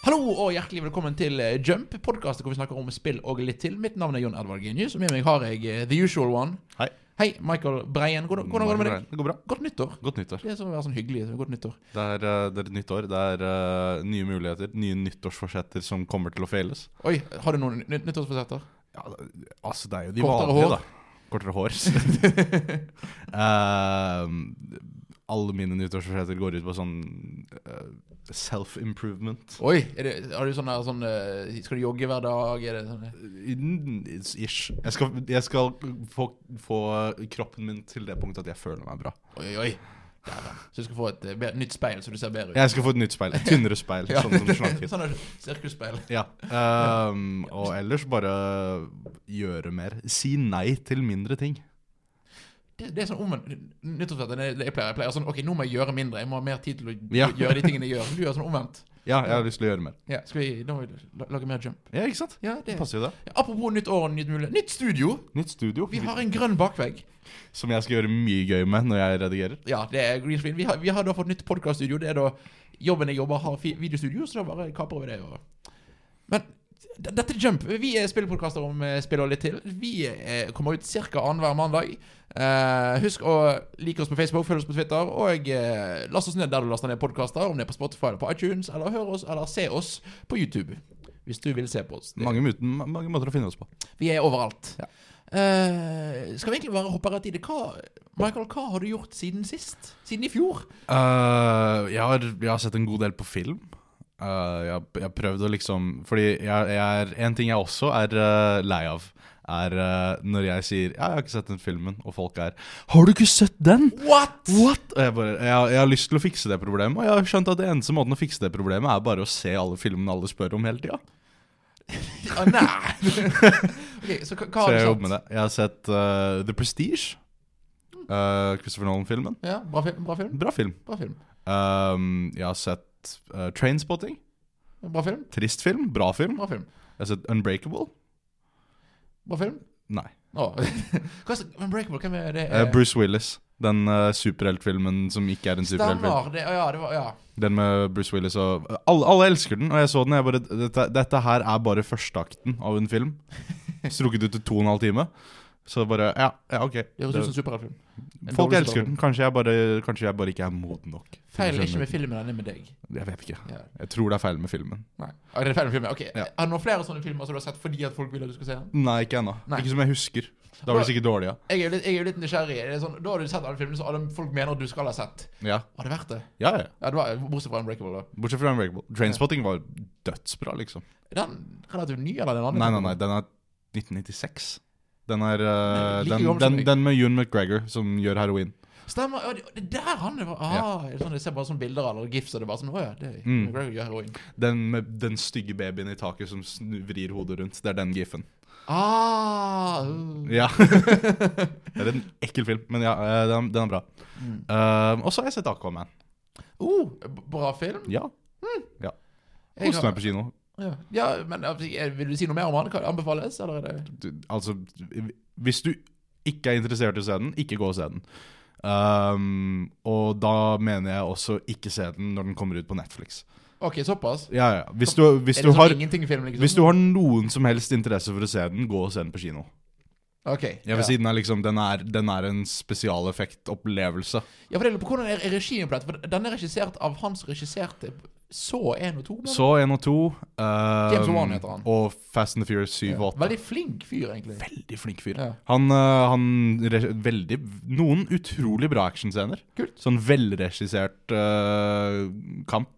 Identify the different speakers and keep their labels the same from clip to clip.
Speaker 1: Hallo og hjertelig velkommen til eh, Jump, podkastet hvor vi snakker om spill og litt til. Mitt navn er Jon Edvard Genius, og med meg har jeg eh, the usual one.
Speaker 2: Hei.
Speaker 1: Hei, Michael Breien. Hvordan hvordan går det med deg?
Speaker 2: Det går bra.
Speaker 1: Godt nyttår.
Speaker 2: Godt nyttår.
Speaker 1: Det er som å være sånn hyggelig. så Godt nyttår.
Speaker 2: Det er, eh, det er et nytt år. Det er eh, nye muligheter. Nye nyttårsforsetter som kommer til å feiles.
Speaker 1: Oi, har du noen nytt nyttårsforsetter?
Speaker 2: Ja, det- altså, det er jo de
Speaker 1: Kortere
Speaker 2: vanlige,
Speaker 1: hår.
Speaker 2: da. Kortere hår. Eh, alle mine nyttårsforsetter går ut på sånn eh, self-improvement.
Speaker 1: Oi, er det, har du sånn der sånn eh, Skal du jogge hver dag? Er det sånn
Speaker 2: Mm, Ish. Jeg skal, jeg skal få, få kroppen min til det punktet at jeg føler meg bra.
Speaker 1: Oi, oi, oi. Dæven. Så du skal få et eh, be- nytt speil, så du ser bedre ut.
Speaker 2: Jeg skal få et nytt speil. Et tynnere speil.
Speaker 1: Ja.
Speaker 2: Sånn som slank
Speaker 1: sånn er det. sirkusspeil.
Speaker 2: Ja. ehm, og ellers bare gjøre mer. Si nei til mindre ting.
Speaker 1: Det, det er sånn omvendt nyttårsforsetter. Det, det jeg pleier, jeg pleier sånn OK, nå må jeg gjøre mindre. Jeg må ha mer tid til å
Speaker 2: Ja.
Speaker 1: gjøre de tingene jeg gjør. Du gjør sånn omvendt.
Speaker 2: Ja, jeg har lyst til å gjøre mer.
Speaker 1: Ja, skal vi, da må vi la- lage mer jump.
Speaker 2: Ja, ikke sant?
Speaker 1: Ja, det
Speaker 2: Det passer jo det.
Speaker 1: Ja, Apropos nytt år og nytt mulighet. Nytt studio!
Speaker 2: Nytt studio
Speaker 1: Vi har en grønn bakvegg.
Speaker 2: som jeg skal gjøre mye gøy med når jeg redigerer.
Speaker 1: Ja, det er green screen. Vi har, vi har da fått nytt podcaststudio Det er da jobben jeg jobber har fi- videostudio, så da bare kaprer vi det. Og... Men d- dette er Jump. Vi er spillpodkaster om eh, spill og litt til. Vi eh, kommer ut ca. annenhver mandag. Eh, husk å like oss på Facebook, følg oss på Twitter, og eh, last oss ned der du laster ned podkaster. Om det er på Spotify eller på iTunes, eller hør oss eller se oss på YouTube. Hvis du vil se på oss. Det-
Speaker 2: Mange, mut- ma- mange måter å finne oss på.
Speaker 1: Vi er overalt.
Speaker 2: Ja.
Speaker 1: Eh, skal vi egentlig bare hoppe rett i det? Hva, Michael, hva har du gjort siden sist? Siden i fjor?
Speaker 2: Eh, jeg, har, jeg har sett en god del på film. Eh, jeg, har- jeg har prøvd å liksom Fordi jeg, jeg er, en ting jeg også er eh, lei av, er eh, når jeg sier Ja, jeg har ikke sett den filmen, og folk er Har du ikke sett den?!
Speaker 1: What?!
Speaker 2: What? Og jeg, bare, jeg, jeg har lyst til å fikse det problemet, og jeg har skjønt at det eneste måten å fikse det problemet er bare å se alle filmene alle spør om hele tida.
Speaker 1: Ah, nei! ok, så hva, hva har
Speaker 2: Så
Speaker 1: du
Speaker 2: jeg
Speaker 1: sett?
Speaker 2: jobber med det. Jeg har sett eh, The Prestige. eh, Christopher Nolan-filmen.
Speaker 1: Ja, bra, film, bra film.
Speaker 2: Bra film.
Speaker 1: Bra film.
Speaker 2: Um, jeg har sett eh, Trainspotting.
Speaker 1: Bra film.
Speaker 2: Trist film. Bra film.
Speaker 1: Bra film.
Speaker 2: Jeg har sett Unbreakable.
Speaker 1: Bra film.
Speaker 2: Nei.
Speaker 1: Å. Hva er så- Unbreakable, hvem er det?
Speaker 2: Eh, Bruce Willis. Den eh, superheltfilmen som ikke er en superheltfilm.
Speaker 1: Stemmer. Det, å ja, det var, ja.
Speaker 2: Den med Bruce Willis og alle, alle elsker den, og jeg så den. og Jeg bare, dette, dette her er bare førsteakten av en film. Strukket ut til to og en halv time. Så bare Ja, ja ok.
Speaker 1: Det høres ut som en superheltfilm. en
Speaker 2: folk
Speaker 1: dårlig
Speaker 2: elsker den. Kanskje jeg, bare, kanskje jeg bare ikke er moden nok. til å
Speaker 1: Feilen er
Speaker 2: skjønne
Speaker 1: ikke med filmen, den er med deg.
Speaker 2: den. Jeg vet ikke.
Speaker 1: Ja.
Speaker 2: Jeg tror det er feil med filmen.
Speaker 1: Nei. Ah, det er feil med filmen. Ok,
Speaker 2: Ja.
Speaker 1: Har du noen flere sånne filmer som du har sett fordi at folk vil at du skal se den?
Speaker 2: Nei, ikke ennå.
Speaker 1: Nei.
Speaker 2: Ikke som jeg husker. Da var det sikkert dårlig, ja.
Speaker 1: Jeg er jo litt, jeg er jo litt nysgjerrig. Det er sånn, da har du sett alle filmene som alle folk mener at du skal ha sett.
Speaker 2: Ja,
Speaker 1: Har det vært det?
Speaker 2: ja. ja.
Speaker 1: Ja, det var Bortsett fra Unbreakable, da.
Speaker 2: Bortsett fra Unbreakable. Trainspotting var dødsbra, liksom.
Speaker 1: Er den relativt ny, eller er den andre?
Speaker 2: Nei, nei, nei. Den er 1996. Den er eh,
Speaker 1: Nei, like
Speaker 2: den,
Speaker 1: gammel som
Speaker 2: den,
Speaker 1: meg.
Speaker 2: den med Ewan McGregor som gjør heroin.
Speaker 1: Stemmer. Ja, det, det er der han er fra. ah, er det sånn, Jeg ser bare sånne bilder eller gifs, og det er bare sånn Å ja, det er
Speaker 2: Mm.
Speaker 1: McGregor gjør heroin.
Speaker 2: Den med den stygge babyen i taket som snu- vrir hodet rundt. Det er den giffen.
Speaker 1: Ah, uh.
Speaker 2: Ja. det er en ekkel film, men ja, eh, den, den er bra.
Speaker 1: Mm.
Speaker 2: Eh, og så har jeg sett Aquaman.
Speaker 1: Oh, b- bra film.
Speaker 2: Ja. ja.
Speaker 1: Jeg
Speaker 2: Koste
Speaker 1: har-
Speaker 2: meg på kino.
Speaker 1: Ja, ja men eh, vil du si noe mer om han? Kan det anbefales, eller er det
Speaker 2: Du, altså, hvis du ikke er interessert i å se den, ikke gå og se den. Um, og da mener jeg også ikke se den når den kommer ut på Netflix.
Speaker 1: OK, såpass?
Speaker 2: Ja, ja. Hvis du, hvis
Speaker 1: er
Speaker 2: du
Speaker 1: det sånn
Speaker 2: har
Speaker 1: ingenting-film, liksom?
Speaker 2: hvis du har noen som helst interesse for å se den, gå og se den på kino.
Speaker 1: Ok,
Speaker 2: Jeg vil si den er, liksom, den er, den er en spesialeffektopplevelse.
Speaker 1: Ja, for jeg lurer på Hvordan er regien på dette? For Den er regissert av han som regisserte Så 1 og 2.
Speaker 2: Så 1 og 2.
Speaker 1: James Wan heter han.
Speaker 2: Og Fast and the Furious 7 og 8.
Speaker 1: Veldig flink fyr, egentlig.
Speaker 2: Veldig flink fyr.
Speaker 1: Ja.
Speaker 2: Han, eh, han re- veldig, Noen utrolig bra actionscener.
Speaker 1: Kult.
Speaker 2: Sånn velregissert eh, kamp.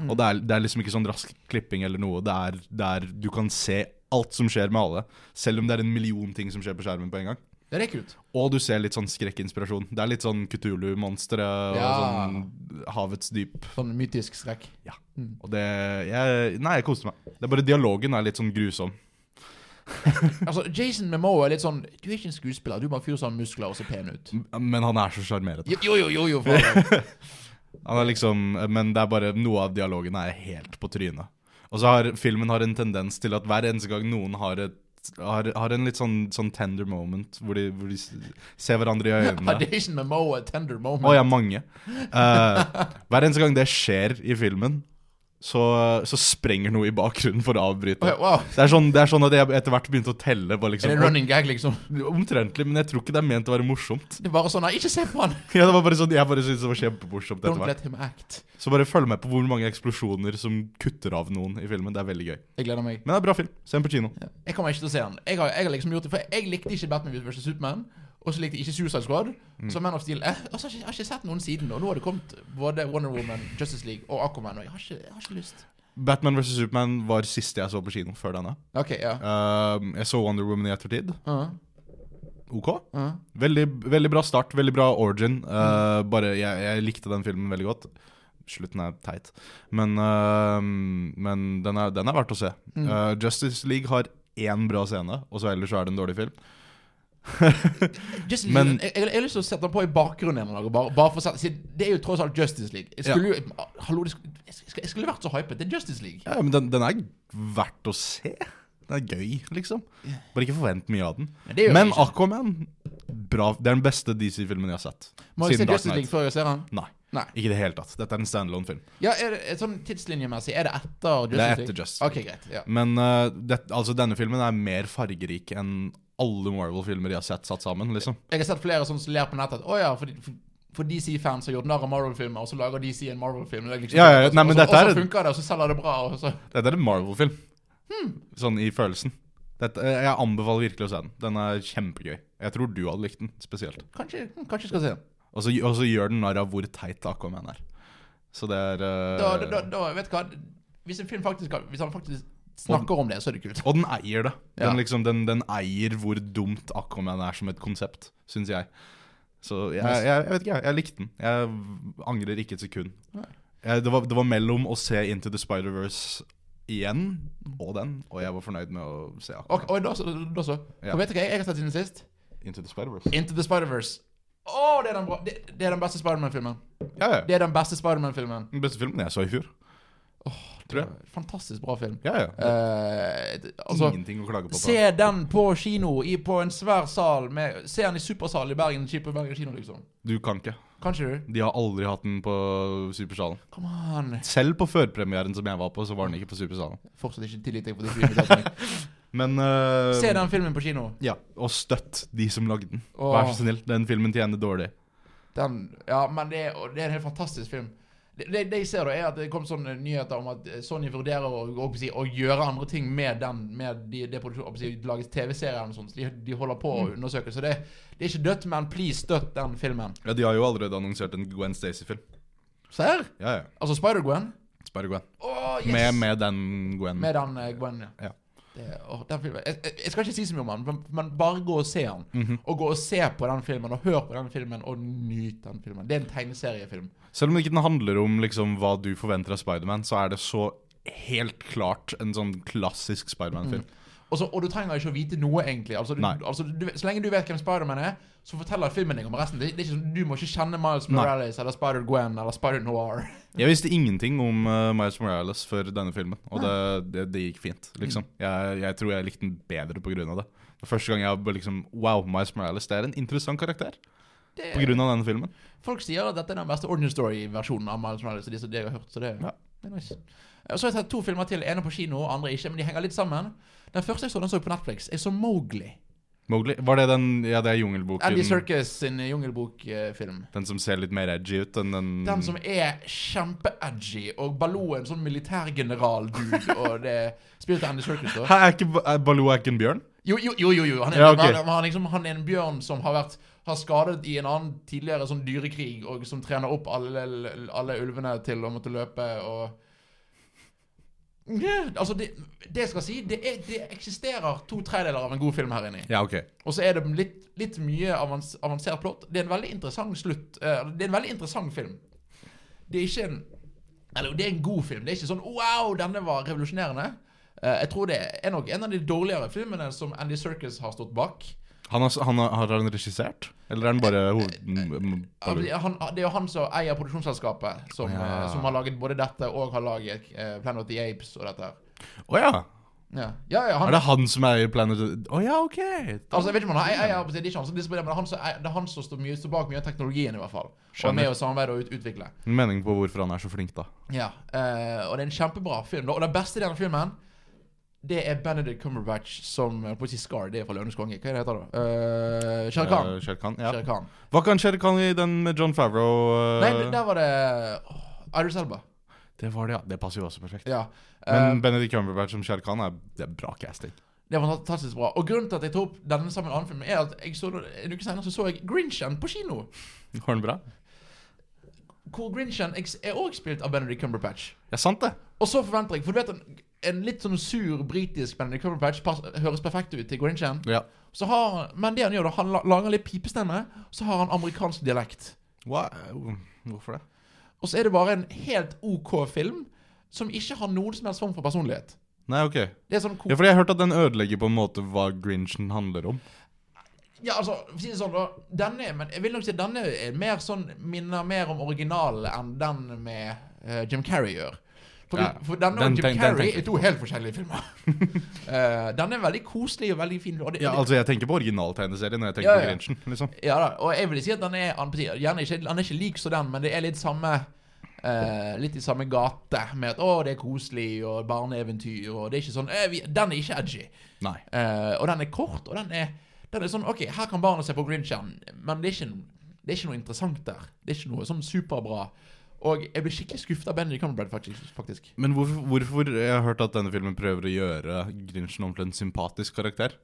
Speaker 1: Mm.
Speaker 2: Og det er, det er liksom ikke sånn rask klipping eller noe. Det er, det er, du kan se alt som skjer med alle. Selv om det er en million ting som skjer på skjermen på en gang.
Speaker 1: Ja, det er kult.
Speaker 2: Og du ser litt sånn skrekkinspirasjon. Det er litt sånn Kutulu-monstre og
Speaker 1: Ja.
Speaker 2: sånn havets dyp.
Speaker 1: Sånn mytisk skrekk.
Speaker 2: Ja.
Speaker 1: Mm.
Speaker 2: Og det jeg, Nei, jeg koste meg. Det er bare dialogen er litt sånn grusom.
Speaker 1: Altså, Jason Memoa er litt sånn Du er ikke en skuespiller, du er bare en fyr som har muskler og ser pen ut.
Speaker 2: Men han er så sjarmerende.
Speaker 1: Jo, jo, jo, jo, jo for faen.
Speaker 2: Han er liksom, men det er bare noe av dialogen er helt på trynet. Og så har filmen har en tendens til at hver eneste gang noen har et har, har en litt sånn, sånn tender moment, hvor de, hvor de s- ser hverandre i øynene.
Speaker 1: Har Jason Memoa a tender
Speaker 2: Å
Speaker 1: moment?
Speaker 2: ja, mange. Eh, hver eneste gang det skjer i filmen, så, så sprenger noe i bakgrunnen for å avbryte.
Speaker 1: Oi, wow.
Speaker 2: Det er, sånn, det er sånn at jeg etter hvert begynte å telle. Bare
Speaker 1: Er det
Speaker 2: liksom,
Speaker 1: en running gag, liksom?
Speaker 2: Omtrentlig, men jeg tror ikke det er ment å være morsomt.
Speaker 1: Det er bare sånn «Nei, 'Ikke se på han!'
Speaker 2: Ja, det var bare sånn, Jeg bare syntes det var kjempemorsomt etter
Speaker 1: Don't let
Speaker 2: hvert.
Speaker 1: him act.
Speaker 2: Så bare følg med på hvor mange eksplosjoner som kutter av noen i filmen. Det er veldig gøy.
Speaker 1: Jeg gleder meg.
Speaker 2: Men det er en bra film. Se den på kino.
Speaker 1: Ja. Jeg kommer ikke til å se han. Jeg har, jeg har liksom gjort det, for jeg likte ikke Batman vs. Superman. Og så likte jeg ikke Suicide Squad. Så Man of Steel eh, Og så har jeg, ikke- jeg har ikke sett noen siden. Og nå har det kommet både Wonder Woman, Justice League og Aquaman. Og jeg har ikke, jeg har ikke lyst.
Speaker 2: Batman vs. Superman var siste jeg så på kino før denne.
Speaker 1: OK, ja.
Speaker 2: Ehm, jeg så Wonder Woman i ettertid.
Speaker 1: Uh,
Speaker 2: OK.
Speaker 1: uh.
Speaker 2: Veldig, veldig bra start, veldig bra origin. Eh,
Speaker 1: Mm.
Speaker 2: bare, jeg, jeg likte den filmen veldig godt. Slutten er teit, men, eh, men den, er, den er verdt å se.
Speaker 1: Mm.
Speaker 2: Eh, Justice League har én bra scene, og så ellers så er det en dårlig film.
Speaker 1: Justice
Speaker 2: Men-
Speaker 1: League, jeg, jeg, jeg har lyst til å sette den på i bakgrunnen en eller annen gang. Bare, bare for å sette- siden Det er jo tross alt Justice League. Jeg skulle jo Hallo, det skulle, jeg, skulle, jeg skulle vært så hypet. Det er Justice League.
Speaker 2: Ja, men den, den er verdt å se. Den er gøy, liksom. Bare ikke forvent mye av den.
Speaker 1: Men det gjør
Speaker 2: Men
Speaker 1: jeg ikke.
Speaker 2: Aquaman bra, Det er den beste DC-filmen jeg har sett.
Speaker 1: Må jeg se
Speaker 2: siden Dark
Speaker 1: Justice League
Speaker 2: Knight.
Speaker 1: før jeg ser han?
Speaker 2: Nei,
Speaker 1: Nei.
Speaker 2: ikke i det hele tatt. Dette er en standalone-film.
Speaker 1: Ja, er det, sånn tidslinjemessig, er det etter Justice
Speaker 2: Det er etter
Speaker 1: League?
Speaker 2: Justice
Speaker 1: Ok, greit. Ja.
Speaker 2: Men eh, det, altså, denne filmen er mer fargerik enn alle Marvel-filmer jeg har sett satt sammen. liksom.
Speaker 1: Jeg har sett flere sånn som ler på nettet at å ja, for, for, for DC-fans har gjort narr av Marvel-filmer, og så lager DC en Marvel-film. og det er Liksom,
Speaker 2: Ja, ja, ja.
Speaker 1: og så-
Speaker 2: Nei, men
Speaker 1: og så-
Speaker 2: dette er
Speaker 1: Og
Speaker 2: et-
Speaker 1: så funker det, og så selger det bra. Og så.
Speaker 2: Dette er en Marvel-film,
Speaker 1: Hmm.
Speaker 2: sånn i følelsen. Dette, eh, jeg anbefaler virkelig å se den. Den er kjempegøy. Jeg tror du hadde likt den spesielt.
Speaker 1: Kanskje, hm, kanskje jeg skal se den.
Speaker 2: Og så og så gjør den narr av hvor teit Aquaman er. Så det er eh,
Speaker 1: Da, da, da, da, vet du hva, hvis en film faktisk, har- hvis han faktisk snakker om det, så er det kult.
Speaker 2: Og den eier det.
Speaker 1: Ja.
Speaker 2: Den, liksom, den, den eier hvor dumt Aquaman er som et konsept, syns jeg. Så jeg,
Speaker 1: Nice.
Speaker 2: jeg, jeg vet ikke, jeg. Jeg likte den. Jeg angrer ikke et sekund.
Speaker 1: Nei.
Speaker 2: Jeg, det, var, det var mellom å se Into the Spider-Verse igjen og den, og jeg var fornøyd med å se Aquaman.
Speaker 1: Og, og da så. Da så.
Speaker 2: Ja.
Speaker 1: For vet du hva jeg jeg har sett siden sist?
Speaker 2: Into the Spider-Verse.
Speaker 1: Into the Spider-Verse. Å, det, er den bra- det, det er den beste Spider-Man-filmen.
Speaker 2: Ja, ja.
Speaker 1: Det er den beste Spider-Man-filmen.
Speaker 2: Den beste filmen jeg så i fjor. tror jeg.
Speaker 1: Fantastisk bra film.
Speaker 2: Ja, ja. Det
Speaker 1: Eh, det-
Speaker 2: er
Speaker 1: altså,
Speaker 2: Ingenting å klage på. på.
Speaker 1: se den på kino, i, på en svær sal. Med, se den i supersal i Bergen, kjip på Bergen kino, liksom.
Speaker 2: Du kan ikke.
Speaker 1: Kanskje du?
Speaker 2: De har aldri hatt den på Supersalen.
Speaker 1: Come on.
Speaker 2: Selv på førpremieren som jeg var på, så var den ikke på Supersalen.
Speaker 1: Fortsatt ikke tillit jeg på disse invitasjonene.
Speaker 2: Men eh,
Speaker 1: Se den filmen på kino.
Speaker 2: Ja, og støtt de som lagde den.
Speaker 1: Åh.
Speaker 2: Vær så snill, den filmen tjener dårlig.
Speaker 1: Den, ja, men det, er- og det er en helt fantastisk film. Det, det, det jeg ser, da, er at det kom sånne nyheter om at eh, Sony vurderer å, å, si, å gjøre andre ting med den, med de, det produksjonen, å si, lages TV-serier eller noe sånt. Så de, de holder på å undersøke. Så det, det er ikke dødt, men please støtt den filmen.
Speaker 2: Ja, De har jo allerede annonsert en Gwen Stacy-film.
Speaker 1: Serr?
Speaker 2: Ja, ja.
Speaker 1: Altså Spider-Gwen?
Speaker 2: Sperre-Gwen.
Speaker 1: Å, yes!
Speaker 2: Med, med den Gwen.
Speaker 1: Med den eh, Gwen, ja.
Speaker 2: Ja.
Speaker 1: Det, åh, den filmen. Jeg, jeg- jeg skal ikke si så mye om den, men, men bare gå og se den. Og gå og se på den filmen, og hør på den filmen, og nyt den filmen. Det er en tegneseriefilm.
Speaker 2: Selv om ikke den handler om liksom, hva du forventer av Spiderman, så er det så helt klart en sånn klassisk Spiderman-film.
Speaker 1: Og, så, og du trenger ikke å vite noe, egentlig. Altså, du,
Speaker 2: Nei.
Speaker 1: altså, du, så lenge du vet hvem Spider-Man er, så forteller filmen deg om resten. Det, det er ikke sånn, Du må ikke kjenne Miles
Speaker 2: Nei.
Speaker 1: Morales eller Spider-Gwen eller Spider-Noir.
Speaker 2: Jeg visste ingenting om eh, Miles Morales før denne filmen, og det,
Speaker 1: Ah.
Speaker 2: det, det gikk fint. liksom.
Speaker 1: Mm.
Speaker 2: Jeg, jeg tror jeg likte den bedre pga. det. Det er Første gang jeg bare liksom Wow, Miles Morales, det er en interessant karakter.
Speaker 1: Det-
Speaker 2: Pga. denne filmen.
Speaker 1: Folk sier at dette er den beste Ordinary Story-versjonen av Miles Morales. og De som det jeg har hørt, så det,
Speaker 2: Ja.
Speaker 1: det er nice. Og så har jeg tatt to filmer til. Ene på kino, andre ikke. Men de henger litt sammen. Den første jeg så, den så jeg på Netflix. Jeg så Mowgli.
Speaker 2: Mowgli. Var det den Ja, det er jungelboken.
Speaker 1: Andy Serkis sin eh, jungelbokfilm.
Speaker 2: Den som ser litt mer edgy ut enn den
Speaker 1: Den som er kjempe-edgy, og Baloo er en sånn militærgeneral-dude. og det Spilt av Andy Serkis, da.
Speaker 2: Hæ, er ikke Ba- er Baloo er ikke en bjørn?
Speaker 1: Jo, jo, jo, jo, jo. Han, er,
Speaker 2: Ja, ok.
Speaker 1: han, han, er liksom, han er en bjørn som har vært har skadet i en annen tidligere sånn dyrekrig, og som trener opp alle, alle ulvene til å måtte løpe og Nja, Altså, det, det jeg skal si, det, er, det eksisterer to tredjedeler av en god film her inni.
Speaker 2: Ja, ok.
Speaker 1: Og så er det litt, litt mye avans, avansert plott. Det er en veldig interessant slutt. eh, det er en veldig interessant film. Det er ikke en Eller det er en god film. Det er ikke sånn 'wow, denne var revolusjonerende'. Eh, jeg tror det er nok en av de dårligere filmene som Andy Circus har stått bak.
Speaker 2: Han har, s- han har, har han regissert? Eller er han
Speaker 1: Eh,
Speaker 2: bare hoved... m- m-
Speaker 1: Han,
Speaker 2: Baloo?
Speaker 1: det er jo han som eier produksjonsselskapet, som, eh,
Speaker 2: Ja.
Speaker 1: som har laget både dette og har laget eh, Planet of the Apes og dette. her.
Speaker 2: Å ja!
Speaker 1: Ja, ja, ja han,
Speaker 2: Er det han som eier Planet Å ja, OK! Da-
Speaker 1: Altså, jeg vet ikke om han eier det, er ikke han som disponerer, men det er han som eier- det er han som står mye, står bak mye av teknologien, i hvert fall. Og er med å samarbeide og ut, utvikle.
Speaker 2: Meningen på hvorfor han er så flink, da.
Speaker 1: Ja, eh, og det er en kjempebra film. da. Og den beste delen av filmen, det er Benedict Cumberbatch som jeg holdt på å si Scar. Det er fra Løvenes konge. Hva er det heter da? Uh, Shere Khan.
Speaker 2: Eh, Shere Khan, ja.
Speaker 1: Shere Khan.
Speaker 2: Var ikke han Shere Khan i den med John Favreau? eh,
Speaker 1: Nei, der var det oh, Idris Elba.
Speaker 2: Det var det, ja. Det passer jo også perfekt.
Speaker 1: Ja. Eh,
Speaker 2: Men Benedict Cumberbatch som Shere Khan er, det er bra casting.
Speaker 1: det var fantastisk bra. Og grunnen til at jeg tok opp denne sammen med en annen film, er at jeg så, en uke senere så, så jeg Grinchen på kino.
Speaker 2: Var den bra?
Speaker 1: Hvor Grinchen eks- er også spilt av Benedict Cumberbatch.
Speaker 2: Ja, sant det.
Speaker 1: Og så forventer jeg, for du vet en, en litt sånn sur britisk Benedict Cumberbatch pass, høres perfekt ut til Grinchen.
Speaker 2: Ja.
Speaker 1: Så har han, men det han gjør da, han la- lager litt pipestemme, så har han amerikansk dialekt.
Speaker 2: Hva? oh, Hvorfor det?
Speaker 1: Og så er det bare en helt OK film, som ikke har noen som helst form for personlighet.
Speaker 2: Nei, ok.
Speaker 1: Det er sånn
Speaker 2: Ja, fordi jeg har hørt at den ødelegger på en måte hva Grinchen handler om.
Speaker 1: Ja, altså, for å si det sånn da, denne, men jeg vil nok si at denne er mer sånn, minner mer om originalen enn den med eh, Jim Carrey gjør. For,
Speaker 2: Ja,
Speaker 1: for denne
Speaker 2: den
Speaker 1: og Jim
Speaker 2: tenk- den
Speaker 1: Carrey
Speaker 2: tenker
Speaker 1: er to helt forskjellige filmer. Eh, denne er veldig koselig og veldig fin. Og det,
Speaker 2: Ja,
Speaker 1: det-
Speaker 2: altså, jeg tenker på originaltegneserien når jeg tenker
Speaker 1: Ja, ja.
Speaker 2: på Grinchen, liksom.
Speaker 1: Ja da, og jeg vil si at den er han, gjerne ikke, han er ikke lik som den, men det er litt samme eh, Litt i samme gate, med at 'å, det er koselig', og barneeventyr, og det er ikke sånn eh, vi, Den er ikke edgy.
Speaker 2: Nei.
Speaker 1: Eh, og den er kort, og den er, den er sånn OK, her kan barna se på Grinchen, men det er, ikke, det er ikke noe interessant der. Det er ikke noe sånn superbra. Og jeg ble skikkelig skuffet av Benny Cumberbatch, faktisk. faktisk.
Speaker 2: Men hvorfor, hvorfor Jeg har hørt at denne filmen prøver å gjøre Grinchen om til en sympatisk karakter.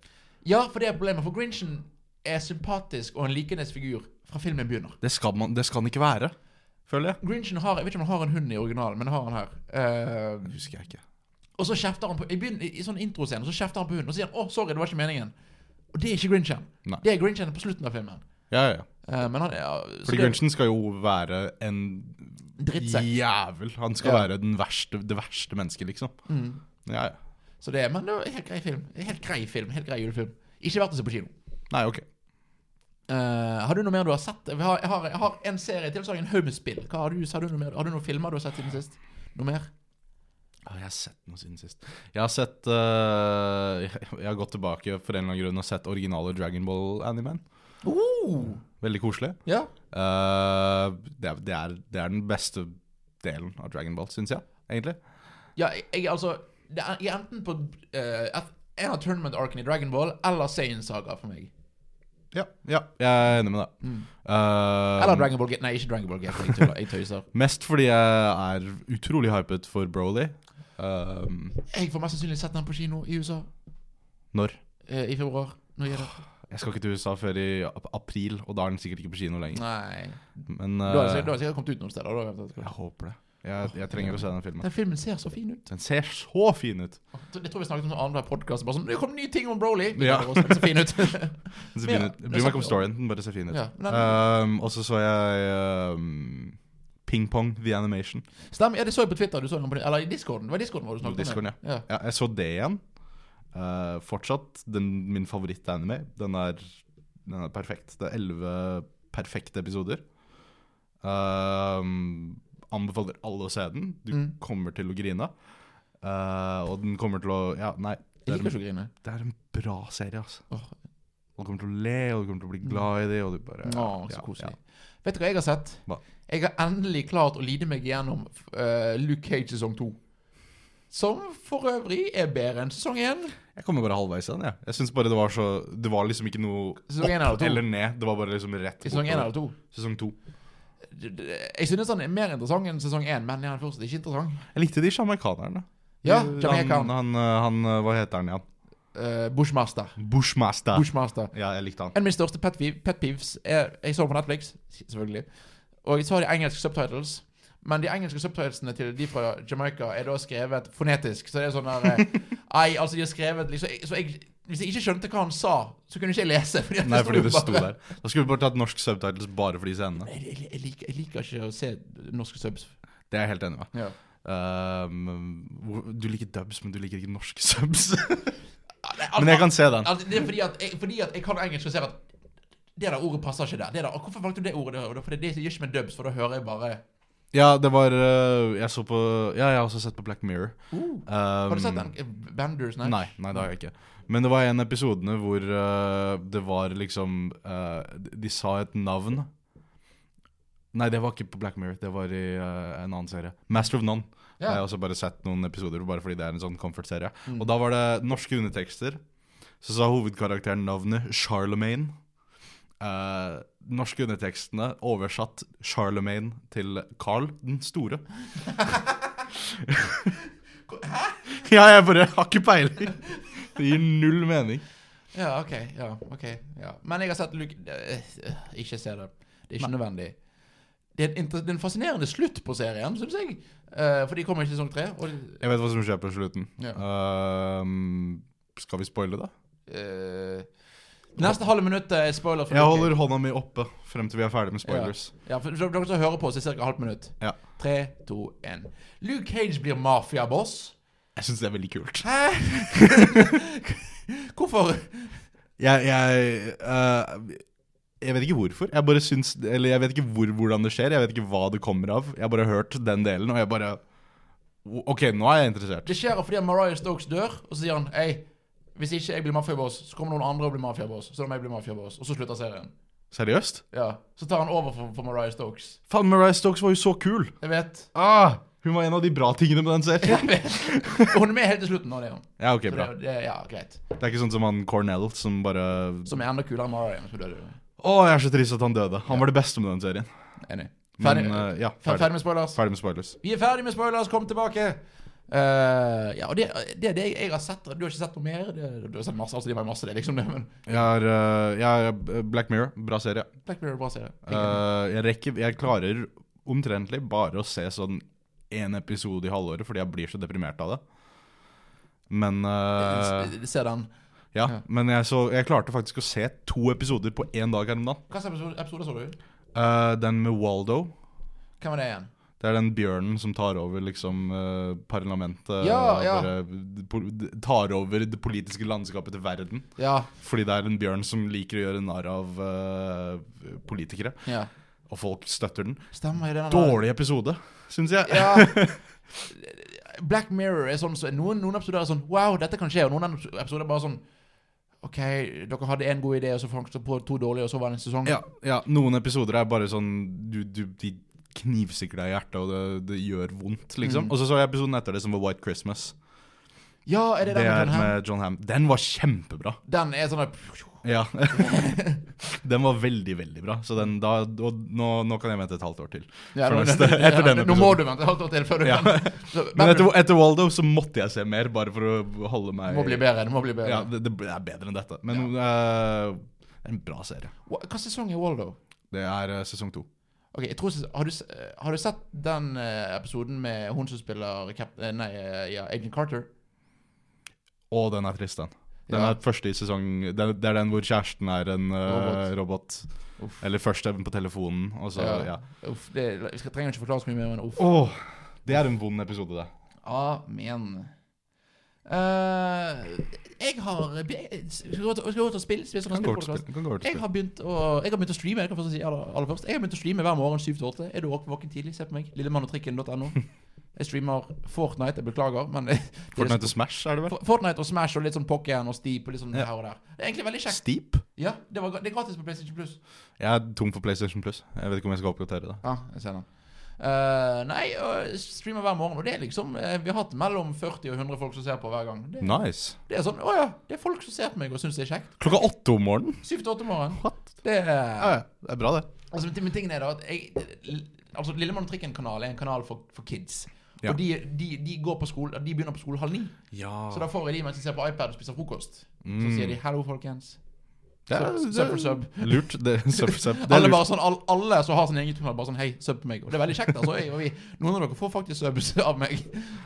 Speaker 1: Ja, for det er problemet, for Grinchen er sympatisk og en likenhetsfigur fra filmen begynner.
Speaker 2: Det skal, man, det skal den ikke være, føler jeg.
Speaker 1: Grinchen har, Jeg vet ikke om han har en hund i originalen, men det har han her. Eh,
Speaker 2: Det husker jeg ikke.
Speaker 1: Og så kjefter han på I, begyn- i, i sånn introscene så kjefter han på hunden og sier han, 'Å, sorry, det var ikke meningen'. Og det er ikke Grinchen.
Speaker 2: Nei.
Speaker 1: Det er Grinchen på slutten av filmen.
Speaker 2: Ja, ja, ja.
Speaker 1: Eh, men han er ja, så
Speaker 2: Fordi
Speaker 1: det er
Speaker 2: Grinchen skal jo være en
Speaker 1: Drittsekk.
Speaker 2: jævel. Han skal
Speaker 1: Ja. Mm.
Speaker 2: være den verste, det verste mennesket, liksom. Ja, ja.
Speaker 1: Så det er, Men det var en helt grei film. En Helt grei film, helt grei julefilm. Ikke verdt å se på kino.
Speaker 2: Nei, ok.
Speaker 1: Eh, har du noe mer du har sett? Jeg har, jeg har, jeg har en serie til, så har jeg en haug med spill. Hva har, du, har, du noe mer? har du noen filmer du har sett siden sist? Noe mer?
Speaker 2: Ja, jeg har sett noe siden sist. Jeg har sett eh, jeg, jeg har gått tilbake for en eller annen grunn og sett originale Dragon Ball-animen.
Speaker 1: Oh,
Speaker 2: Veldig koselig.
Speaker 1: ja.
Speaker 2: Eh, det, er, det, er, det er den beste delen av Dragon Ball, syns jeg, egentlig.
Speaker 1: ja, jeg- jeg altså det er, Jeg er enten på eh, et- en av tournament arcene i Dragon Ball eller Saiyan Saga for meg.
Speaker 2: Ja, ja jeg er enig med deg. Eh,
Speaker 1: Mm. Eller Dragon Ball Gate. Nei, ikke Dragon Ball Gate. Jeg tuller. Jeg tøyser.
Speaker 2: mest fordi jeg er utrolig hypet for Broly. Eh,
Speaker 1: Jeg får mest sannsynlig sett den på kino i USA
Speaker 2: når?
Speaker 1: eh, i februar. Nå gjør jeg det.
Speaker 2: Jeg skal ikke til USA før i ap- april, og da er den sikkert ikke på kino lenger.
Speaker 1: Nei.
Speaker 2: Men
Speaker 1: Da har det
Speaker 2: eh,
Speaker 1: sikkert, da har det sikkert kommet ut noen steder. Da. har jeg
Speaker 2: jeg
Speaker 1: tatt-
Speaker 2: håper det. Jeg, jeg trenger å se den filmen.
Speaker 1: Den filmen ser så fin ut.
Speaker 2: Den ser så fin ut.
Speaker 1: Det tror jeg vi snakket om i annenhver podkast. Bare sånn 'Det kom nye ting om Broly!' Vi
Speaker 2: Ja.
Speaker 1: bare, «Å, den ser fin ut.
Speaker 2: Den ser
Speaker 1: Men
Speaker 2: fin
Speaker 1: ja,
Speaker 2: ut.
Speaker 1: det
Speaker 2: Bryr meg
Speaker 1: snakker
Speaker 2: ikke om
Speaker 1: vi
Speaker 2: storyen, den bare ser fin ut.
Speaker 1: ja, men den,
Speaker 2: Um, og så så jeg um, Ping Pong The Animation.
Speaker 1: stemmer. Ja, det så jeg på Twitter. Du så den på, eller i Discorden. Det var i Discorden hvor du snakket
Speaker 2: Discorden,
Speaker 1: om det. Ja.
Speaker 2: Ja, jeg så det igjen. Uh, fortsatt den, min favoritt-anime. Den er, den er perfekt. Det er elleve perfekte episoder. Um, anbefaler alle å se den. Du
Speaker 1: Mm.
Speaker 2: kommer til å grine. Uh, og den kommer til å Ja, nei.
Speaker 1: Jeg
Speaker 2: Det er,
Speaker 1: liker
Speaker 2: en,
Speaker 1: ikke å grine.
Speaker 2: det er en bra serie, altså.
Speaker 1: Åh,
Speaker 2: Du kommer til å le, og du kommer til å bli glad i det, og du bare
Speaker 1: Å,
Speaker 2: ja,
Speaker 1: så koselig.
Speaker 2: ja.
Speaker 1: eh, Vet du hva jeg har sett?
Speaker 2: Hva?
Speaker 1: Jeg har endelig klart å lide meg gjennom eh, Luke Cage sesong to. Som for øvrig er bedre enn sesong én.
Speaker 2: Jeg kommer bare halvveis igjen, jeg. Jeg synes bare det var så Det var liksom ikke noe
Speaker 1: Sesong en eller
Speaker 2: opp
Speaker 1: to?
Speaker 2: eller ned. Det var bare liksom rett
Speaker 1: I sesong én
Speaker 2: bortover.
Speaker 1: eller to.
Speaker 2: Sesong to.
Speaker 1: D- d- Jeg synes han er mer interessant enn sesong 1, men han er fortsatt ikke interessant.
Speaker 2: Jeg likte de jamaicanerne.
Speaker 1: Ja,
Speaker 2: De-
Speaker 1: Jamaican.
Speaker 2: Han, han, øh, han øh, Hva heter han igjen?
Speaker 1: Eh, Bushmaster.
Speaker 2: Bushmaster.
Speaker 1: Bushmaster.
Speaker 2: Ja, jeg likte han.
Speaker 1: En av mine største pet, peeve- pet peeves er Jeg så på Netflix, selvfølgelig. Og så har de engelske subtitles. Men de engelske subtitlesene til de fra Jamaica er da skrevet fonetisk. Så det er sånn der eh, Nei, altså, de har skrevet liksom jeg- Så jeg hvis jeg ikke skjønte hva han sa, så kunne ikke jeg lese. Fordi at
Speaker 2: Nei, fordi det
Speaker 1: bare-
Speaker 2: sto der. Da skulle vi bare tatt norsk subtitles bare for de scenene.
Speaker 1: Jeg, jeg, jeg, liker, jeg liker ikke å se norske subs.
Speaker 2: Det er jeg helt enig med.
Speaker 1: Ja.
Speaker 2: Ehm, hvor- du liker dubs, men du liker ikke norske subs.
Speaker 1: Nei,
Speaker 2: men jeg kan se den.
Speaker 1: Altså, det er fordi at, jeg, fordi at jeg kan engelsk og ser at det der ordet passer ikke der. Det der, hvorfor valgte du det ordet? der? Og det- For det, det gjør ikke med dubs, for da hører jeg bare
Speaker 2: Ja, det var eh, Jeg så på Ja, jeg har også sett på Black Mirror.
Speaker 1: Uh,
Speaker 2: har
Speaker 1: har du sett den? Eh, Bandersnatch?
Speaker 2: Um, Nei, nei, det har jeg ikke. Men det var en av episodene hvor eh, det var liksom eh, de- De sa et navn. Nei, det var ikke på Black Mirror. Det var i eh, en annen serie. Master of None.
Speaker 1: Ja.
Speaker 2: Jeg har også bare sett noen episoder bare fordi det er en sånn comfort-serie.
Speaker 1: Mm.
Speaker 2: Og da var det norske undertekster. Så sa hovedkarakteren navnet Charlemagne. Eh, norske undertekstene oversatt Charlemagne til Carl den store. Hæ? ja, jeg bare har ikke peiling. Det gir null mening.
Speaker 1: Ja, ok. ja, ok ja. Men jeg har sett Luke eh, eh, Ikke se det. Det er ikke nødvendig. Det er, en inter- det er en fascinerende slutt på serien, syns jeg. Eh, for de kommer ikke i sesong tre. Og,
Speaker 2: Jeg vet hva som skjer på slutten. Ehm, skal vi spoile det?
Speaker 1: eh, neste halve minutt er spoiler. for
Speaker 2: Jeg
Speaker 1: Luke.
Speaker 2: holder hånda mi oppe frem til vi er ferdig med spoilers.
Speaker 1: Ja, for for dere som hører på, så er det ca. halvt minutt.
Speaker 2: Ja.
Speaker 1: Tre, to, én. Luke Cage blir mafiaboss.
Speaker 2: Jeg syns det er veldig kult.
Speaker 1: Hæ? Hvorfor?
Speaker 2: Jeg, jeg, eh, jeg vet ikke hvorfor. Jeg bare syns Eller jeg vet ikke hvor, hvordan det skjer, jeg vet ikke hva det kommer av. Jeg har bare hørt den delen, og jeg bare OK, nå er jeg interessert.
Speaker 1: Det skjer fordi Mariah Stokes dør, og så sier han Hei, hvis ikke jeg blir mafiaboss, så kommer noen andre og blir mafiaboss. Så da må jeg bli mafiaboss. Og så slutter serien.
Speaker 2: Seriøst?
Speaker 1: Ja. Så tar han over for, for Mariah Stokes.
Speaker 2: Faen, Mariah Stokes var jo så kul!
Speaker 1: Jeg vet.
Speaker 2: Ah, hun var en av de bra tingene med den serien.
Speaker 1: Jeg vet. Og hun er med helt til slutten. nå, det er hun.
Speaker 2: Ja, ok,
Speaker 1: Så
Speaker 2: bra.
Speaker 1: det, det, ja, greit.
Speaker 2: Det er ikke sånn som han Cornell som bare Å,
Speaker 1: Som er enda kulere enn Mariah. Som døde.
Speaker 2: jeg er så trist at han døde. Han var det beste med den serien.
Speaker 1: Enig.
Speaker 2: Men
Speaker 1: Ferdig,
Speaker 2: eh, ja,
Speaker 1: fer-
Speaker 2: ferdig.
Speaker 1: ferdig med spoilers?
Speaker 2: Ferdig med spoilers.
Speaker 1: Vi er ferdig med spoilers, kom tilbake! Eh, ja, og det, det er det jeg har sett. Du har ikke sett noe mer? Det, du har sett masse, altså det var masse det, liksom. Det, men
Speaker 2: Jeg har eh, jeg har Black Mirror, bra serie.
Speaker 1: Black Mirror er bra serie.
Speaker 2: Eh, jeg rekker Jeg klarer omtrentlig bare å se sånn én episode i halvåret fordi jeg blir så deprimert av det. Men eh,
Speaker 1: Uh, Se den.
Speaker 2: Ja,
Speaker 1: ja.
Speaker 2: men jeg, så, jeg klarte faktisk å se to episoder på én dag her om dagen.
Speaker 1: Hvilken episode, episode så du?
Speaker 2: Eh, den med Waldo.
Speaker 1: Hvem var det igjen?
Speaker 2: Det er den bjørnen som tar over liksom eh, parlamentet.
Speaker 1: Ja,
Speaker 2: og
Speaker 1: ja.
Speaker 2: bare eh, po- tar over det politiske landskapet til verden.
Speaker 1: Ja.
Speaker 2: Fordi det er en bjørn som liker å gjøre narr av eh, politikere.
Speaker 1: ja.
Speaker 2: Og folk støtter den.
Speaker 1: Stemmer i den der-
Speaker 2: Dårlig episode, syns jeg.
Speaker 1: Ja. Black Mirror er sånn så Noen, noen episoder er sånn Wow, dette kan skje. Og noen episoder er bare sånn OK, dere hadde én god idé, og så fant dere på to dårlige, og så var det en sesong.
Speaker 2: Ja, ja, noen episoder er bare sånn du, du, De knivstikker deg i hjertet, og det, det gjør vondt, liksom.
Speaker 1: Mm.
Speaker 2: Og så så jeg episoden etter det som var White Christmas.
Speaker 1: Ja, er det
Speaker 2: det
Speaker 1: den
Speaker 2: er
Speaker 1: med John Hamm?
Speaker 2: med John Ham. Den var kjempebra.
Speaker 1: Den er sånn der-
Speaker 2: Ja. den var veldig, veldig bra. Så den, da, og nå, nå kan jeg vente et halvt år til.
Speaker 1: ja,
Speaker 2: For
Speaker 1: nå-
Speaker 2: neste- etter
Speaker 1: ja,
Speaker 2: den
Speaker 1: Nå må
Speaker 2: episoden.
Speaker 1: du vente et halvt år til før du
Speaker 2: Ja.
Speaker 1: kan så,
Speaker 2: Men etter, etter Waldo så måtte jeg se mer, bare for å holde meg
Speaker 1: Det må bli bedre. Det må bli bedre.
Speaker 2: Ja, det, det er bedre enn dette. Men eh, det er en bra serie.
Speaker 1: Hva- Hva sesong er Waldo?
Speaker 2: Det er eh, sesong to.
Speaker 1: Ok, jeg tror, ses- har, du, s- eh, har du sett den eh, episoden med hun som spiller Cap eh, Nei, eh, ja, Agent Carter?
Speaker 2: Og den er trist, den. Den
Speaker 1: Ja.
Speaker 2: er første i sesong Det det er den hvor kjæresten er en eh, robot.
Speaker 1: Uff.
Speaker 2: Eller først er den på telefonen, og så
Speaker 1: Ja.
Speaker 2: ja.
Speaker 1: Uff, det, vi skal, trenger ikke forklare så mye mer, men uff.
Speaker 2: Åh, det er en vond episode, det.
Speaker 1: Amen. Eh, jeg har jeg- Skal vi gå til- skal vi gå til å spille? Spille som en
Speaker 2: Kan gå over til
Speaker 1: spillpodcast?
Speaker 2: spill. Kan gå over til
Speaker 1: Jeg
Speaker 2: spill.
Speaker 1: har begynt å Jeg har begynt å streame. Jeg kan først si aller, aller først Jeg har begynt å streame hver morgen 7 til 8. Er du våk- våken tidlig, se på meg. Lillemannogtrikken.no. Jeg streamer Fortnite. Jeg beklager, men
Speaker 2: Fortnite og Smash, er det vel?
Speaker 1: For- Fortnite og Smash og litt sånn Pokken og Steep og litt sånn
Speaker 2: Ja.
Speaker 1: her og der. Det er egentlig veldig kjekt.
Speaker 2: Steep?
Speaker 1: Ja, det, var, gra- det er gratis på PlayStation Plus.
Speaker 2: Jeg er tom for PlayStation Plus. Jeg vet ikke om jeg skal oppdatere det.
Speaker 1: Ja, jeg ser den. Eh, nei, og streamer hver morgen. Og det er liksom eh, Vi har hatt mellom 40 og 100 folk som ser på hver gang. Det,
Speaker 2: Nice.
Speaker 1: Det er sånn, å ja, det er folk som ser på meg og syns det er kjekt.
Speaker 2: Klokka åtte om morgenen?
Speaker 1: Syv til åtte om morgenen.
Speaker 2: What?
Speaker 1: Det
Speaker 2: Ja,
Speaker 1: er,
Speaker 2: ja. Det er bra, det.
Speaker 1: altså, men ting- men tingen er da at jeg, altså, Lillemann og Trikken-kanal er en kanal for, for kids.
Speaker 2: Ja.
Speaker 1: Og de, de, de, går på skole, de begynner på skole halv ni.
Speaker 2: Ja.
Speaker 1: Så da får jeg de mens de ser på iPad og spiser frokost. Så
Speaker 2: Ah. Mm.
Speaker 1: sier de 'hallo, folkens'.
Speaker 2: Det er-
Speaker 1: Sub-
Speaker 2: det-
Speaker 1: sub for sub.
Speaker 2: Lurt. Det, sub for sub. Det er
Speaker 1: Alle,
Speaker 2: lurt.
Speaker 1: bare sånn, all, alle som har sin egen kanal, bare sånn 'hei, sub på meg'. Og det er veldig kjekt. altså jeg, og vi, Noen av dere får faktisk subs av meg.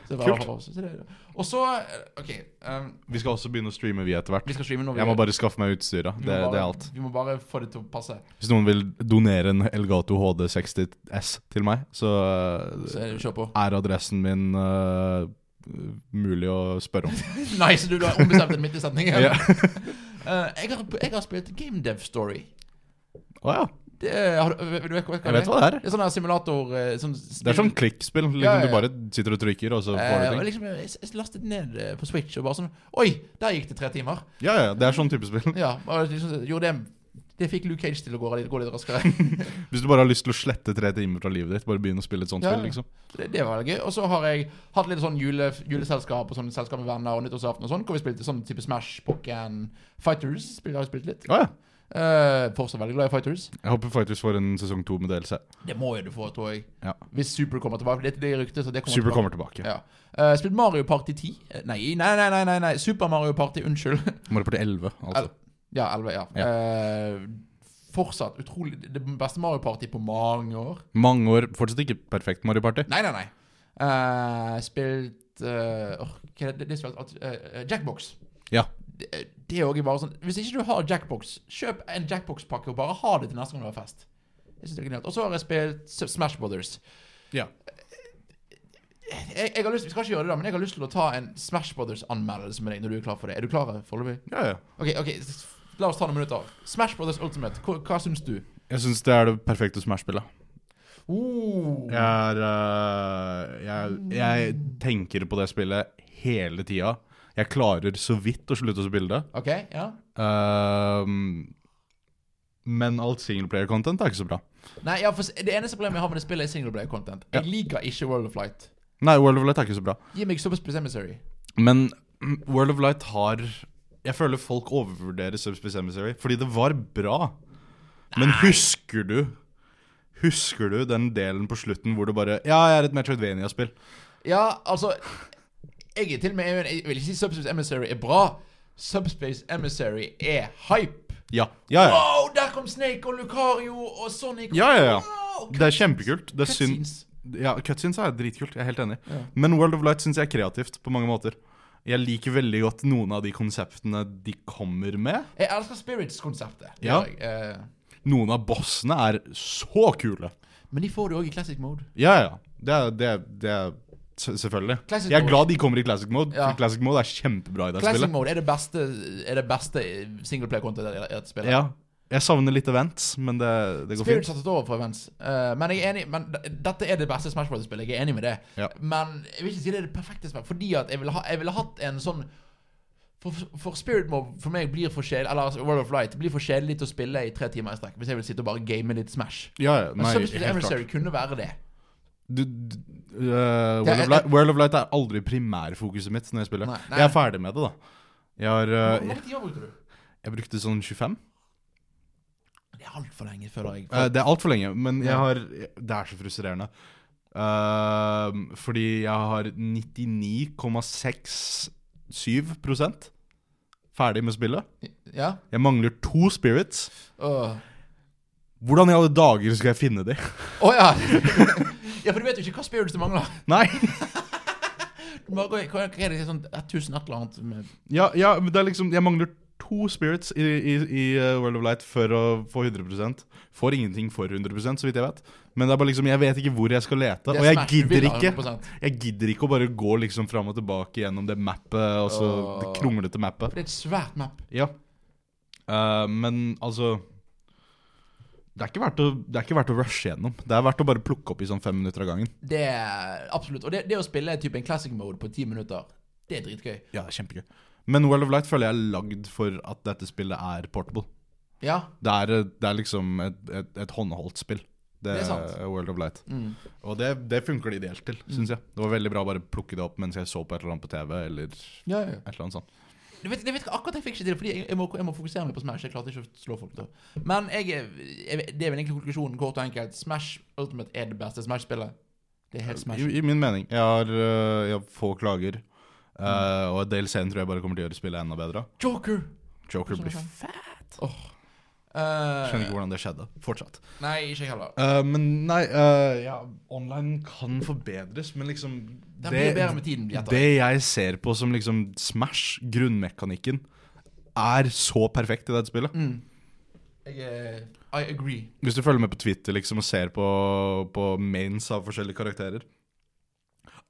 Speaker 1: Så det er bare- så det er- Og så OK. ehm,
Speaker 2: Vi skal også begynne å streame, vi, etter hvert.
Speaker 1: vi skal streame når vi
Speaker 2: Jeg må bare skaffe meg utstyret.
Speaker 1: vi må
Speaker 2: Det,
Speaker 1: bare-
Speaker 2: det er alt.
Speaker 1: Vi må bare få det til å passe.
Speaker 2: Hvis noen vil donere en Elgato HD60 S til meg, så
Speaker 1: Så er det kjør på.
Speaker 2: er adressen min eh, mulig å spørre om.
Speaker 1: Nice, du, du har ombestemt deg midt i setningen.
Speaker 2: Ja.
Speaker 1: Eh, jeg, har, jeg har spilt Game Dev Story.
Speaker 2: Å ja.
Speaker 1: Det, har du, vet, du vet, hva
Speaker 2: Jeg vet hva det er.
Speaker 1: Det er sånn her simulator eh, sånn
Speaker 2: Det er sånn klikkspill. Liksom,
Speaker 1: Ja, ja, ja.
Speaker 2: Du bare sitter og trykker, og så
Speaker 1: Eh,
Speaker 2: får du
Speaker 1: og
Speaker 2: ting.
Speaker 1: liksom, jeg, jeg lastet ned eh, på Switch og bare sånn Oi, der gikk det tre timer.
Speaker 2: Ja, ja, Det er sånn type spill.
Speaker 1: Ja, og liksom, jo, det, det fikk Luke Cage til å gå litt, gå litt raskere.
Speaker 2: Hvis du bare har lyst til å slette tre timer fra livet ditt, bare begynn å spille et sånt
Speaker 1: Ja, ja.
Speaker 2: spill. liksom
Speaker 1: Det, det var veldig gøy. Og så har jeg hatt litt sånn jule, juleselskap og sånn selskap med venner og nyttårsaften og sånn, hvor vi spilte sånn type Smash, Pokken, Fighters. Spilte, har jeg spilt litt.
Speaker 2: Å ja.
Speaker 1: Eh, fortsatt veldig glad i Fighters.
Speaker 2: Jeg håper Fighters får en sesong to med DLC.
Speaker 1: Det må jo du få, tror jeg.
Speaker 2: Ja.
Speaker 1: Hvis Super kommer tilbake. Det, det er ryktet, så det kommer
Speaker 2: Super
Speaker 1: tilbake.
Speaker 2: kommer tilbake.
Speaker 1: Ja. Eh, spilt Mario Party 10 Eh, Nei, nei, nei, nei, nei, nei. Super Mario Party, unnskyld.
Speaker 2: Mario Party 11, altså.
Speaker 1: ja, 11, ja.
Speaker 2: Ja.
Speaker 1: Eh, fortsatt utrolig Det beste Mario Party på mange år.
Speaker 2: Mange år. Fortsatt ikke perfekt Mario Party.
Speaker 1: Nei, nei, nei. Eh, spilt eh, åh, hva er det, det er spilt at- eh, eh, Jackbox.
Speaker 2: Ja.
Speaker 1: Det, det er også bare sånn Hvis ikke du har Jackbox, kjøp en Jackbox-pakke og bare ha det til neste gang du har fest. Jeg synes det er genialt. Og så har jeg spilt S- Smash Brothers. Eh,
Speaker 2: Ja.
Speaker 1: Jeg, jeg har lyst, vi skal ikke gjøre det, da men jeg har lyst til å ta en Smash Brothers-anmeldelse med deg når du er klar for det. Er du klar foreløpig?
Speaker 2: ja, ja.
Speaker 1: Ok, ok, s- la oss ta noen minutter. Smash Brothers Ultimate, hva, hva syns du?
Speaker 2: Jeg syns det er det perfekte Smash-spillet.
Speaker 1: Oh,
Speaker 2: Jeg, er, øh, jeg, jeg tenker på det spillet hele tida. Jeg klarer så vidt å slutte å spille det.
Speaker 1: Ok, ja.
Speaker 2: Ehm, men alt singleplayer-content er ikke så bra.
Speaker 1: Nei, ja, for s- Det eneste problemet jeg har med det spillet, er singleplayer-content. Jeg liker ikke World of Light.
Speaker 2: Nei, World of Light er ikke så bra.
Speaker 1: Gi meg Subspace Emissary.
Speaker 2: Men mm, World of Light har Jeg føler folk overvurderer Subspace Emissary, fordi det var bra. Men husker du Husker du den delen på slutten hvor det bare Ja, jeg er et Metroidvania-spill.
Speaker 1: Ja, altså Jeg er til og med Jeg vil ikke si Subspace Emissary er bra. Subspace Emissary er hype.
Speaker 2: Ja, ja, ja.
Speaker 1: Wow, der kom Snake og Lucario og Sonic.
Speaker 2: Ja, ja, ja.
Speaker 1: Wow,
Speaker 2: Det er kjempekult. Det er synd
Speaker 1: cutscenes.
Speaker 2: Ja, cutscenes er dritkult. Jeg er helt enig.
Speaker 1: Ja.
Speaker 2: Men World of Light syns jeg er kreativt på mange måter. Jeg liker veldig godt noen av de konseptene de kommer med.
Speaker 1: Jeg elsker Spirits-konseptet. Det
Speaker 2: Ja.
Speaker 1: gjør jeg. Eh,
Speaker 2: Noen av bossene er så kule.
Speaker 1: Men de får du òg i classic mode.
Speaker 2: Ja, ja. Det er, det er, det er se- Selvfølgelig.
Speaker 1: Classic
Speaker 2: jeg er
Speaker 1: mode.
Speaker 2: glad de kommer i classic mode.
Speaker 1: Ja.
Speaker 2: For classic mode er kjempebra i det
Speaker 1: Classic
Speaker 2: spillet.
Speaker 1: mode er det beste Er det beste singleplayer-content i dette spillet.
Speaker 2: Ja. Jeg savner litt events, men det, det går
Speaker 1: Spirits har
Speaker 2: fint.
Speaker 1: tatt over for events. Eh, men jeg er enig Men d- dette er det beste Smash Bros.-spillet. Jeg er enig med det.
Speaker 2: Ja.
Speaker 1: Men jeg vil ikke si det er det perfekte Smash, fordi at jeg ville ha, jeg ville hatt en sånn for, for Spirit Mob for meg blir for kjedelig Eller altså, World of Light blir for kjedelig til å spille i tre timer i strekk hvis jeg vil sitte og bare game litt Smash.
Speaker 2: Ja, ja.
Speaker 1: Men
Speaker 2: Nei, helt
Speaker 1: Substitute
Speaker 2: klart. Eh,
Speaker 1: Emissary kunne være det.
Speaker 2: du, du, øh, World,
Speaker 1: jeg-
Speaker 2: of Light, World of Light er aldri primærfokuset mitt når jeg spiller.
Speaker 1: Nei, nei.
Speaker 2: Jeg er ferdig med det, da. Jeg har
Speaker 1: Hvor
Speaker 2: øh, jeg,
Speaker 1: mange timer brukte du?
Speaker 2: jeg brukte sånn 25.
Speaker 1: Det er altfor lenge, føler jeg.
Speaker 2: Eh, det er altfor lenge, men jeg
Speaker 1: Ja.
Speaker 2: har Det er så frustrerende. Ehm, fordi jeg har 99,67 ferdig med spillet.
Speaker 1: ja?
Speaker 2: Jeg mangler to spirits.
Speaker 1: Åh.
Speaker 2: Hvordan i alle dager skal jeg finne de?
Speaker 1: Å ja! ja, for du vet jo ikke hva spirits du mangler.
Speaker 2: Nei!
Speaker 1: Du må gå i- Hva hva er det sånn 1000 et eller annet med
Speaker 2: Ja, ja, men det er liksom Jeg mangler to spirits i, i, i eh, World of Light for å få 100 Får ingenting for 100 så vidt jeg vet. Men det er bare liksom Jeg vet ikke hvor jeg skal lete,
Speaker 1: Det er
Speaker 2: og jeg
Speaker 1: Smash du vil
Speaker 2: gidder
Speaker 1: ha,
Speaker 2: ikke
Speaker 1: 100%.
Speaker 2: Jeg gidder ikke å bare gå liksom fram og tilbake gjennom det mappet, og så det
Speaker 1: Åh.
Speaker 2: kronglete mappet.
Speaker 1: For det er et svært map.
Speaker 2: Ja. Eh, men altså det er, ikke verdt å, det er ikke verdt å rushe gjennom. Det er verdt å bare plukke opp i sånn fem minutter av gangen.
Speaker 1: Det er absolutt. Og det, det å spille type en classic mode på ti minutter, det er dritgøy.
Speaker 2: Ja, det er kjempegøy. Men World of Light føler jeg er lagd for at dette spillet er portable.
Speaker 1: Ja.
Speaker 2: Det er, eh, det er liksom et, et, et håndholdt spill. Det,
Speaker 1: Det er
Speaker 2: er
Speaker 1: sant.
Speaker 2: World of Light.
Speaker 1: Mm.
Speaker 2: Og det, det funker det ideelt til, syns jeg. Det var veldig bra å bare plukke det opp mens jeg så på et eller annet på TV, eller et
Speaker 1: ja, ja.
Speaker 2: eller annet sånt.
Speaker 1: Du vet, du vet hva, akkurat jeg fikk ikke til det, fordi jeg, jeg, må, jeg må fokusere meg på Smash. Jeg klarte ikke å slå folk. da. Men jeg, er- jeg, det er vel egentlig konklusjonen, kort og enkelt. Smash Ultimate er det beste Smash-spillet. Det er helt
Speaker 2: I,
Speaker 1: Smash.
Speaker 2: I min mening. Jeg har, eh, jeg har få klager. eh, og DLC-en tror jeg bare kommer til å gjøre spillet enda bedre.
Speaker 1: Joker!
Speaker 2: Joker blir
Speaker 1: Eh,
Speaker 2: Skjønner ikke hvordan det skjedde. Fortsatt.
Speaker 1: nei, ikke jeg heller.
Speaker 2: men nei, eh, ja, online kan forbedres, men liksom
Speaker 1: Den blir bedre med tiden. gjetter jeg.
Speaker 2: det jeg ser på som liksom Smash, grunnmekanikken, er så perfekt i dette spillet.
Speaker 1: Mm. Jeg, er- I agree.
Speaker 2: Hvis du følger med på Twitter liksom, og ser på, på mains av forskjellige karakterer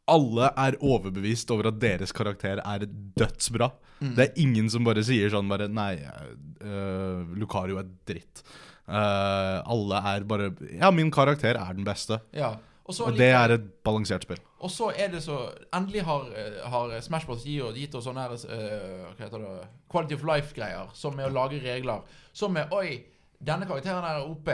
Speaker 2: alle er overbevist over at deres karakter er dødsbra. Det er ingen som bare sier sånn bare Nei, eh, Lucario er dritt. Eh, alle er bare Ja, min karakter er den beste.
Speaker 1: Ja. Og så,
Speaker 2: Og det er et balansert spill.
Speaker 1: og så er det så Endelig har, eh, har Smash Bros. Gi- gitt oss sånne her, eh, hva heter det, quality of life-greier, som med å lage regler. Som med Oi, denne karakteren her er OP.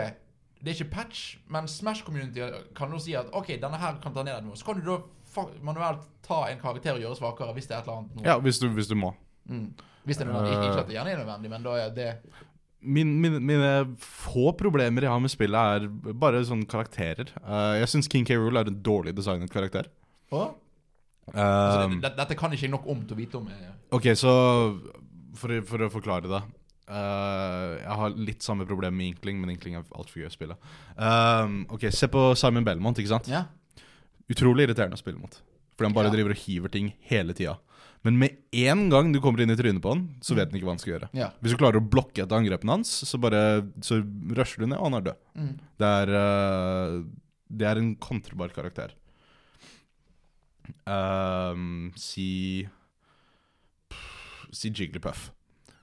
Speaker 1: Det er ikke patch, men Smash Community kan nå si at OK, denne her kan ta ned noe. Så kan du da fa- manuelt ta en karakter og gjøre svakere hvis det er et eller annet noe.
Speaker 2: Ja, Eh. hvis du, hvis du må.
Speaker 1: Mm. Hvis det er nødvendig. Ikke- Ikke at det gjerne er nødvendig, men da er det
Speaker 2: Min, mine- mine få problemer jeg har med spillet, er bare sånne karakterer. Eh, jeg syns King K. Rool er en dårlig designet karakter.
Speaker 1: Å? Så
Speaker 2: Um,
Speaker 1: det, det, dette kan ikke jeg nok om til å vite om. eh.
Speaker 2: Ok, så for, å- for å forklare det eh, Jeg har litt samme problem med Inkling, men Inkling er altfor gøy å spille. Um, ok, Se på Simon Belmont. ikke sant?
Speaker 1: Ja.
Speaker 2: Utrolig irriterende å spille mot. Fordi han bare
Speaker 1: Ja.
Speaker 2: driver og hiver ting hele tida. Men med en gang du kommer inn i trynet på han, så vet han ikke hva han skal gjøre.
Speaker 1: ja.
Speaker 2: Hvis du klarer å blokke etter angrepene hans, så bare så rusher du ned, og han er død.
Speaker 1: Mm.
Speaker 2: Det er, eh, det er en kontrollbar karakter. Ehm, si pff, Si Jigglypuff.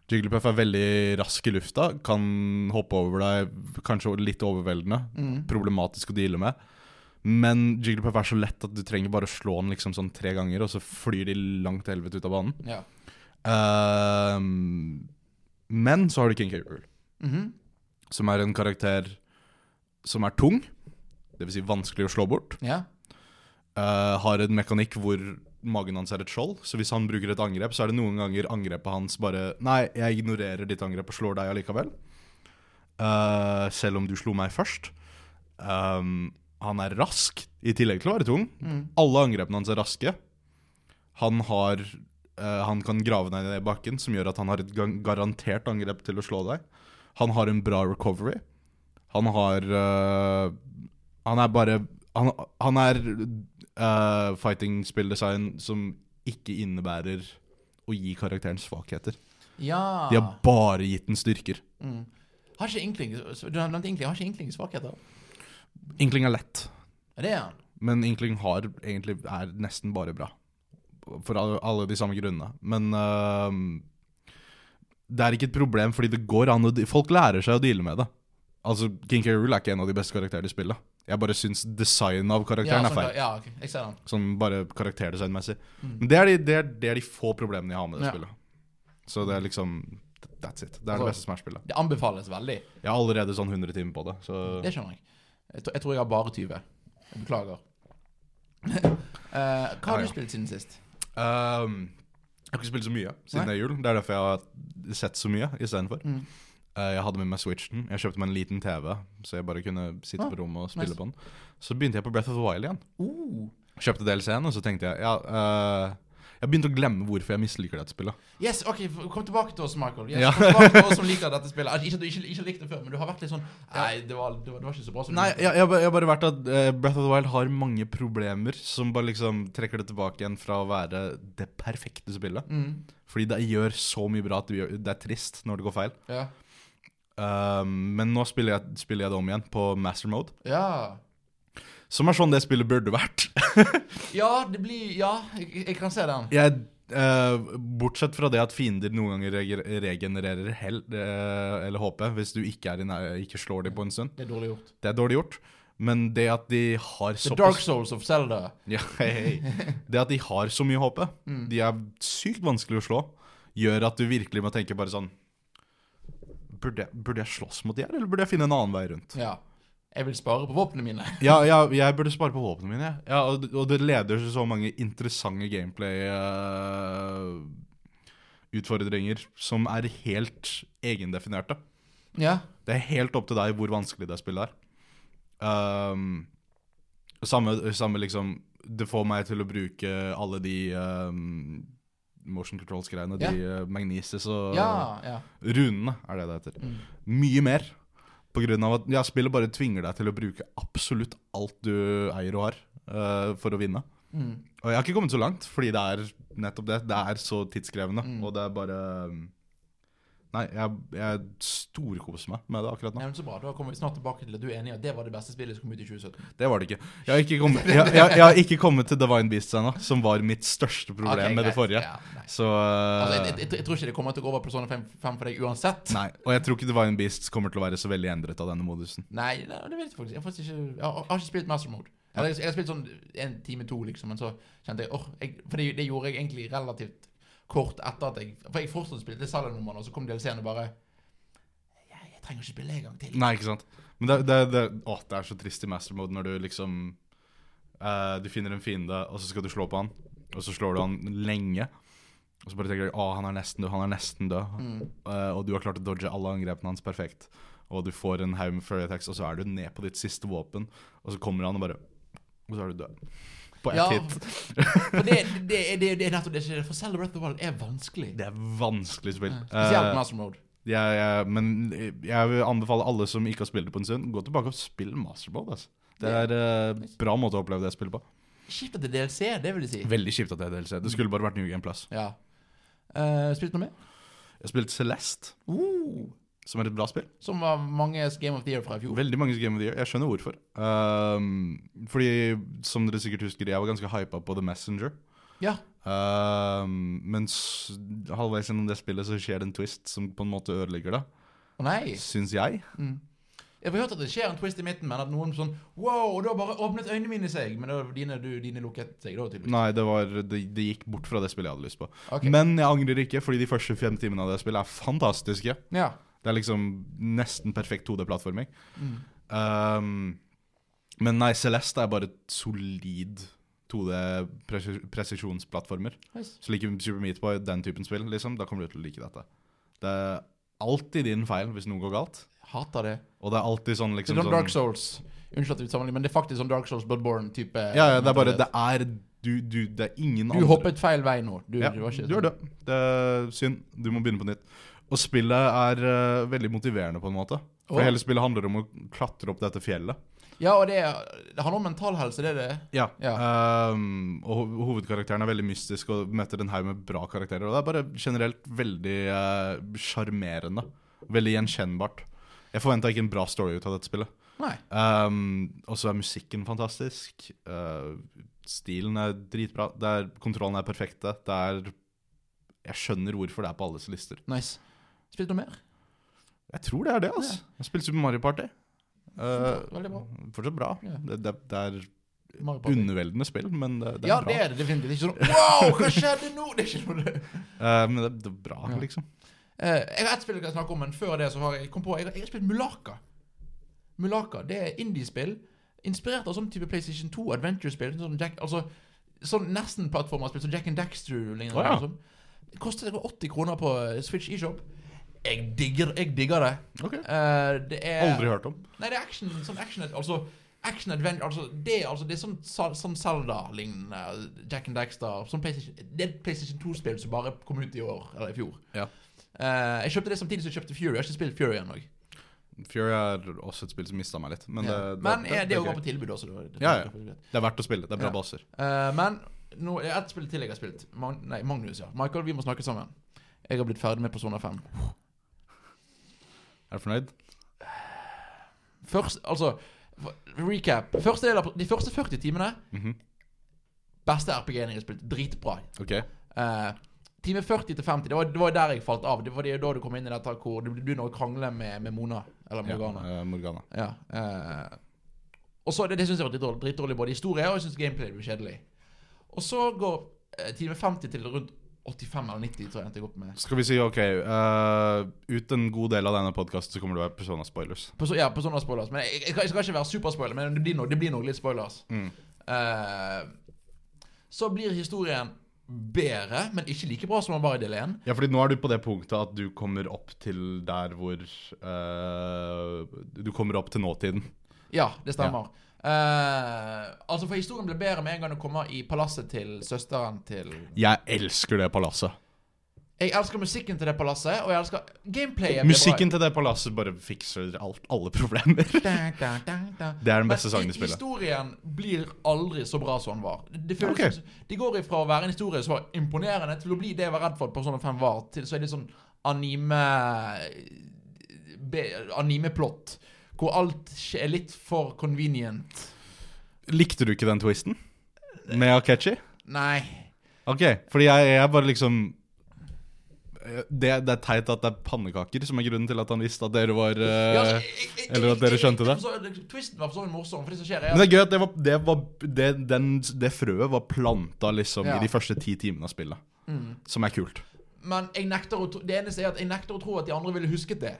Speaker 2: Jigglypuff er veldig rask i lufta, kan hoppe over deg, kanskje litt overveldende.
Speaker 1: Mm.
Speaker 2: Problematisk å deale med. Men Jigglypuff er så lett at du trenger bare å slå den liksom sånn tre ganger, og så flyr de langt til helvete ut av banen.
Speaker 1: ja.
Speaker 2: Ehm, men så har du King K. Rool
Speaker 1: Mhm.
Speaker 2: som er en karakter som er tung, dvs. Si vanskelig å slå bort,
Speaker 1: ja.
Speaker 2: eh, har en mekanikk hvor magen hans er et skjold, så hvis han bruker et angrep, så er det noen ganger angrepet hans bare Nei, jeg ignorerer ditt angrep og slår deg allikevel. Eh, selv om du slo meg først. Um, han er rask, i tillegg til å være tung.
Speaker 1: Mm.
Speaker 2: Alle angrepene hans er raske. Han har eh, Han kan grave deg ned i bakken, som gjør at han har et gan- garantert angrep til å slå deg. Han har en bra recovery. Han har eh, Han er bare Han, han er eh, fighting spilldesign som ikke innebærer å gi karakteren svakheter.
Speaker 1: Ja.
Speaker 2: De har bare gitt den styrker.
Speaker 1: mm. Har ikke Inkling så- Du har nevnt Inkling. Har ikke Inkling svakheter?
Speaker 2: Inkling er lett,
Speaker 1: Er det han?
Speaker 2: men Inkling har egentlig er nesten bare bra. For alle, alle de samme grunnene. Men eh, det er ikke et problem, fordi det går an å de- Folk lærer seg å deale med det. Altså, King K. Rool er ikke en av de beste karakterene i spillet. Jeg bare syns designet av karakteren
Speaker 1: ja,
Speaker 2: er feil.
Speaker 1: sånn- Ja, ok, jeg ser den.
Speaker 2: Sånn bare karakterdesignmessig.
Speaker 1: Mm.
Speaker 2: Men det er, de, det, er, det er de få problemene jeg har med det
Speaker 1: Ja.
Speaker 2: spillet. Så det er liksom That's it. Det er
Speaker 1: Altså-
Speaker 2: det beste Smash-spillet.
Speaker 1: Det anbefales veldig.
Speaker 2: Jeg har allerede sånn 100 timer på det. Så
Speaker 1: Det skjønner jeg. Jeg, tror- jeg tror jeg har bare 20. Jeg beklager. Eh, hva har du
Speaker 2: Ja, ja.
Speaker 1: spilt siden sist?
Speaker 2: Ehm, Jeg har ikke spilt så mye siden det er jul. Det er derfor jeg har sett så mye istedenfor.
Speaker 1: Mm.
Speaker 2: Eh, Jeg hadde med meg Switchen. Jeg kjøpte meg en liten TV, så jeg bare kunne sitte
Speaker 1: Ah,
Speaker 2: på rommet og spille
Speaker 1: nice.
Speaker 2: på den. Så begynte jeg på Breath of the Wild igjen.
Speaker 1: Uh,
Speaker 2: Kjøpte DLC-en, og så tenkte jeg ja, eh, Jeg begynte å glemme hvorfor jeg misliker dette spillet.
Speaker 1: yes, ok, f- Kom tilbake til oss, Michael. Yes,
Speaker 2: Ja.
Speaker 1: kom tilbake til oss som liker dette spillet. Altså, Ikke at du ikke, ikke likte det før, men du har vært litt sånn Nei, det var, det var, det var ikke så bra. som du
Speaker 2: Nei,
Speaker 1: likte.
Speaker 2: jeg, jeg, har bare- jeg har bare vært at eh, Breath of the Wild har mange problemer som bare liksom trekker det tilbake igjen fra å være det perfekte spillet.
Speaker 1: Mm,
Speaker 2: Fordi det gjør så mye bra at det, gjør, det er trist når det går feil.
Speaker 1: ja.
Speaker 2: Um, men nå spiller jeg, spiller jeg det om igjen på master mode,
Speaker 1: ja.
Speaker 2: som er sånn det spillet burde vært.
Speaker 1: Ja, det blir Ja, jeg, jeg kan se den.
Speaker 2: Jeg, eh, bortsett fra det at fiender noen ganger reg- regenererer hell, eh, eller HP hvis du ikke, er i nær- ikke slår dem på en stund.
Speaker 1: Det er dårlig gjort.
Speaker 2: Det er dårlig gjort. Men det at de har
Speaker 1: The
Speaker 2: såpass
Speaker 1: Dark Souls of Zelda.
Speaker 2: Ja, hei, hei. Det at de har så mye HP, de er sykt vanskelig å slå, gjør at du virkelig må tenke bare sånn Burde jeg, burde jeg slåss mot de her, eller burde jeg finne en annen vei rundt?
Speaker 1: Ja. Jeg vil spare på våpnene mine.
Speaker 2: Ja, ja jeg burde spare på våpnene mine. jeg. Ja, og, og det leder til så mange interessante gameplay-utfordringer som er helt egendefinerte.
Speaker 1: Ja.
Speaker 2: Det er helt opp til deg hvor vanskelig det spillet er. Ehm, samme, samme liksom Det får meg til å bruke alle de ehm, motion controls-greiene.
Speaker 1: Ja.
Speaker 2: De eh, magnesis og
Speaker 1: Ja, ja.
Speaker 2: runene, er det det heter.
Speaker 1: Mm.
Speaker 2: Mye mer. På grunn av at ja, spillet bare tvinger deg til å bruke absolutt alt du eier og har eh, for å vinne.
Speaker 1: Mm.
Speaker 2: Og jeg har ikke kommet
Speaker 1: Mm.
Speaker 2: så langt, fordi det er nettopp det. Det er så tidskrevende, og det er bare mm. Nei, jeg, jeg storkoser meg med det akkurat nå.
Speaker 1: Nei, men så bra. Da kommer vi snart tilbake til at du er enig i at det var det beste spillet som kom ut i 2017.
Speaker 2: Det var det ikke. Jeg har ikke kommet, jeg, jeg, jeg har ikke kommet til Divine Beasts ennå, som var mitt største problem
Speaker 1: Ok,
Speaker 2: med det
Speaker 1: greit.
Speaker 2: forrige.
Speaker 1: Ja, nei.
Speaker 2: Så eh,
Speaker 1: altså, jeg, jeg, jeg tror ikke det kommer til å gå over Persona 5, 5 for deg uansett.
Speaker 2: Nei. Og jeg tror ikke Divine Beasts kommer til å være så veldig endret av denne modusen.
Speaker 1: Nei, nei, det vet jeg faktisk jeg har faktisk ikke. Jeg har, jeg har ikke spilt Master Mode. Eller, jeg, jeg har spilt sånn en time to, liksom, men så kjente jeg åh, jeg, For det, det gjorde jeg egentlig relativt kort etter at jeg For jeg fortsatt spilte Salad-numrene, og så kom DLC-en og bare jeg, jeg trenger ikke spille en gang til.
Speaker 2: Nei, ikke sant? Men det, det, det, å, det er så trist i master mode når du liksom eh, Du finner en fiende, og så skal du slå på han, og så slår du han lenge. Og så bare tenker du å, han er nesten død, han er nesten død.
Speaker 1: Mm.
Speaker 2: Eh, og du har klart å dodge alle angrepene hans perfekt. Og du får en haug med furry attacks, og så er du ned på ditt siste våpen, og så kommer han og bare Og så er du død. På ett
Speaker 1: Ja,
Speaker 2: hit.
Speaker 1: for det, det, det, det er nettopp det som skjer. For Zelda Breath of the Wild er vanskelig.
Speaker 2: Det er vanskelig spill.
Speaker 1: Spesielt
Speaker 2: Eh,
Speaker 1: Master Mode.
Speaker 2: jeg, jeg, men jeg vil anbefale alle som ikke har spilt det på en stund, gå tilbake og spill Masterball. Altså. Det er eh, bra måte å oppleve det spillet på.
Speaker 1: Skift til DLC, det vil jeg si.
Speaker 2: Veldig kjipt at det er DLC. Det skulle bare vært New Game Plus.
Speaker 1: Ja. Eh, spilt noe mer?
Speaker 2: Jeg har spilt Celeste,
Speaker 1: Uh,
Speaker 2: som er et bra spill.
Speaker 1: som var manges Game of the Year fra i fjor.
Speaker 2: Veldig mange Game of the Year. Jeg skjønner hvorfor. Ehm, fordi, som dere sikkert husker, jeg var ganske hypa på The Messenger.
Speaker 1: Ja.
Speaker 2: Ehm, men s- halvveis gjennom det spillet så skjer det en twist som på en måte ødelegger det,
Speaker 1: Å nei.
Speaker 2: syns jeg.
Speaker 1: Jeg har hørt at det skjer en twist i midten, men at noen sånn Wow! Og da bare åpnet øynene mine seg. Men da var dine, du, dine lukket seg da, tydeligvis.
Speaker 2: Nei, det, var, det, det gikk bort fra det spillet jeg hadde lyst på.
Speaker 1: Ok.
Speaker 2: Men jeg angrer ikke, fordi de første fem timene av det spillet er fantastiske.
Speaker 1: Ja.
Speaker 2: Det er liksom nesten perfekt 2D-plattforming.
Speaker 1: Mm.
Speaker 2: Um, men nei, Celeste er bare et solid 2D-presisjonsplattformer.
Speaker 1: Nice.
Speaker 2: Så liker Super Meat Boy den typen spill, liksom, da kommer du til å like dette. Det er alltid din feil hvis noe går galt.
Speaker 1: Hater det.
Speaker 2: Og det er alltid sånn
Speaker 1: Det
Speaker 2: liksom
Speaker 1: er sånn
Speaker 2: sånn,
Speaker 1: Dark Souls. Unnskyld at vi sammenligner, men det er faktisk sånn Dark Souls Bloodborne-type.
Speaker 2: Ja, ja, det er bare Det er du, du Det er ingen
Speaker 1: Du hoppet feil vei nå. Du,
Speaker 2: Ja,
Speaker 1: du var ikke sånn.
Speaker 2: du er død. Det er synd. Du må begynne på nytt. Og spillet er eh, veldig motiverende, på en måte. For
Speaker 1: Åh.
Speaker 2: hele spillet handler om å klatre opp dette fjellet.
Speaker 1: sånn. Ja, og det, er- det handler om mental helse, det er det.
Speaker 2: Ja.
Speaker 1: Ja.
Speaker 2: ehm, og ho- hovedkarakteren er veldig mystisk og møter en haug med bra karakterer. Og det er bare generelt veldig eh, sjarmerende. veldig gjenkjennbart. Jeg forventa ikke en bra story ut av dette spillet.
Speaker 1: Nei.
Speaker 2: Ehm, og så er musikken fantastisk. Eh, stilen er dritbra. Det er, kontrollen er perfekte. Det er Jeg skjønner hvorfor det er på alles lister.
Speaker 1: Nice. Spilt noe mer?
Speaker 2: Jeg tror det er det, altså. Jeg spilte Super Mario Party. Eh,
Speaker 1: Veldig bra.
Speaker 2: fortsatt bra.
Speaker 1: Ja.
Speaker 2: Det, det, det er
Speaker 1: Mario Party.
Speaker 2: underveldende spill, men det, det er
Speaker 1: ja,
Speaker 2: bra.
Speaker 1: det er det definitivt. Det er ikke sånn Wow, hva skjedde nå? Det er ikke noe det.
Speaker 2: Eh, men det, det er bra,
Speaker 1: Ja.
Speaker 2: liksom.
Speaker 1: Eh, jeg har ett spill jeg kan snakke om, men før det så har jeg kom på Jeg, har- jeg har spilt Mulaka. Mulaka, det er indiespill inspirert av sånn type PlayStation 2 adventure-spill. Sånn Jack, altså sånn nesten plattformerspill som Jack and Daxter lignende.
Speaker 2: Å, ja.
Speaker 1: liksom. Det koster 80 kroner på eh, Switch eShop. Jeg digger, jeg digger det.
Speaker 2: Ok.
Speaker 1: Eh, det er
Speaker 2: Aldri hørt om.
Speaker 1: Nei, det er action, sånn action Altså action adventure altså, det, altså, det er sånn, Sa- sånn Zelda-lignende Jack and Daxter sånn PlayStation, Det er et PlayStation 2-spill som bare kom ut i år Eller i fjor
Speaker 2: Ja.
Speaker 1: Eh, Jeg kjøpte det samtidig som jeg kjøpte Fury Jeg har ikke spilt Fury ennå
Speaker 2: Fury er også et spill som mista meg litt, men det,
Speaker 1: Ja.
Speaker 2: det,
Speaker 1: Men
Speaker 2: det,
Speaker 1: eh, det,
Speaker 2: det,
Speaker 1: er jo
Speaker 2: er
Speaker 1: bare
Speaker 2: greit.
Speaker 1: på tilbud også det var- det
Speaker 2: Ja,
Speaker 1: var-
Speaker 2: ja.
Speaker 1: det var greit.
Speaker 2: det er verdt å spille. Det er bra
Speaker 1: Ja.
Speaker 2: baser.
Speaker 1: Eh, Men nå, det er et spill til jeg har spilt Mag Nei, Magnus, ja Michael, vi må snakke sammen Jeg har blitt ferdig med Persona 5
Speaker 2: Er du fornøyd?
Speaker 1: Først, altså for- Recap første del av, De første 40 timene
Speaker 2: Mhm.
Speaker 1: Beste RPG-en jeg har spilt Dritbra
Speaker 2: Ok.
Speaker 1: Eh, time 40 til 50, det var, det var der jeg falt av. Det var det, da du kom inn i dette hvor du begynner å krangle med, med Mona. Eller
Speaker 2: Ja,
Speaker 1: Morgana.
Speaker 2: eh, Morgana.
Speaker 1: Ja. eh, og så, Det, det syns jeg var dritdårlig, dritdårlig både historie og jeg synes gameplay ble kjedelig. Og så går eh, time 50 til rundt 85 eller 90, tror jeg endte jeg opp med.
Speaker 2: Skal vi si OK eh, Ut en god del av denne podkasten så kommer det å være Persona-spoilers.
Speaker 1: På, så, ja, på sånne spoilers. Men jeg, jeg, skal- jeg skal ikke være superspoiler, men det blir nok, det blir nok litt spoilers.
Speaker 2: Mm.
Speaker 1: Eh, så blir historien bedre, men ikke like bra som den var i del 1.
Speaker 2: Ja, fordi nå er du på det punktet at du kommer opp til der hvor eh, Du kommer opp til nåtiden.
Speaker 1: Ja, det stemmer. Eh, altså, for historien ble bedre med en gang du kommer i palasset til søsteren til
Speaker 2: Jeg elsker det palasset.
Speaker 1: Jeg elsker musikken til det palasset, og jeg elsker gameplayet. ble
Speaker 2: Musikken til det palasset bare fikser alt, alle problemer.
Speaker 1: bra. Da, da, da, da.
Speaker 2: Det er den beste sangen
Speaker 1: i-
Speaker 2: i spillet.
Speaker 1: Historien blir aldri så bra som den var. Det, det føles
Speaker 2: Ok.
Speaker 1: som- De går ifra å være en historie som var imponerende, til å bli det jeg var redd for at Persona 5 var, til så er det sånn anime be- Anime-plott. Hvor alt skje- er litt for convenient.
Speaker 2: Likte du ikke den twisten med Akechi?
Speaker 1: Nei.
Speaker 2: Ok, fordi jeg, jeg bare liksom eh, det, det er teit at det er pannekaker som er grunnen til at han visste at dere var eh,
Speaker 1: Ja, altså, jeg- jeg-
Speaker 2: eller at dere
Speaker 1: jeg- jeg-
Speaker 2: skjønte det.
Speaker 1: jeg forstår- Twisten var for så vidt morsom, for det som skjer, er
Speaker 2: Men
Speaker 1: at
Speaker 2: det er gøy at det, var, det, var, det, den, det frøet var planta liksom
Speaker 1: Ja. Mm.
Speaker 2: i de første ti timene av spillet. Som er kult.
Speaker 1: Men jeg nekter å tro, det eneste er at jeg nekter å tro at de andre ville husket det.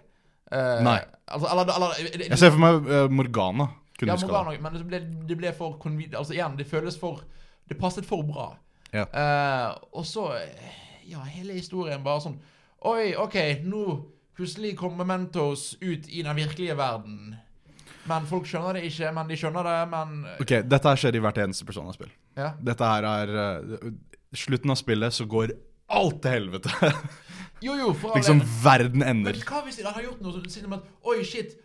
Speaker 1: Eh,
Speaker 2: Nei.
Speaker 1: Altså, eller, eller
Speaker 2: Jeg ser for meg eh, Morgana kunne
Speaker 1: Ja,
Speaker 2: huska det.
Speaker 1: Morgana, men det ble, det ble for konvi- Altså igjen, det føles for Det passet for bra.
Speaker 2: Ja.
Speaker 1: Eh, og så eh, Ja, hele historien bare sånn Oi, OK, nå plutselig kommer Mentos ut i den virkelige verden. Men folk skjønner det ikke, men de skjønner det, men
Speaker 2: Ok, Dette her skjer i hvert eneste Persona-spill.
Speaker 1: Ja.
Speaker 2: Dette her er eh, Slutten av spillet så går alt til helvete.
Speaker 1: Jo, jo, for all
Speaker 2: liksom
Speaker 1: del.
Speaker 2: verden
Speaker 1: Men
Speaker 2: ender.
Speaker 1: hva hvis de hadde gjort noe sånn siden med at Oi, shit,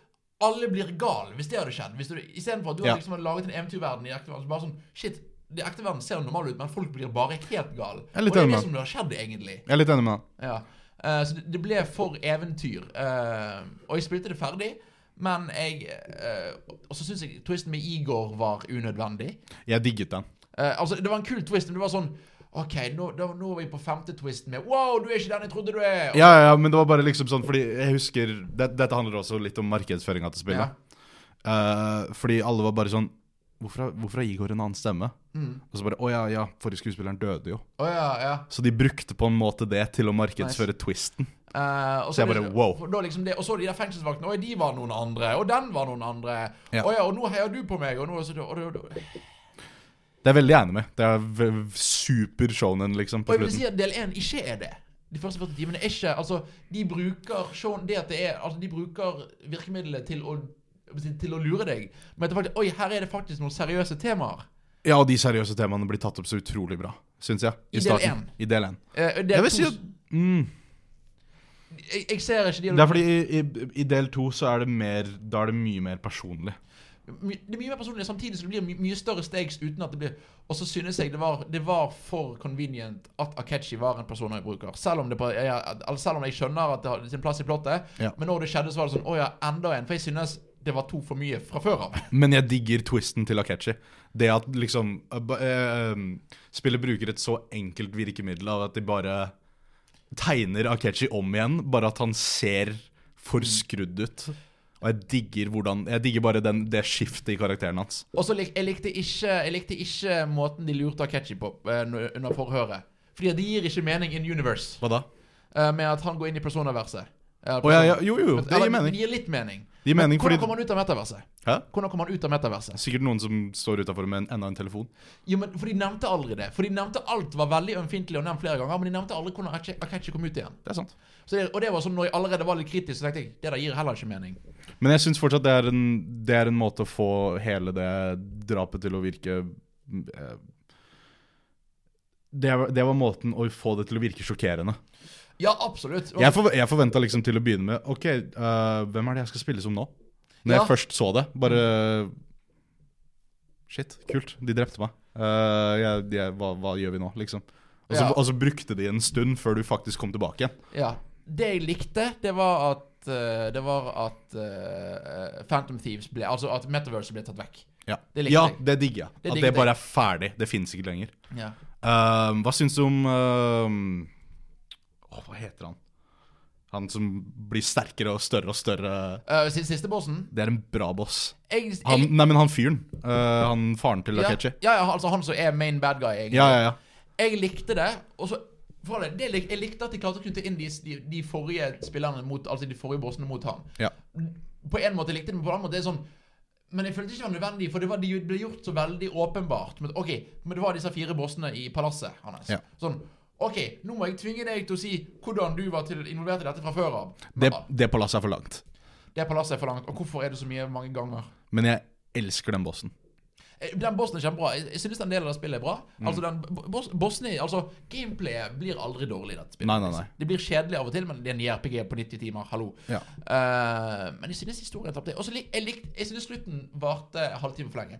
Speaker 1: alle blir gal hvis det hadde skjedd? Hvis du, Istedenfor at du
Speaker 2: Ja.
Speaker 1: hadde liksom hadde laget en eventyrverden i ekte verden. så Bare sånn, shit, det ekte verden ser normal ut, men folk blir bare helt gale.
Speaker 2: Jeg er litt
Speaker 1: Og det er
Speaker 2: enig med
Speaker 1: det som har skjedd, egentlig.
Speaker 2: Jeg er litt enig med deg.
Speaker 1: Ja. Eh, så det, det ble for eventyr. eh, og jeg spilte det ferdig, men jeg eh, Og så syns jeg twisten med Igor var unødvendig.
Speaker 2: Jeg digget den.
Speaker 1: Eh, altså, det var en kul twist, men det var sånn OK, nå, da, nå er vi på femte twisten med Wow, du er ikke den jeg trodde du er!
Speaker 2: Ja, ja, ja, men det var bare liksom sånn Fordi jeg husker det, Dette handler også litt om markedsføringa til spillet. Eh, fordi alle var bare sånn Hvorfor, har- hvorfor har Igor en annen stemme?
Speaker 1: Mm.
Speaker 2: Og så bare Å ja, ja, forrige skuespilleren døde jo.
Speaker 1: Å ja, ja.
Speaker 2: Så de brukte på en måte det til å markedsføre twisten.
Speaker 1: Eh, og
Speaker 2: Så jeg
Speaker 1: det-
Speaker 2: bare, wow.
Speaker 1: for Da liksom det, og så de der fengselsvaktene. Oi, de var noen andre. Og den var noen andre.
Speaker 2: Ja.
Speaker 1: Og, ja, og nå heier du på meg. Og nå, så, og, og, og,
Speaker 2: Det er jeg veldig enig med. Det er v- super shonen, liksom,
Speaker 1: og
Speaker 2: på
Speaker 1: jeg vil
Speaker 2: slutten.
Speaker 1: si at del én ikke er det. De første 40 timene er ikke Altså, de bruker Sean, det at det er Altså, de bruker virkemidlet til å til å lure deg. Men at det faktisk, oi, her er det faktisk noen seriøse temaer.
Speaker 2: Ja, og de seriøse temaene blir tatt opp så utrolig bra, syns jeg.
Speaker 1: I del
Speaker 2: starten. I del én.
Speaker 1: Eh, det er
Speaker 2: Jeg
Speaker 1: to-
Speaker 2: vil si at mm,
Speaker 1: jeg, jeg ser ikke de
Speaker 2: Det er fordi i, i, i del to så er det mer Da er det mye mer personlig.
Speaker 1: my, Det er mye mer personlig samtidig som det blir my, mye større stakes uten at det blir Og så synes jeg det var, det var for convenient at Akechi var en person jeg bruker. Selv om, det, på- jeg, altså selv om jeg skjønner at det har sin plass i plottet,
Speaker 2: Ja.
Speaker 1: men når det skjedde, så var det sånn Å ja, enda en. For jeg synes det var to for mye fra før av.
Speaker 2: Men jeg digger twisten til Akechi. Det at liksom eh, ba- eh, um, Spillet bruker et så enkelt virkemiddel av at de bare tegner Akechi om igjen, bare at han ser forskrudd ut. Og jeg digger hvordan Jeg digger bare den, det skiftet i karakteren hans.
Speaker 1: Og så lik, jeg likte ikke Jeg likte ikke måten de lurte Akechi på eh, nu- under forhøret. Fordi at det gir ikke mening in universe
Speaker 2: Hva da?
Speaker 1: eh, med at han går inn i personaverset. Eh,
Speaker 2: Å ja, ja, jo, jo, det
Speaker 1: Eller,
Speaker 2: gir mening.
Speaker 1: Det gir litt mening.
Speaker 2: Det gir mening
Speaker 1: Hvordan
Speaker 2: fordi
Speaker 1: kommer han ut av metaverset?
Speaker 2: Hæ?
Speaker 1: Hvordan kommer han ut av metaverset?
Speaker 2: Sikkert noen som står utafor med en, enda en telefon.
Speaker 1: Jo, men For de nevnte aldri det. For de nevnte alt var veldig ømfintlig og nevnt flere ganger, men de nevnte aldri hvordan Akechi- Akechi kom ut igjen.
Speaker 2: Det er sant.
Speaker 1: Så det, og det var sånn, når jeg allerede var litt kritisk, så tenkte jeg det der gir heller ikke mening.
Speaker 2: Men jeg syns fortsatt det er, en, det er en måte å få hele det drapet til å virke eh, det, var- det var måten å få det til å virke sjokkerende.
Speaker 1: Ja, absolutt. Og,
Speaker 2: Jeg, for, jeg forventa liksom til å begynne med OK, eh, hvem er det jeg skal spille som nå? Når
Speaker 1: Ja.
Speaker 2: jeg først så det, bare Shit, kult. De drepte meg. Eh, jeg, jeg, hva, hva gjør vi nå, liksom? Og så,
Speaker 1: Ja.
Speaker 2: og så brukte de en stund før du faktisk kom tilbake igjen.
Speaker 1: ja, det jeg likte, det var at eh, det var at eh, Phantom Thieves ble Altså at Metaverse ble tatt vekk.
Speaker 2: Ja,
Speaker 1: Det
Speaker 2: det,
Speaker 1: likte
Speaker 2: ja,
Speaker 1: jeg.
Speaker 2: det digger jeg.
Speaker 1: Det
Speaker 2: At
Speaker 1: digget
Speaker 2: det bare er ferdig. Det fins ikke lenger.
Speaker 1: Ja.
Speaker 2: Ehm, hva syns du om ehm, Åh, Hva heter han? Han som blir sterkere og større og større.
Speaker 1: Eh, si- siste bossen
Speaker 2: Det er en bra boss.
Speaker 1: jeg, jeg,
Speaker 2: Han, nei, men han fyren. eh, han faren til
Speaker 1: ja,
Speaker 2: Akechi.
Speaker 1: ja, ja, altså han som er main bad guy, egentlig.
Speaker 2: Ja, ja, ja.
Speaker 1: Jeg likte det. Og så for det, det, lik- Jeg likte at de klarte å knytte inn de, de, de forrige spillerne mot Altså de forrige bossene mot ham.
Speaker 2: Ja.
Speaker 1: På en måte likte jeg det, men på en annen måte er det sånn Men jeg følte ikke det var nødvendig, for det, var, de ble gjort så veldig åpenbart. Men, ok, men det var disse fire bossene i palasset hans.
Speaker 2: Ja.
Speaker 1: Sånn OK, nå må jeg tvinge deg til å si hvordan du var til, involvert i dette fra før av. Men,
Speaker 2: Det,
Speaker 1: ah,
Speaker 2: det palasset er for langt.
Speaker 1: det palasset er for langt. Og hvorfor er det så mye mange ganger?
Speaker 2: Men jeg elsker den bossen.
Speaker 1: Eh, Den bossen er kjempebra. Jeg- Jeg synes den delen av spillet er bra.
Speaker 2: Mm.
Speaker 1: Altså, den bo- boss, bossen i- altså, gameplayet blir aldri dårlig i dette spillet.
Speaker 2: Nei, nei, nei.
Speaker 1: Det blir kjedelig av og til, men det er en JRPG på 90 timer. Hallo.
Speaker 2: Ja.
Speaker 1: Eh, men jeg synes historien tapte. Og så lik, jeg, lik, jeg synes slutten varte en halvtime for lenge.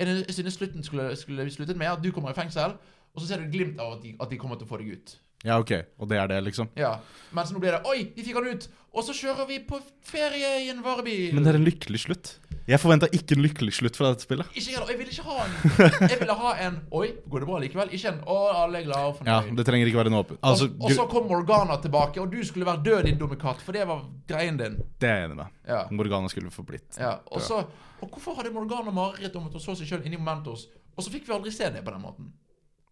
Speaker 1: Jeg synes slutten skulle, skulle sluttet med at du kommer i fengsel, og så ser du et glimt av at de, at de kommer til å få deg ut.
Speaker 2: Ja, ok. Og det er det, liksom.
Speaker 1: Ja. Mens nå blir det Oi, vi fikk han ut! Og så kjører vi på ferie i en varebil!
Speaker 2: Men det er en lykkelig slutt. Jeg forventa ikke en lykkelig slutt fra dette spillet.
Speaker 1: Ikke heller, Jeg ville ikke ha en Jeg ville ha en Oi, går det bra likevel? Ikke en Å, alle er glade og
Speaker 2: Ja,
Speaker 1: fornøyd.
Speaker 2: Det trenger ikke være en åpen Altså,
Speaker 1: og, og så
Speaker 2: gru-
Speaker 1: kom Morgana tilbake, og du skulle være død, din dumme katt, for det var greien din.
Speaker 2: det er jeg enig med.
Speaker 1: Ja,
Speaker 2: Morgana skulle få blitt.
Speaker 1: ja. Og, så, og hvorfor hadde Morgana mareritt om at hun så seg sjøl inni Momentos? Og så fikk vi aldri se det på den måten.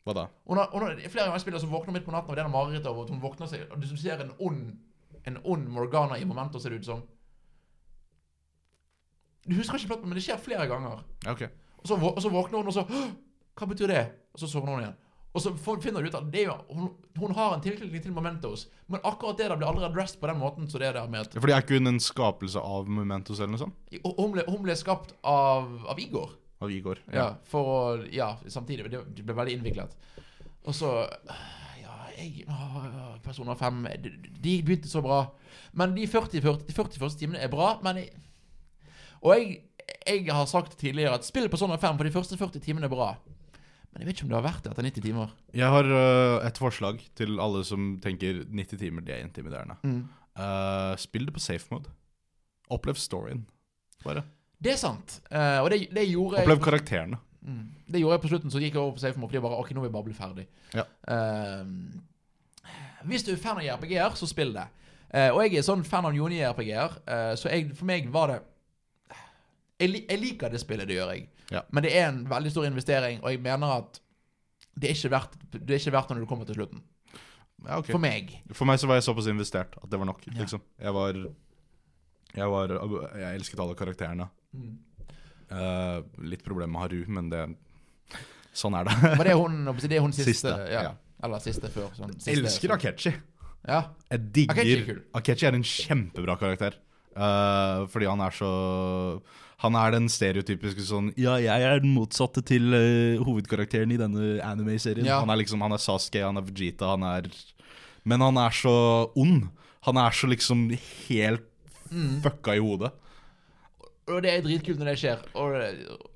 Speaker 2: Hva da?
Speaker 1: Hun har, hun har, flere ganger spiller som våkner midt på natten av det hun marerittet over at hun våkner seg Og du ser en ond, en ond Morgana i Momentos, ser det ut som. Du husker ikke platten, men det skjer flere ganger.
Speaker 2: Ja, ok.
Speaker 1: Og så, vå- og så våkner hun, og så «Hå! Hva betyr det? Og så sovner hun igjen. Og så får- finner du ut at det er jo, hun, hun har en tilknytning til Momentos, men akkurat det der blir aldri adressed på den måten. Så det der med at
Speaker 2: Ja, Fordi er ikke hun en skapelse av liksom? Momentos eller noe sånt?
Speaker 1: Og Hun ble, hun ble skapt av, av Igor.
Speaker 2: Av Igor.
Speaker 1: Ja, for å Ja, samtidig. Det det ble veldig innviklet. Og så Ja, jeg åh, Personer 5 de, de begynte så bra. Men de 40, 40, de 40 første timene er bra, men jeg, Og jeg, jeg har sagt tidligere at spill Persona 5 for de første 40 timene er bra. Men jeg vet ikke om det har vært det etter 90 timer.
Speaker 2: Jeg har øh, et forslag til alle som tenker 90 timer, det er intimiderende. Eh, spill det på safe mode. Opplev storyen. Bare.
Speaker 1: Det er sant. Eh, og det, det gjorde jeg
Speaker 2: Opplev karakterene.
Speaker 1: Mm. Det gjorde jeg på slutten, så gikk jeg over på safe mode. fordi jeg bare, ok, nå er vi bare blitt ferdig.
Speaker 2: Ja.
Speaker 1: Eh, hvis du er fan av JRPG-er, så spill det. Eh, og jeg er sånn fan av Joni JRPG-er, eh, så jeg, for meg var det jeg, li- jeg liker det spillet, det gjør jeg.
Speaker 2: Ja.
Speaker 1: Men det er en veldig stor investering, og jeg mener at det er ikke verdt det er ikke verdt det når du kommer til slutten.
Speaker 2: Ja, ok.
Speaker 1: For meg.
Speaker 2: For meg så var jeg såpass investert at det var nok.
Speaker 1: Ja.
Speaker 2: liksom. Jeg var Jeg var Jeg elsket alle karakterene. Eh, litt problem med Haru, men det Sånn er det.
Speaker 1: Var det hun, det er hun siste?
Speaker 2: Siste,
Speaker 1: ja.
Speaker 2: ja.
Speaker 1: Eller siste før. Sånn, siste,
Speaker 2: Jeg elsker Akechi.
Speaker 1: Ja.
Speaker 2: Jeg digger
Speaker 1: Akechi
Speaker 2: Akechi
Speaker 1: er
Speaker 2: er,
Speaker 1: kul.
Speaker 2: en kjempebra karakter. Eh, fordi han er så Han er den stereotypiske sånn Ja, jeg er den motsatte til eh, hovedkarakteren i denne anime-serien.
Speaker 1: Ja.
Speaker 2: Han er liksom Han er Sasuke, han er Vegeta, han er Men han er så ond. Han er så liksom helt
Speaker 1: Mm.
Speaker 2: fucka i hodet.
Speaker 1: Og det er dritkult når det skjer. Og,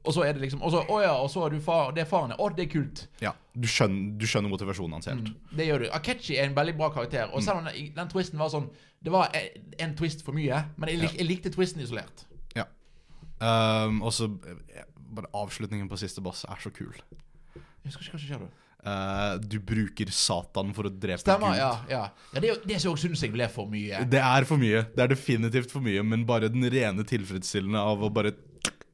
Speaker 1: og så er det liksom Og så, å ja, og så er du far, det er faren din. Å, det er kult.
Speaker 2: Ja, Du skjønner, du skjønner motivasjonen hans helt.
Speaker 1: Det gjør du. Akechi er en veldig bra karakter. Og selv om den, den twisten var sånn Det var en, en twist for mye, men jeg, lik, jeg likte twisten isolert.
Speaker 2: Ja. Ehm, og så eh, Bare avslutningen på siste boss er så kul.
Speaker 1: Jeg husker ikke hva som skjer da.
Speaker 2: Eh, du bruker Satan for å drepe
Speaker 1: Stemmer,
Speaker 2: Gud.
Speaker 1: ja. ja. ja det er jo- det som jeg syns jeg ble for mye.
Speaker 2: Det er for mye. Det er definitivt for mye, men bare den rene tilfredsstillende av å bare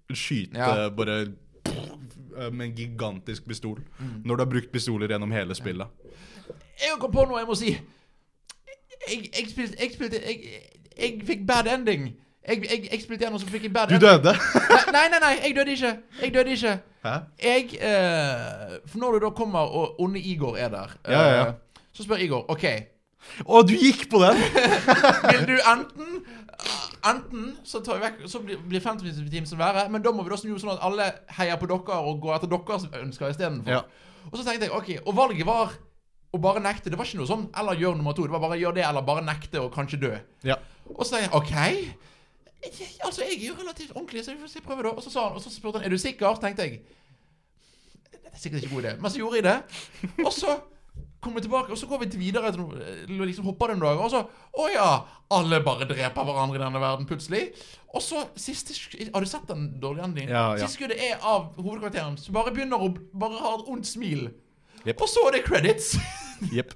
Speaker 2: skyte
Speaker 1: Ja.
Speaker 2: bare eh, med en gigantisk pistol.
Speaker 1: Mm.
Speaker 2: Når du har brukt pistoler gjennom hele spillet.
Speaker 1: Jeg kom på noe jeg må si. Jeg, jeg spilte Jeg, spilte, jeg, jeg fikk bad ending. Jeg, jeg, jeg spilte igjen, og så fikk jeg bad
Speaker 2: Du
Speaker 1: ending.
Speaker 2: døde!
Speaker 1: Nei, nei, nei, nei, jeg døde ikke. Jeg døde ikke.
Speaker 2: Hæ?
Speaker 1: Jeg eh, For når du da kommer, og onde Igor er der, eh,
Speaker 2: Ja, ja, ja.
Speaker 1: så spør Igor OK,
Speaker 2: Å, du gikk på den!
Speaker 1: vil du enten eh, Enten så tar vi vekk Så blir blir 50 timer som verre, men da må vi da snu sånn at alle heier på dere og går etter deres ønsker istedenfor.
Speaker 2: Ja.
Speaker 1: Og så tenkte jeg OK, og valget var å bare nekte. Det var ikke noe sånn eller gjør nummer to. Det var bare gjør det, eller bare nekte og kanskje dø.
Speaker 2: ja.
Speaker 1: Og så sa jeg OK. Jeg, altså, jeg er jo relativt ordentlig, så vi får se prøve, da. Og så sa han, og så spurte han er du sikker. Så tenkte jeg det er sikkert ikke god idé. Men så gjorde jeg det. Og så kom jeg tilbake, og så går vi til videre til noe- eller liksom hopper det en dag. Og så Å ja! Alle bare dreper hverandre i denne verden, plutselig. Og så siste sk- Har du sett den dårlige endingen?
Speaker 2: Ja, ja.
Speaker 1: Siste skuddet er av hovedkarakteren, som bare begynner å bare ha et ondt smil.
Speaker 2: Jep.
Speaker 1: Og så er det credits.
Speaker 2: Jepp.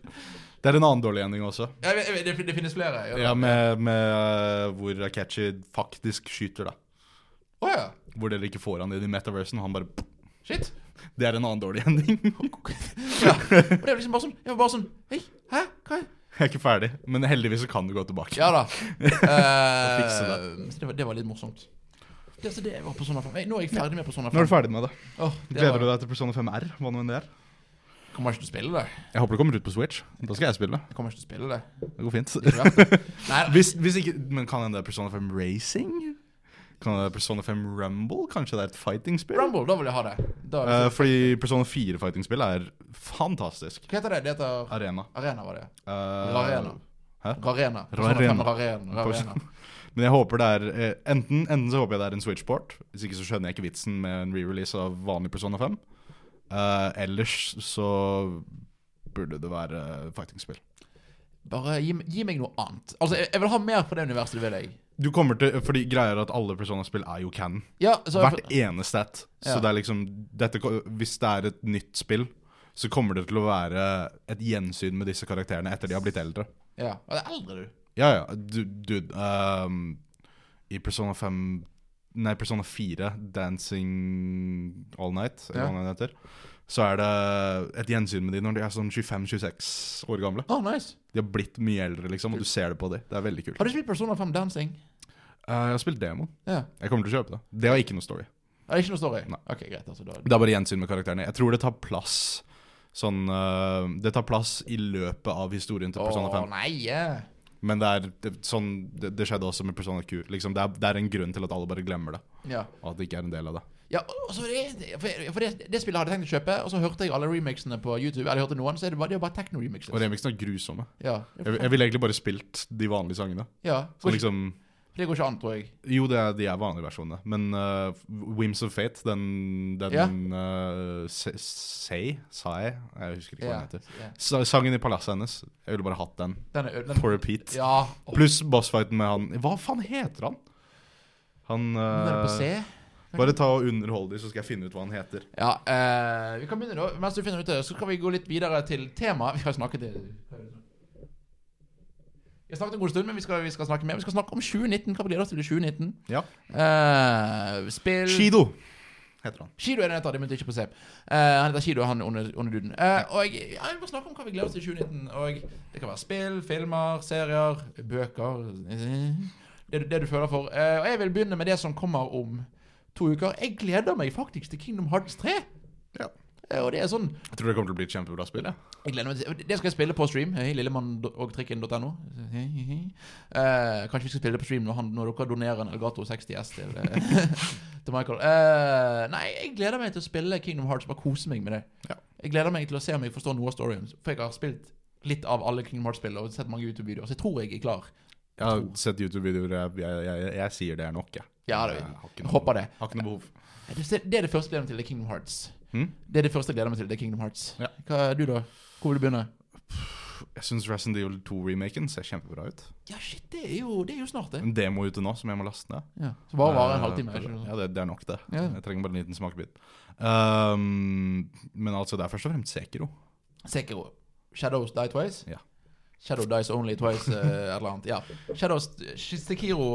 Speaker 2: Det er en annen dårlig ending også.
Speaker 1: Jeg vet- jeg vet, det, fin- det finnes flere. gjør det?
Speaker 2: Ja, med, med eh, hvor Akechi faktisk skyter, da.
Speaker 1: Å ja.
Speaker 2: Hvor dere ikke får han inn i metaversen, og han bare
Speaker 1: Shit.
Speaker 2: Det er en annen dårlig ending.
Speaker 1: ja. Og det var liksom bare sånn Jeg var bare sånn Hei, hæ? Hva? er-"
Speaker 2: Jeg er ikke ferdig, men heldigvis så kan du gå tilbake.
Speaker 1: Ja da. Eh,
Speaker 2: fikse
Speaker 1: så det, var, det var litt morsomt. Det, altså, det var Persona 5. Nei, Nå er jeg ferdig med Persona 5.
Speaker 2: Nå er du ferdig med det.
Speaker 1: Åh, det
Speaker 2: Gleder
Speaker 1: var-
Speaker 2: du deg til Persona 5 R? Hva nå enn det er?
Speaker 1: Kommer ikke til å spille det.
Speaker 2: Jeg håper det kommer ut på Switch. Da skal jeg spille.
Speaker 1: Jeg kommer ikke til å spille det.
Speaker 2: Det går fint.
Speaker 1: Det er ikke verdt det. Nei,
Speaker 2: Hvis, hvis ikke, men kan hende det er Persona 5 Racing? Kan det være Persona 5 Rumble? Kanskje det er et fighting-spill?
Speaker 1: Rumble, da vil jeg ha det. Da,
Speaker 2: Eh, fordi Persona 4 fighting-spill er fantastisk.
Speaker 1: hva heter det? Det heter
Speaker 2: Arena.
Speaker 1: Arena, var det.
Speaker 2: Eh,
Speaker 1: Rarena.
Speaker 2: hæ?
Speaker 1: Rarena. Persona 5
Speaker 2: Rarena.
Speaker 1: Rarena. Rarena.
Speaker 2: Men jeg håper det er eh, enten, enten så håper jeg det er en Switch-port, hvis ikke så skjønner jeg ikke vitsen med en re-release av vanlig Persona 5. Eh, ellers så burde det være fighting-spill.
Speaker 1: Bare gi, gi meg noe annet. Altså, jeg, jeg vil ha mer på det universet, det vil jeg.
Speaker 2: Du kommer til, fordi greier at alle Persona-spill er jo canon.
Speaker 1: Ja, så
Speaker 2: Hvert eneste et. Så
Speaker 1: Ja.
Speaker 2: det er liksom dette, ko- Hvis det er et nytt spill, så kommer det til å være et gjensyn med disse karakterene etter de har blitt eldre.
Speaker 1: ja. Ja, det er eldre, du.
Speaker 2: Ja, ja. Du, dude ehm, I Persona 5 Nei, Persona 4, 'Dancing All Night', eller
Speaker 1: Ja.
Speaker 2: hva den heter, så er det et gjensyn med de når de er sånn 25-26 år gamle.
Speaker 1: Å, nice.
Speaker 2: De har blitt mye eldre, liksom, og du ser det på dem. Det er veldig kult.
Speaker 1: Har du spilt Persona 5 Dancing?
Speaker 2: Eh, jeg har spilt demoen.
Speaker 1: Ja.
Speaker 2: Jeg kommer til å kjøpe det. Det har ikke noe story.
Speaker 1: Er det ikke noe story?
Speaker 2: Nei.
Speaker 1: Ok, greit. Altså, da,
Speaker 2: Det er bare gjensyn med karakterene. Jeg tror det tar plass sånn eh, Det tar plass i løpet av historien til Persona 5.
Speaker 1: Å, nei! ja.
Speaker 2: Men det er det, sånn det, det skjedde også med Persona Q. Liksom, det, er, det er en grunn til at alle bare glemmer det.
Speaker 1: Ja.
Speaker 2: Og at det ikke er en del av det.
Speaker 1: Ja, og så det, for for det, det spillet hadde jeg tenkt å kjøpe, og så hørte jeg alle remixene på YouTube. Eller jeg hørte noen, så er det bare, det er bare
Speaker 2: Og
Speaker 1: techno-remixes.
Speaker 2: remixene er grusomme.
Speaker 1: Ja.
Speaker 2: Jeg, jeg ville egentlig bare spilt de vanlige sangene.
Speaker 1: ja.
Speaker 2: Så
Speaker 1: Går ikke,
Speaker 2: liksom
Speaker 1: det går ikke an, tror jeg.
Speaker 2: Jo, det er, de er vanlige versjonene, men eh, Whims of Fate, den, den
Speaker 1: Ja.
Speaker 2: eh, Se- Sei? Sai? Jeg husker ikke
Speaker 1: Ja.
Speaker 2: hva den heter.
Speaker 1: ja.
Speaker 2: Sa- Sangen i palasset hennes. Jeg ville bare hatt den
Speaker 1: Den er ø- den,
Speaker 2: på repeat.
Speaker 1: Ja.
Speaker 2: Pluss bossfighten med han Hva faen heter han? Han
Speaker 1: Den er på C.
Speaker 2: eh, Bare ta og underhold dem, så skal jeg finne ut hva han heter.
Speaker 1: Ja, eh, vi kan begynne nå. Mens du finner ut det, så kan vi gå litt videre til temaet. Vi har snakket Vi har snakket en god stund, men sånn? vi skal, vi skal snakke mer. Vi skal snakke om 2019. Hva blir det til 2019?
Speaker 2: Ja.
Speaker 1: Eh, spill
Speaker 2: Shido heter han.
Speaker 1: Shido er den heter, det begynte ikke på C. Eh, han heter Shido, han onde onde duden. Eh, og jeg, ja, jeg vil bare snakke om hva vi gleder oss til i 2019. Og det kan være spill, filmer, serier, bøker eh, Det, du- det du føler for. Eh, og jeg vil begynne med det som kommer om to uker. Jeg gleder meg faktisk til Kingdom Hearts 3.
Speaker 2: Ja.
Speaker 1: Eh, og det er sånn
Speaker 2: Jeg tror det kommer til å bli et kjempebra spill. jeg.
Speaker 1: jeg gleder meg til Det skal jeg spille på stream. eh, i Lillemann.ogtrikken.no. Eh, kanskje vi skal spille det på stream når, han, når dere donerer en Elgato 60S til, eh, til Michael. Eh, nei, jeg gleder meg til å spille Kingdom Hearts. Bare kose meg med det.
Speaker 2: Ja.
Speaker 1: Jeg gleder meg til å se om jeg forstår noe av storyen. For jeg har spilt litt av alle Kingdom Hearts-spill og sett mange YouTube-videoer, så jeg tror jeg er klar.
Speaker 2: Jeg har sett YouTube-videoer. Jeg, jeg, jeg, jeg sier det er nok, jeg.
Speaker 1: Ja, det-
Speaker 2: Jeg har ikke
Speaker 1: Jeg
Speaker 2: noe-
Speaker 1: håper det.
Speaker 2: Har ikke noe behov.
Speaker 1: Det det er det første jeg gleder meg til. Det er Kingdom Hearts.
Speaker 2: Mm?
Speaker 1: Det er det første jeg gleder meg til. Det er Kingdom Hearts.
Speaker 2: Ja.
Speaker 1: Hva er du, da? Hvor vil du begynne?
Speaker 2: Jeg syns Resident Evil 2-remaken ser kjempebra ut.
Speaker 1: Ja, shit, det er jo, det er jo snart, det.
Speaker 2: En demo ute nå som jeg må laste ned.
Speaker 1: Ja. Så bare vare en
Speaker 2: Mm. Eh,
Speaker 1: halvtime. er ikke det?
Speaker 2: Ja, det, det er nok, det.
Speaker 1: Ja.
Speaker 2: Jeg trenger bare en liten smakebit. Ehm, men altså, det er først og fremst Sekiro.
Speaker 1: Sekiro. Shadows die twice?
Speaker 2: Ja.
Speaker 1: Shadow dies only twice, eh, eller annet. Ja. Shadows eh, Sekiro,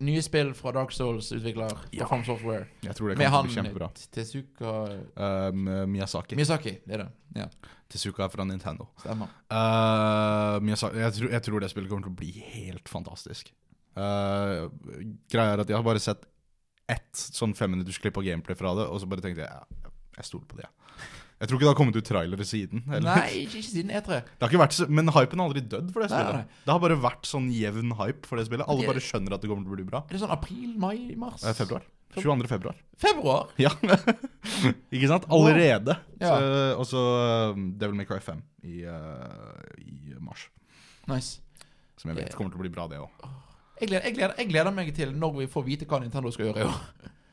Speaker 1: nye spill fra Dark Souls-utvikler
Speaker 2: Ja.
Speaker 1: fra From Software.
Speaker 2: Jeg tror det
Speaker 1: Med
Speaker 2: kommer
Speaker 1: han
Speaker 2: til å bli kjempebra.
Speaker 1: Tezuka
Speaker 2: Ehm, Miyazaki.
Speaker 1: Miyazaki, det er det. Ja,
Speaker 2: Tezuka er fra Nintendo.
Speaker 1: stemmer.
Speaker 2: Eh, Miyazaki, jeg, tror, jeg tror det spillet kommer til å bli helt fantastisk. Eh, greia er at jeg har bare sett ett sånn femminuttersklipp av gameplay fra det, og så bare tenkte jeg ja, jeg stoler på det. jeg. Jeg tror ikke det har kommet ut trailere siden. Eller?
Speaker 1: Nei, ikke, ikke siden E E3.
Speaker 2: Det har ikke vært så, men hypen har aldri dødd for det
Speaker 1: Nei,
Speaker 2: spillet.
Speaker 1: nei.
Speaker 2: Det har bare vært sånn jevn hype for det spillet. Alle
Speaker 1: Det-
Speaker 2: bare skjønner at det kommer til å bli bra.
Speaker 1: Er det sånn april, mai, mars?
Speaker 2: Eh, februar. 22. februar.
Speaker 1: Februar?
Speaker 2: Ja. ikke sant? Allerede.
Speaker 1: Ja.
Speaker 2: Så- Og så eh, Devil May Cry 5 i, eh, i mars.
Speaker 1: Nice.
Speaker 2: Som jeg vet kommer til å bli bra, det òg.
Speaker 1: Jeg gleder, jeg, gleder, jeg gleder meg til når vi får vite hva Nintendo skal gjøre i år.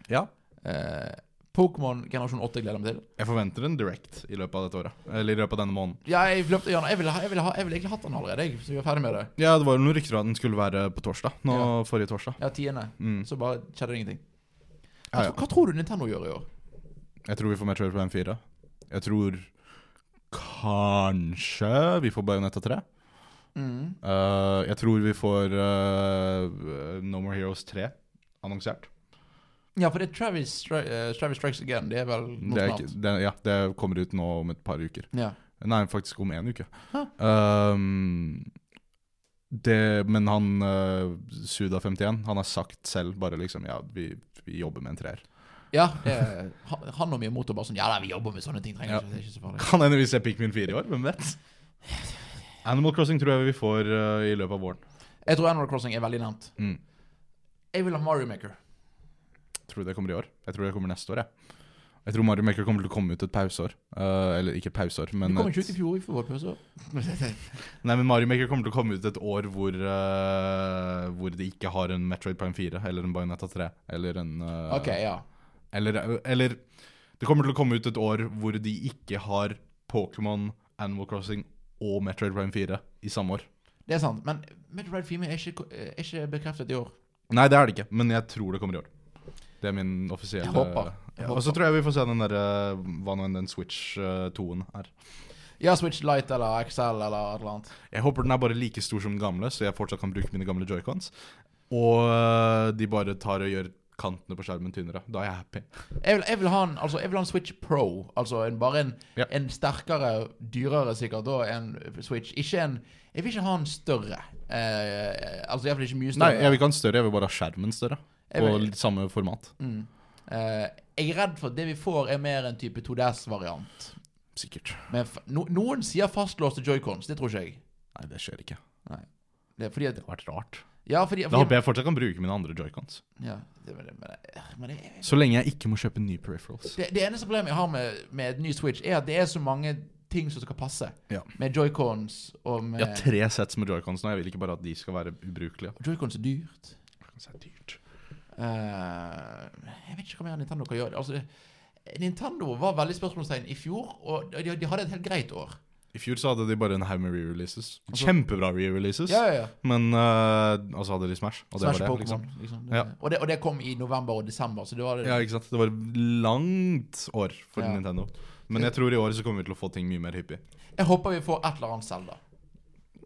Speaker 2: Ja.
Speaker 1: Eh, Pokémon generasjon 8 gleder jeg meg til.
Speaker 2: Jeg forventer en direct i løpet av dette året. Eller i løpet av denne måneden.
Speaker 1: Ja, jeg, løpte, gjerne- jeg, ville, ha- jeg, ville ha, jeg ville egentlig hatt den allerede, jeg, så vi er ferdig med det.
Speaker 2: Ja, det var jo noen rykter om at den skulle være på torsdag. Nå forrige torsdag.
Speaker 1: Ja, tiende.
Speaker 2: Mm.
Speaker 1: Så bare skjedde det ingenting. Hva,
Speaker 2: Ja, ja.
Speaker 1: tro- hva tror du Nintendo gjør i år?
Speaker 2: Jeg tror vi får Metroid Prime 4. Jeg tror kanskje vi får Bayonetta 3. Eh, jeg tror vi får eh, No More Heroes 3 annonsert.
Speaker 1: Ja, for det er Travis, Stri eh, Travis Strikes Again. Det er vel noe
Speaker 2: Det, er
Speaker 1: snart.
Speaker 2: ikke, det, ja, det kommer ut nå om et par uker.
Speaker 1: Ja.
Speaker 2: Nei, faktisk om én uke.
Speaker 1: Hæ?
Speaker 2: Ehm, det, men han eh, Suda51 Han har sagt selv bare liksom Ja, vi, vi jobber med en treer.
Speaker 1: ja det er, han- han og min motor bare sånn Ja da, vi jobber med sånne ting. Trenger
Speaker 2: Ja.
Speaker 1: ikke, det er ikke så farlig.
Speaker 2: Kan hende vi ser Pikmin 4 i år, hvem vet? Animal Crossing tror jeg vi får eh, i løpet av våren.
Speaker 1: Jeg tror Animal Crossing er veldig nevnt.
Speaker 2: Mm.
Speaker 1: Jeg vil ha Mario Maker.
Speaker 2: Tror du det kommer i år? Jeg tror det kommer neste år, jeg. Jeg tror Mario Maker kommer til å komme ut et pauseår. Eh, eller ikke pauseår,
Speaker 1: Du
Speaker 2: men
Speaker 1: kom ikke ut i
Speaker 2: et,
Speaker 1: fjor, vi får bare pøse.
Speaker 2: Nei, men Mario Maker kommer til å komme ut et år hvor, eh, hvor de ikke har en Metroid Prime 4 eller en Bayonetta 3 eller en eh,
Speaker 1: OK, ja.
Speaker 2: Eller, eller det kommer til å komme ut et år hvor de ikke har Pokémon Animal Crossing og Metroid Prime 4 i samme år.
Speaker 1: Det er sant. Men Metroid Female er ikke, er ikke bekreftet i år.
Speaker 2: Nei, det er det ikke, men jeg tror det kommer i år. Det er min offisielle
Speaker 1: Jeg håper. Jeg
Speaker 2: Ja, Og så
Speaker 1: håper.
Speaker 2: tror jeg vi får se den derre Hva nå enn den Switch 2-en er.
Speaker 1: Ja, Switch Light eller XL eller et eller annet.
Speaker 2: Jeg håper den er bare like stor som den gamle, så jeg fortsatt kan bruke mine gamle joycons. Og øh, de bare tar og gjør kantene på skjermen tynnere. Da er jeg happy.
Speaker 1: Jeg vil, jeg vil, ha, en, altså, jeg vil ha en Switch Pro. Altså en, bare en,
Speaker 2: Ja.
Speaker 1: en sterkere, dyrere sikkert da enn Switch. Ikke en Jeg vil ikke ha en større. Eh, altså iallfall ikke mye
Speaker 2: Nei,
Speaker 1: større.
Speaker 2: jeg vil ikke ha den større, jeg vil bare ha skjermen større.
Speaker 1: Jeg
Speaker 2: Og
Speaker 1: vil-
Speaker 2: litt samme format.
Speaker 1: Mm. Eh, jeg er redd for at det vi får, er mer en type 2DS-variant.
Speaker 2: Sikkert.
Speaker 1: Men f no, noen sier fastlåste joycons. Det tror ikke jeg.
Speaker 2: Nei, det skjer ikke. Det
Speaker 1: Det er fordi at
Speaker 2: har vært rart.
Speaker 1: Ja, fordi,
Speaker 2: Da
Speaker 1: fordi
Speaker 2: håper jeg fortsatt kan bruke mine andre joycons.
Speaker 1: ja, det, men, det- men, det- men det,
Speaker 2: Så lenge jeg ikke må kjøpe nye peripherals.
Speaker 1: det, det eneste problemet jeg har med, med et ny Switch, er at det er så mange ting som skal passe.
Speaker 2: Ja.
Speaker 1: Med joycons og med
Speaker 2: Jeg har tre sets med joycons nå, jeg vil ikke bare at de skal være ubrukelige.
Speaker 1: Joycons er dyrt.
Speaker 2: Det er dyrt.
Speaker 1: Eh, jeg vet ikke hva mer Nintendo kan gjøre. Altså, Nintendo var veldig spørsmålstegn i fjor, og de, de hadde et helt greit år.
Speaker 2: I fjor så hadde de bare en haug med re-releases.
Speaker 1: Altså-
Speaker 2: Kjempebra re-releases.
Speaker 1: Ja, ja, ja.
Speaker 2: Men øh, Og så hadde de Smash, og det
Speaker 1: Smash
Speaker 2: var det,
Speaker 1: Pokémon.
Speaker 2: liksom.
Speaker 1: Liksom.
Speaker 2: Ja.
Speaker 1: Og, det, og det kom i november og desember, så det var
Speaker 2: Ja, ikke sant? Det var et langt år for
Speaker 1: Ja.
Speaker 2: Nintendo. Men jeg tror i år så kommer vi til å få ting mye mer hyppig.
Speaker 1: Jeg håper vi får et eller annet Zelda.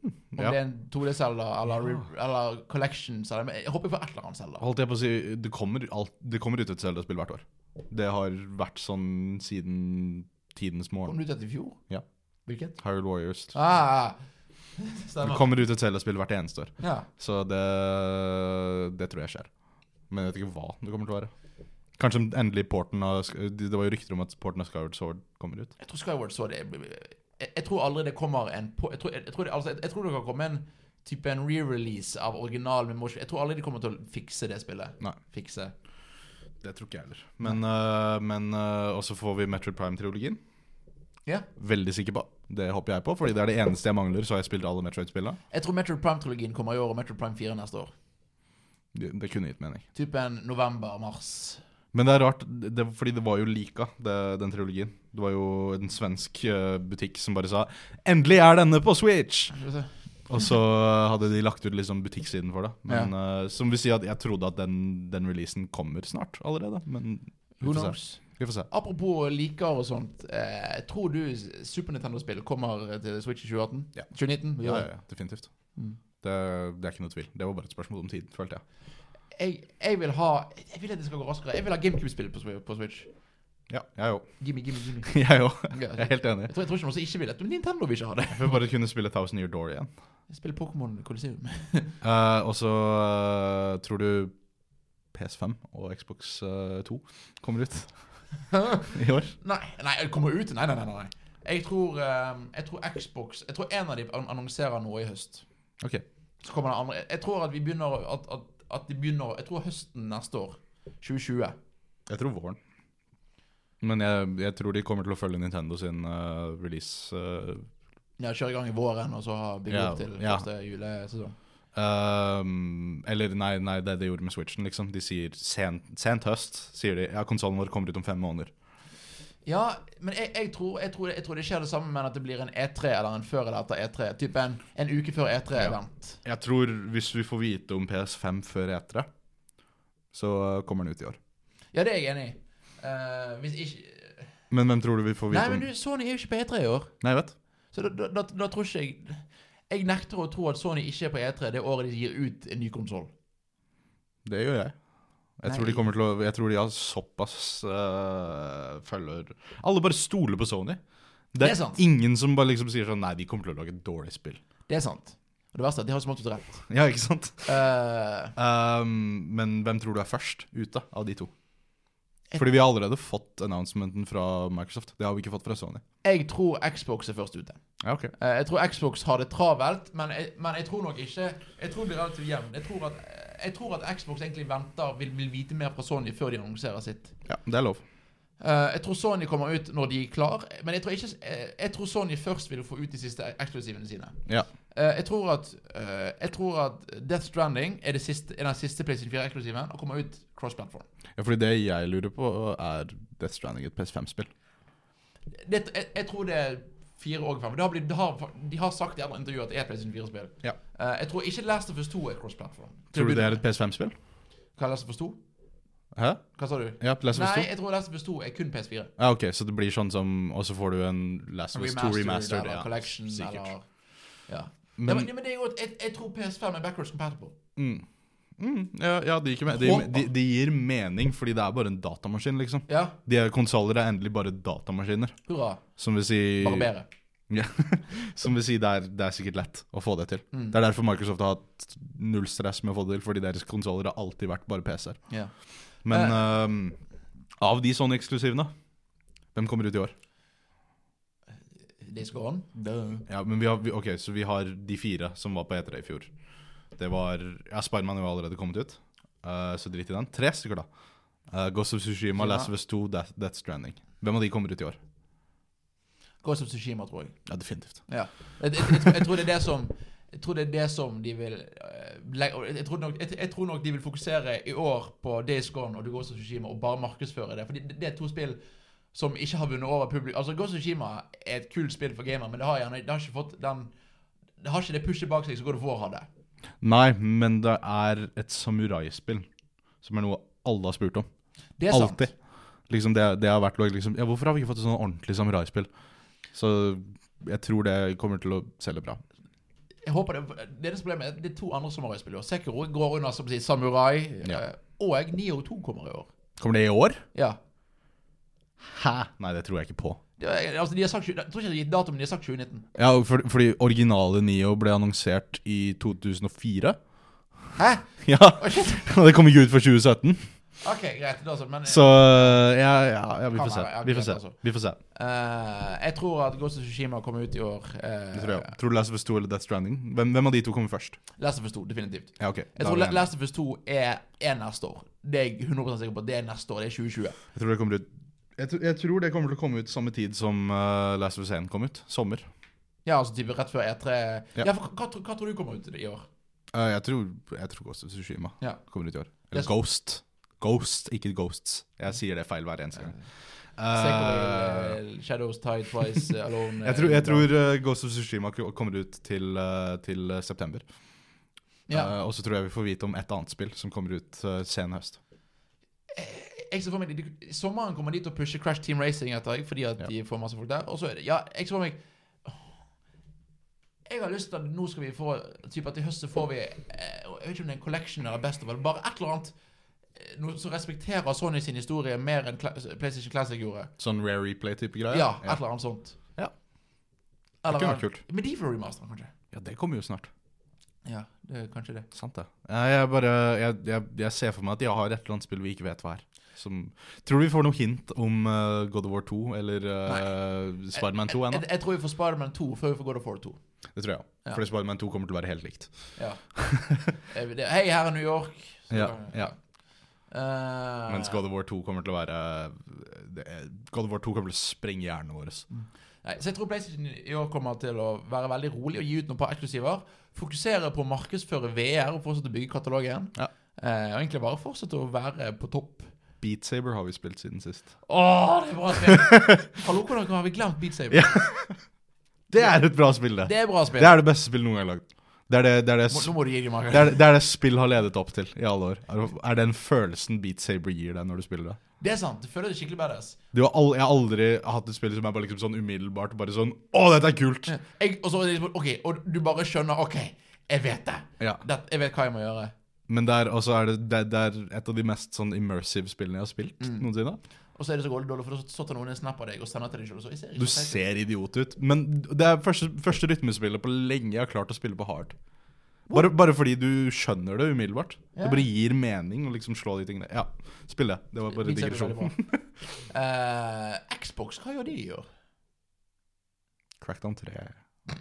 Speaker 1: Om
Speaker 2: Ja.
Speaker 1: det er en 2D-Zelda eller, re- eller Collection Zelda. Men jeg håper vi får et eller annet Zelda.
Speaker 2: Holdt jeg på å si, det kommer, alt, det kommer ut et Zelda-spill hvert år. Det har vært sånn siden tidenes
Speaker 1: Kom
Speaker 2: morgen.
Speaker 1: det ut etter i fjor?
Speaker 2: Ja.
Speaker 1: Hvilket?
Speaker 2: Hyrule Warriors.
Speaker 1: Ah,
Speaker 2: Det
Speaker 1: stemmer.
Speaker 2: kommer ut et Zelda-spill hvert eneste år.
Speaker 1: Ja.
Speaker 2: Så det, det tror jeg skjer. Men jeg vet ikke hva det kommer til å være. Kanskje endelig porten av Det var jo rykter om at porten av Skyward Sword kommer ut.
Speaker 1: Jeg tror Skyward Sword er jeg, jeg tror aldri det kommer en på- Jeg tror, jeg, jeg tror, det, altså, jeg, jeg tror det kan komme en type en re-release av originalen med motion. Jeg tror aldri de kommer til å fikse det spillet.
Speaker 2: Nei.
Speaker 1: Fikse.
Speaker 2: Det tror ikke jeg heller. Men, øh, men øh, Og så får vi Metroid Prime-trilogien.
Speaker 1: Ja.
Speaker 2: Veldig sikker på. Det håper jeg på, fordi det er det eneste jeg mangler. Så har jeg spilt alle Metroid-spillene.
Speaker 1: Jeg tror Metroid Prime-trilogien kommer i år, og Metroid Prime 4 neste år.
Speaker 2: Det, det kunne gitt mening.
Speaker 1: Type en november-mars.
Speaker 2: Men det er rart, det, det- fordi det var jo Lika, det, den trilogien. Det var jo en svensk eh, butikk som bare sa 'Endelig er denne på Switch!'
Speaker 1: Skal vi se.
Speaker 2: Og så hadde de lagt ut liksom butikksiden for det. Men, eh, som vil si at jeg trodde at den, den releasen kommer snart allerede. Men
Speaker 1: Who
Speaker 2: vi får se.
Speaker 1: knows?
Speaker 2: Vi får se.
Speaker 1: Apropos liker og sånt. Eh, tror du Super Nintendo-spill kommer til Switch i 2018?
Speaker 2: Ja.
Speaker 1: 2019? Vi gjør
Speaker 2: Ja,
Speaker 1: det.
Speaker 2: ja, ja, definitivt.
Speaker 1: Mm.
Speaker 2: Det, det er ikke noe tvil. Det var bare et spørsmål om tid, følte jeg.
Speaker 1: Jeg, jeg vil ha Jeg vil at det skal gå raskere. Jeg vil ha GameCube-spill på, Swi- på Switch.
Speaker 2: Ja, jeg òg.
Speaker 1: Gimme, gimme, gimme.
Speaker 2: Jeg òg.
Speaker 1: Ja,
Speaker 2: Jeg er helt enig.
Speaker 1: Jeg tror, jeg tror ikke noen som ikke vil det. Men Nintendo vil ikke ha det.
Speaker 2: Jeg vil bare kunne spille Thousand Year Door igjen.
Speaker 1: Spille Pokémon Coliseum.
Speaker 2: Eh, og så eh, tror du PS5 og Xbox eh, 2 kommer ut i år?
Speaker 1: nei, nei, det kommer ut. Nei, nei, nei. nei. Jeg tror, eh, jeg tror Xbox Jeg tror en av de an- annonserer noe i høst.
Speaker 2: Ok.
Speaker 1: Så kommer den andre. Jeg tror at vi begynner å- at, at, at de begynner Jeg tror høsten neste år. 2020.
Speaker 2: Jeg tror våren. Men jeg, jeg tror de kommer til å følge Nintendo sin eh, release. eh,
Speaker 1: Ja, kjøre i gang i våren, og så ha bygge
Speaker 2: Ja,
Speaker 1: opp til
Speaker 2: ja.
Speaker 1: første julesesong.
Speaker 2: ehm, eller nei, nei, det de gjorde med Switchen, liksom. De sier sent, sent høst, sier de. Ja, konsollen vår kommer ut om fem måneder.
Speaker 1: Ja, men jeg, jeg, tror, jeg, tror, jeg tror det skjer det samme, men at det blir en E3 eller en før eller etter E3. Type en, en uke før E E3-event.
Speaker 2: Jeg tror hvis vi får vite om PS5 før E3, så eh, kommer den ut i år.
Speaker 1: Ja. det er jeg enig i. Eh, hvis ikke
Speaker 2: Men hvem tror du vi får
Speaker 1: Nei,
Speaker 2: vite
Speaker 1: men
Speaker 2: om
Speaker 1: du, Sony er jo ikke på E3 i år.
Speaker 2: Nei, vet.
Speaker 1: Så da, da, da, da tror ikke jeg Jeg nekter å tro at Sony ikke er på E3 det året de gir ut en ny konsoll.
Speaker 2: Det gjør jeg. Jeg tror,
Speaker 1: Nei.
Speaker 2: de kommer til å, jeg tror de har såpass øh, følger Alle bare stoler på Sony. Det er,
Speaker 1: er sant.
Speaker 2: ingen som bare liksom sier sånn Nei, de kommer til å lage et dårlig spill.
Speaker 1: Det er sant. Og det verste er at de har smått ut rett.
Speaker 2: Ja, ikke sant?
Speaker 1: Eh,
Speaker 2: Um, men hvem tror du er først ute av de to?
Speaker 1: Et-
Speaker 2: Fordi vi har allerede fått announcementen fra Microsoft. Det har vi ikke fått fra Sony.
Speaker 1: jeg tror Xbox er først ute.
Speaker 2: Ja, ok.
Speaker 1: Eh, jeg tror Xbox har det travelt, men jeg, men jeg tror nok ikke Jeg tror det blir relativt jevnt. Jeg, tror at- jeg tror at Xbox egentlig venter, vil, vil vite mer fra Sony før de annonserer sitt.
Speaker 2: Ja, Det er lov.
Speaker 1: Eh, jeg tror Sony kommer ut når de er klar, men jeg tror, ikke, jeg, jeg tror Sony først vil få ut de siste eksklusivene sine.
Speaker 2: Ja.
Speaker 1: Eh, jeg, tror at, eh, jeg tror at Death Stranding er, det siste, er den siste PlayStation 4-eksklusiven og kommer ut cross-platform.
Speaker 2: ja, fordi det jeg lurer på, er Death Stranding et PS5-spill?
Speaker 1: Det- Jeg, jeg tror det Fire og fem. Det har blitt, det har, de har sagt i andre intervjuer at det er et PlayStation 4-spill.
Speaker 2: Ja.
Speaker 1: jeg tror ikke Last of Us 2 er cross-platform.
Speaker 2: Tror du det er et PS5-spill?
Speaker 1: Hva er Last of Us 2?
Speaker 2: Hæ?
Speaker 1: Hva sa du?
Speaker 2: Ja, Last of Us
Speaker 1: Nei,
Speaker 2: 2?
Speaker 1: jeg tror Last of Us 2 er kun PS4.
Speaker 2: Ja, ok, så det blir sånn som Og så får du en Last of Us 2 remastered.
Speaker 1: eller
Speaker 2: Ja,
Speaker 1: Collection
Speaker 2: sikkert.
Speaker 1: eller ja. ja,
Speaker 2: Men
Speaker 1: men, men det er jo et, jeg, jeg tror PS5 er backwards compatible.
Speaker 2: mm, mm, ja, ja, det gir, de, de, de gir mening, fordi det er bare en datamaskin, liksom.
Speaker 1: Ja,
Speaker 2: De her konsoller er endelig bare datamaskiner.
Speaker 1: hurra.
Speaker 2: Som vil si
Speaker 1: Bare bedre.
Speaker 2: Ja. Som vil si, det er, det er sikkert lett å få det til. Det er derfor Microsoft har hatt null stress med å få det til, fordi deres konsoller har alltid vært bare PC-er.
Speaker 1: Ja.
Speaker 2: Men øhm, av de sånne eksklusivene, hvem kommer ut i år?
Speaker 1: Days Gone. Duh.
Speaker 2: Ja, men vi har, vi, ok, Så vi har de fire som var på E3 i fjor. Det var Ja, Spiderman er jo allerede kommet ut, øh, så drit i den. Tre stykker, da. Uh, Ghost of Tsushima,
Speaker 1: Ja.
Speaker 2: Last of Us 2, Death, Death Stranding. Hvem av de kommer ut i år?
Speaker 1: Ghost of Tsushima, tror jeg.
Speaker 2: Ja, definitivt.
Speaker 1: Ja. Jeg, jeg, jeg, tror- jeg tror det er det som jeg tror det er det som de vil eh, legge, og jeg, tror nok, jeg, jeg tror nok de vil fokusere i år på Days Gone og Ghost of Tsushima og bare markedsføre det. Fordi det, det er to spill som ikke har vunnet over publikum. Altså, Ghost of Tsushima er et kult spill for gamer, men det har, gjerne, det har ikke fått den Det har ikke det pushet bak seg som God of War hadde.
Speaker 2: Nei, men det er et samuraispill, som er noe alle har spurt om.
Speaker 1: Det er sant.
Speaker 2: Alltid. Liksom det, det har vært liksom, ja, Hvorfor har vi ikke fått et sånn ordentlig samuraispill? Så jeg tror det kommer til å selge bra.
Speaker 1: Jeg håper det, det er det som problemet er at det er to andre samuraispill i år. Sekiro går under som å si Samurai,
Speaker 2: Ja.
Speaker 1: eh, og Nio 2 kommer i år.
Speaker 2: Kommer det i år?
Speaker 1: Ja.
Speaker 2: Hæ? Nei, det tror jeg ikke på.
Speaker 1: Det er- Altså, de har sagt, tjue- jeg tror ikke de har gitt dato, men de har sagt 2019.
Speaker 2: Ja, for, Fordi originale Nio ble annonsert i 2004.
Speaker 1: Hæ?
Speaker 2: Ja,
Speaker 1: Å, shit.
Speaker 2: Og det kom ikke ut for 2017.
Speaker 1: Ok, greit. Da, så, men
Speaker 2: Så eh, ja, ja, ja vi
Speaker 1: Kan
Speaker 2: får se.
Speaker 1: være, ja,
Speaker 2: Vi får
Speaker 1: greit,
Speaker 2: se.
Speaker 1: altså.
Speaker 2: Vi får se.
Speaker 1: eh, jeg tror at Ghost of Tsushima kommer ut i år. Uh,
Speaker 2: Det tror, jeg. tror du Last of Us 2 eller Death Stranding? Hvem, hvem av de to kommer først?
Speaker 1: Last of Us 2, definitivt.
Speaker 2: Ja, ok.
Speaker 1: Jeg
Speaker 2: Da
Speaker 1: tror
Speaker 2: er vi
Speaker 1: La-
Speaker 2: enige.
Speaker 1: Last of Us 2 er, er neste år. Det er jeg 100 sikker på. Det er neste år. Det er 2020.
Speaker 2: Jeg tror det kommer ut jeg, tr- jeg tror det kommer til å komme ut samme tid som eh, Last of Us 1 kom ut. Sommer.
Speaker 1: Ja, altså type rett før E3. Ja,
Speaker 2: Ja.
Speaker 1: for hva, hva, hva tror du kommer ut i år?
Speaker 2: Eh, jeg, tror, jeg tror Ghost of Tsushima
Speaker 1: Ja.
Speaker 2: kommer ut i år.
Speaker 1: Det
Speaker 2: Eller
Speaker 1: er-
Speaker 2: Ghost. Ghost, ikke Ghosts. Jeg sier det feil hver eneste gang. Eh,
Speaker 1: Sekiro, eh, Shadows Tide Twice, eh, Alone eh,
Speaker 2: jeg tror, jeg tror eh, Ghost of Tsushima k- kommer ut til, eh, til eh, september.
Speaker 1: ja.
Speaker 2: Eh, og så tror jeg vi får vite om et annet spill som kommer ut eh, sen høst.
Speaker 1: jeg ser for meg, de, de, Sommeren kommer de til å pushe Crash Team Racing etter jeg, fordi at
Speaker 2: Ja.
Speaker 1: de får masse folk der. Og så er det Ja, jeg ser for meg Jeg har lyst til at nå skal vi få typ at i høst så får vi eh, Jeg vet ikke om det er en collection eller best of, eller bare et eller annet eh, noe som respekterer Sony sin historie mer enn Cla PlayStation Classic gjorde.
Speaker 2: Sånn rare replay-type
Speaker 1: Ja,
Speaker 2: greier?
Speaker 1: et
Speaker 2: ja.
Speaker 1: eller annet sånt.
Speaker 2: Ja.
Speaker 1: Eller,
Speaker 2: Det kunne vært kult.
Speaker 1: Medieval remaster, kanskje.
Speaker 2: ja, det kommer jo snart.
Speaker 1: Ja, det er kanskje det.
Speaker 2: Sant det. Nei, Jeg, bare, jeg, jeg, jeg ser for meg at de har et eller annet spill vi ikke vet hva er. Som, tror du vi får noe hint om eh, God of War 2 eller uh, Spiderman 2 ennå?
Speaker 1: Jeg, jeg tror vi får Spiderman 2 før vi får God of War 2.
Speaker 2: Det tror jeg òg.
Speaker 1: Ja.
Speaker 2: Fordi Spiderman 2 kommer til å være helt likt.
Speaker 1: Ja. Eh, det- Hei, her er New York. Så-
Speaker 2: Ja, ja.
Speaker 1: Eh,
Speaker 2: Mens God of War 2 kommer til å være det er, God of War 2 kommer til å sprenge hjernen vår.
Speaker 1: Nei, så jeg tror PlayStation i år kommer til å være veldig rolig og gi ut noen par eksklusiver. Fokusere på å markedsføre VR og fortsette å bygge katalogen.
Speaker 2: Ja.
Speaker 1: Eh, og egentlig bare fortsette å være på topp.
Speaker 2: Beat Saber har vi spilt siden sist.
Speaker 1: Å, det er bra spill! Hallo, hvordan har vi glemt Beat Saber?
Speaker 2: Ja. Det er et bra spill, det.
Speaker 1: Det er bra spill.
Speaker 2: Det er det beste spillet noen gang lagd. Det er det, det, er det,
Speaker 1: Må,
Speaker 2: s-
Speaker 1: nå må du gi dem,
Speaker 2: det,
Speaker 1: Markus.
Speaker 2: er, det, er det spill har ledet opp til i alle år. Er, er den følelsen Beat Saber gir deg når du spiller det?
Speaker 1: Det er sant. Du føler deg skikkelig badass.
Speaker 2: Du har al jeg har aldri hatt et spill som er bare liksom sånn umiddelbart bare sånn Å, dette er kult!
Speaker 1: Jeg, og så er det liksom, ok, og du bare skjønner OK, jeg vet det.
Speaker 2: Ja.
Speaker 1: det jeg vet hva jeg må gjøre.
Speaker 2: Men det er, også er det, det, det er et av de mest sånn immersive spillene jeg har spilt
Speaker 1: Mm.
Speaker 2: noensinne.
Speaker 1: Og så er det så dårlig, for så tar noen en snap av deg og sender til deg sjøl. Jeg ser ikke
Speaker 2: Du
Speaker 1: hva jeg
Speaker 2: ser idiot ut. Men det er første, første rytmespillet på lenge jeg har klart å spille på hard. Bare, bare fordi du skjønner det umiddelbart.
Speaker 1: Ja.
Speaker 2: Det bare gir mening å liksom slå de tingene. Ja, spill det. Det var bare
Speaker 1: Beat Saber er
Speaker 2: digresjon.
Speaker 1: veldig bra. Eh, Xbox, hva gjør de i år?
Speaker 2: Crackdown eh, 3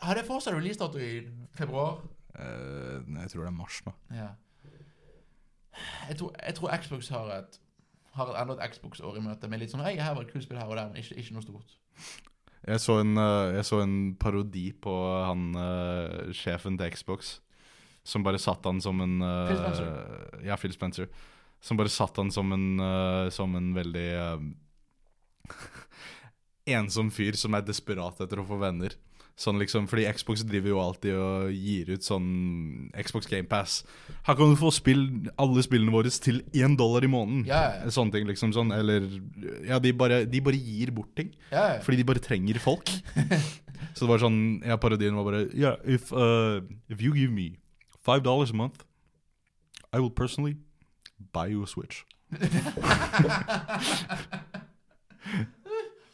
Speaker 1: Har det fortsatt releasedato i februar?
Speaker 2: Eh, nei, Jeg tror det er mars nå.
Speaker 1: Ja. Jeg tror, jeg tror Xbox har et har et enda et Xbox-år i møte med litt sånn Hei, her var et kult spill her og der, men ikke, ikke noe stort.
Speaker 2: Jeg så en, eh, jeg så en parodi på han eh, sjefen til Xbox, som bare satt han som en eh,
Speaker 1: Phil Spencer.
Speaker 2: Ja, Phil Spencer. Som bare satt han som en, eh, som en veldig eh, ensom fyr som er desperat etter å få venner. Sånn liksom, fordi Xbox driver jo alltid og gir ut sånn Xbox GamePass. Her kan du få spill, alle spillene våre til én dollar i måneden.
Speaker 1: Ja, ja, ja.
Speaker 2: Sånne ting liksom sånn, eller Ja, de bare, de bare gir bort ting.
Speaker 1: Ja, ja.
Speaker 2: Fordi de bare trenger folk. Så det var sånn Ja, parodien var bare Yeah, if, uh, if you give me five dollars a month, I will personally buy you a switch.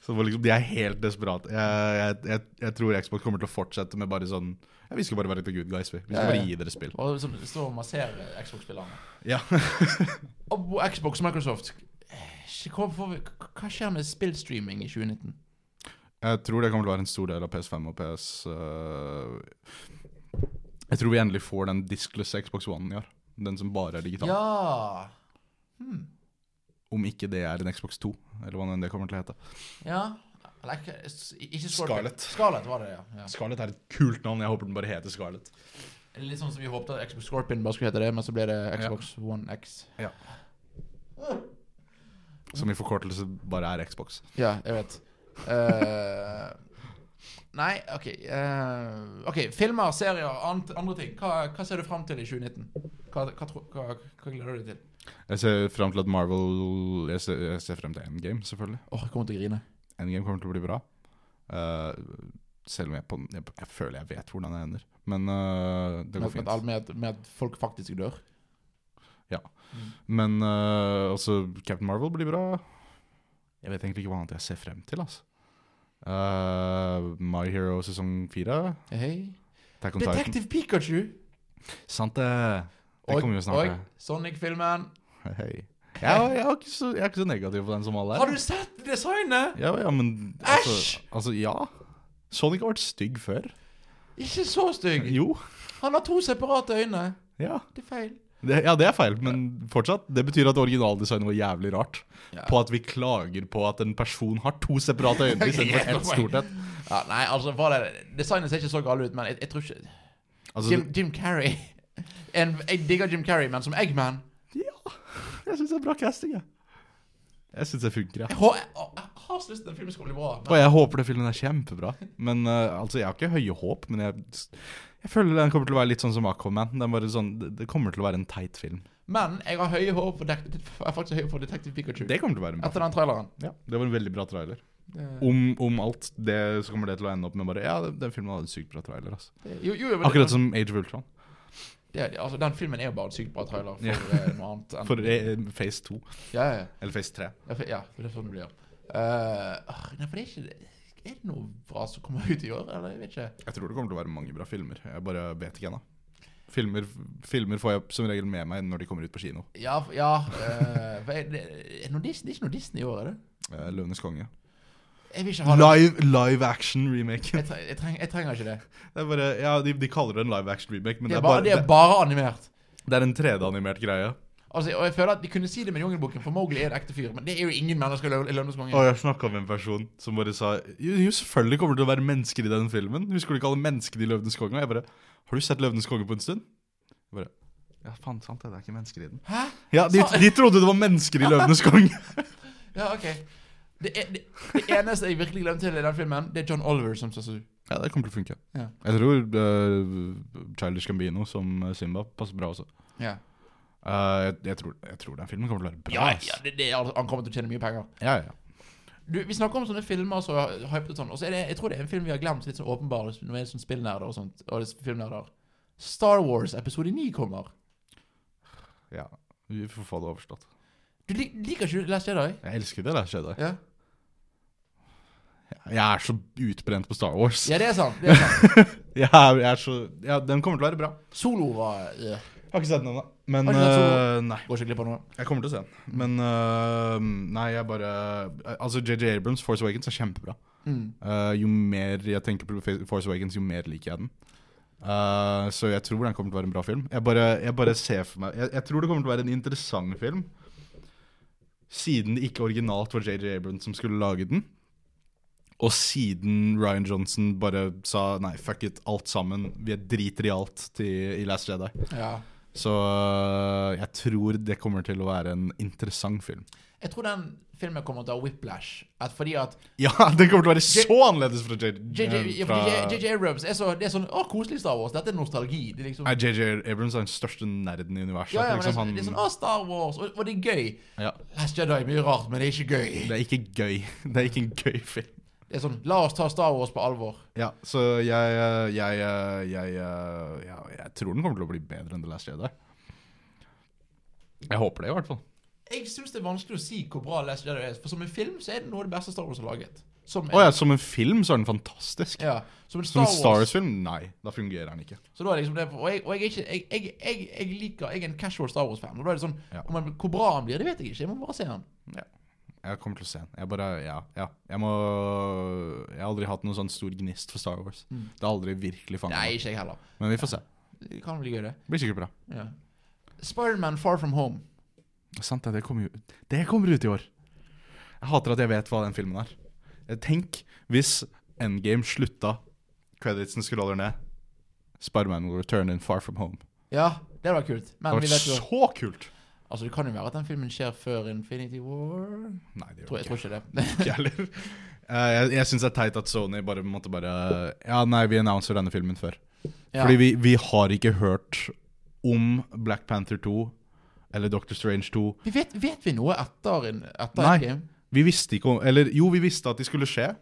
Speaker 2: Så det var liksom, De er helt desperate. Jeg, jeg, jeg, jeg tror Xbox kommer til å fortsette med bare sånn ja, Vi skal bare være the good guys, vi. Vi
Speaker 1: Ja,
Speaker 2: skal
Speaker 1: ja.
Speaker 2: bare gi dere spill.
Speaker 1: Og som står og masserer Xbox-spillerne.
Speaker 2: Ja.
Speaker 1: Og Xbox og Microsoft eh, hva, får vi, hva skjer med spillstreaming i 2019?
Speaker 2: Jeg tror det kommer til å være en stor del av PS5 og PS øh, Jeg tror vi endelig får den diskless Xbox One i år. Den som bare er digital.
Speaker 1: Ja
Speaker 2: Om ikke det er en Xbox 2, eller hva nå enn det kommer til å hete.
Speaker 1: Ja Eller ikke- s- ikke
Speaker 2: Scarlett.
Speaker 1: Scarlett var det, ja. ja.
Speaker 2: Scarlett er et kult navn. Jeg håper den bare heter Scarlett.
Speaker 1: Litt sånn som vi håpte at Xbox Scorpion bare skulle hete det, men så ble det Xbox One X.
Speaker 2: Som i forkortelse bare er Xbox.
Speaker 1: Ja, jeg vet. Eh, nei, OK. eh, ok, Filmer, serier, annet, andre ting. Hva, hva ser du fram til i 2019? Hva, hva, tro- hva, hva gleder du deg til?
Speaker 2: Jeg ser frem til at Marvel Jeg ser, jeg ser frem til Endgame, selvfølgelig.
Speaker 1: Åh, jeg kommer til å grine.
Speaker 2: Endgame kommer til å bli bra. Eh, selv om jeg, på, jeg, jeg føler jeg vet hvordan det ender. Men eh, det
Speaker 1: Med, med,
Speaker 2: går fint.
Speaker 1: med, at- med at folk faktisk dør. Mm.
Speaker 2: Men eh, også Captain Marvel blir bra. Jeg vet egentlig ikke hva annet jeg ser frem til. Altså. Eh, My Hero sesong fire.
Speaker 1: Hei.
Speaker 2: Attack on Titan.
Speaker 1: Detective Pikachu!
Speaker 2: Sant det. Det kommer jo snart. ja.
Speaker 1: Sonic-filmen.
Speaker 2: Hei. Jeg, var- jeg, var ikke så, jeg er ikke så negativ på den som alle er.
Speaker 1: Har du sett designet?
Speaker 2: Ja, ja, men
Speaker 1: Æsj!
Speaker 2: altså, altså, ja. Sonic har vært stygg før.
Speaker 1: Ikke så stygg.
Speaker 2: Jo.
Speaker 1: Han har to separate øyne.
Speaker 2: Ja.
Speaker 1: Det er feil.
Speaker 2: Det, ja, det er feil, men fortsatt. Det betyr at originaldesignet var jævlig rart.
Speaker 1: Ja.
Speaker 2: På at vi klager på at en person har to separate øyne istedenfor ett stort et.
Speaker 1: Ja, nei, altså, for det, Designet ser ikke så galt ut, men jeg, jeg tror ikke
Speaker 2: Altså,
Speaker 1: Jim, Jim Carrey. En, jeg digger Jim Carrey, men som Eggman
Speaker 2: jeg syns det er bra casting, jeg. Jeg syns det funker,
Speaker 1: Jeg,
Speaker 2: jeg.
Speaker 1: hå- jeg, jeg har så lyst til at den filmen skal bli bra.
Speaker 2: Og
Speaker 1: Men,
Speaker 2: jeg håper den filmen er kjempebra. Men eh, altså, Jeg har ikke høye håp, men jeg, jeg føler den kommer til å være litt sånn som Aquaman. Den er bare sånn, det, det kommer til å være en teit film.
Speaker 1: men jeg har høye håp for, Detective- jeg har faktisk høye håp for Detective Pikachu.
Speaker 2: Det kommer til å være en bra
Speaker 1: Etter den traileren.
Speaker 2: Ja, det var en veldig bra trailer.
Speaker 1: Det-
Speaker 2: Om, om alt det, så kommer det til å ende opp med bare Ja, den den filmen hadde en sykt bra trailer, altså.
Speaker 1: det- Jo, jo, jo, men-
Speaker 2: Akkurat som Age of Ultron.
Speaker 1: det, det- altså, Den filmen er jo bare en sykt bra trailer for
Speaker 2: Ja.
Speaker 1: eh, noe annet. enn-
Speaker 2: For eh, Phase 2.
Speaker 1: ja, ja.
Speaker 2: Eller Phase 3.
Speaker 1: Ja, for, ja, for det er sånn det blir. Eh, ah, nei, for det er ikke Er det noe bra som kommer ut i år, eller? Jeg vet ikke.
Speaker 2: Jeg tror det kommer til å være mange bra filmer. Jeg bare vet ikke ennå. Filmer, filmer får jeg som regel med meg når de kommer ut på kino.
Speaker 1: Ja, f- ja eh, for jeg, det, er noe Disney, det er ikke noe Disney i år, er det?
Speaker 2: Eh, Løvenes konge.
Speaker 1: Jeg vil ikke ha det.
Speaker 2: Live, live action-remaken.
Speaker 1: Jeg, tre, jeg, treng, jeg trenger ikke det.
Speaker 2: Det er bare, ja, de, de kaller det en live action-remake, men
Speaker 1: Det er bare, det er bare animert.
Speaker 2: det- det er en 3D-animert greie.
Speaker 1: Altså, og jeg føler at De kunne si det med Jungelboken, for Mowgli er en ekte fyr. Men det er jo ingen mennesker i Løv- i Løvenes konge.
Speaker 2: Og jeg snakka med en person som bare sa Jo, jo, selvfølgelig kommer det til å være mennesker i den filmen. Husker du ikke alle menneskene i Løvenes konge? Og jeg bare Har du sett Løvenes konge på en stund? Jeg bare Ja, faen sant det. Det er ikke mennesker i den.
Speaker 1: Hæ?
Speaker 2: Ja, de,
Speaker 1: Sa-
Speaker 2: de trodde det var mennesker i Løvenes konge.
Speaker 1: Ja, ok. Det, er, det, det eneste jeg virkelig glemte til i den filmen, det er John Oliver som ser sur.
Speaker 2: Ja, det kommer til å funke.
Speaker 1: Ja.
Speaker 2: Jeg tror uh, Childish Gambino som eh, Simba passer bra også.
Speaker 1: Ja.
Speaker 2: Eh, jeg, jeg, tror, jeg tror den filmen kommer til å være bra.
Speaker 1: Ja,
Speaker 2: ass.
Speaker 1: ja det, det er, han kommer til å tjene mye penger.
Speaker 2: ja, ja.
Speaker 1: Du, vi snakker om sånne filmer som er hypet og sånn, og så er det, jeg tror det er en film vi har glemt, litt sånn åpenbar, når vi er sånn spillnerder og sånt, og det er filmnerder. Star Wars episode 9 kommer.
Speaker 2: ja. Vi får få det overstått.
Speaker 1: Du lik, liker ikke Last Jedi?
Speaker 2: Jeg elsker det der skjedde.
Speaker 1: Ja.
Speaker 2: Jeg er så utbrent på Star Wars.
Speaker 1: ja, det er sant. Det er sant.
Speaker 2: Jeg er, jeg er så, ja, den kommer til å være bra.
Speaker 1: Solo var øh,
Speaker 2: Jeg har ikke sett den ennå. Men
Speaker 1: Har du ikke sett
Speaker 2: øh, Nei,
Speaker 1: Går ikke glipp av noe.
Speaker 2: jeg kommer til å se den. Men øh, Nei, jeg bare Altså, JJ Abrams' Force Awakens er kjempebra.
Speaker 1: Mm.
Speaker 2: Eh, jo mer jeg tenker på Fa- Force Awakens, jo mer liker jeg den. Eh, så jeg tror den kommer til å være en bra film. Jeg bare, jeg bare ser for meg jeg, jeg tror det kommer til å være en interessant film. Siden det ikke originalt var JJ Abrams som skulle lage den. Og siden Ryan Johnson bare sa nei, fuck it, alt sammen. Vi driter i alt til, i Last Jedi.
Speaker 1: Ja.
Speaker 2: Så øh, jeg tror det kommer til å være en interessant film.
Speaker 1: Jeg tror den filmen kommer til å ha whiplash. At fordi at
Speaker 2: Ja, den kommer til å være
Speaker 1: J-
Speaker 2: så annerledes fra JJ
Speaker 1: JJ ja,
Speaker 2: fra-
Speaker 1: fordi J- JJ Abrams er, så, det er sånn Å, koselig Star Wars. Dette er nostalgi. Det er liksom
Speaker 2: Nei, JJ Abrams er den største nerden i universet.
Speaker 1: ja, ja, men det,
Speaker 2: liksom,
Speaker 1: er sånn-
Speaker 2: han,
Speaker 1: det er sånn Å, Star Wars. Og, og det er gøy.
Speaker 2: ja,
Speaker 1: Last Jedi er mye rart, men det er ikke gøy.
Speaker 2: det er ikke gøy. Det er ikke en gøy film.
Speaker 1: Det er sånn La oss ta Star Wars på alvor.
Speaker 2: Ja, så jeg eh, jeg, eh, jeg, eh, ja, jeg tror den kommer til å bli bedre enn The Last Jedi. Jeg håper det, i hvert fall.
Speaker 1: Jeg syns det er vanskelig å si hvor bra Last Jedi er, for som en film så er det noe av det beste Star Wars har laget. Som en,
Speaker 2: Å ja, som en film så er den fantastisk.
Speaker 1: ja, som en Star,
Speaker 2: Som en Star
Speaker 1: Wars.
Speaker 2: Wars-film? Nei, da fungerer den ikke.
Speaker 1: Så da er det liksom det, og jeg, og jeg er ikke jeg, jeg, jeg, jeg liker Jeg er en casual Star Wars-fan. Og da er det sånn
Speaker 2: Ja.
Speaker 1: om han- Hvor bra han blir, det vet jeg ikke. Jeg må bare se han.
Speaker 2: Jeg kommer til å se den. Jeg bare, ja, ja. Jeg må Jeg har aldri hatt noen sånn stor gnist for Star Wars.
Speaker 1: Mm.
Speaker 2: Det har aldri virkelig fanget
Speaker 1: Nei,
Speaker 2: meg.
Speaker 1: ikke jeg heller.
Speaker 2: Men vi får se.
Speaker 1: Det kan bli gøy, det.
Speaker 2: Det blir sikkert bra.
Speaker 1: Ja. Spiderman Far From Home.
Speaker 2: Sant det, det kommer jo Det kommer ut i år. Jeg hater at jeg vet hva den filmen er. Eh, Tenk hvis Endgame slutta, creditsen scroller ned, Spiderman will return in Far From Home.
Speaker 1: Ja, det var kult.
Speaker 2: Det
Speaker 1: Men
Speaker 2: hadde
Speaker 1: vi
Speaker 2: vært
Speaker 1: vet jo
Speaker 2: så kult!
Speaker 1: Altså, det kan jo være at den filmen skjer før Infinity War.
Speaker 2: Nei, det
Speaker 1: Tror, jeg tror
Speaker 2: gjør det ikke.
Speaker 1: ikke det.
Speaker 2: Ikke jeg heller. Eh, Jeg, jeg syns det er teit at Sony bare måtte bare Ja, nei, vi annonser denne filmen før.
Speaker 1: Ja.
Speaker 2: Fordi vi, vi har ikke hørt om Black Panther 2 eller Doctor Strange 2.
Speaker 1: Vi vet, vet vi noe etter, en- etter
Speaker 2: Nei.
Speaker 1: Endgame?
Speaker 2: Vi visste ikke om Eller jo, vi visste at de skulle skje,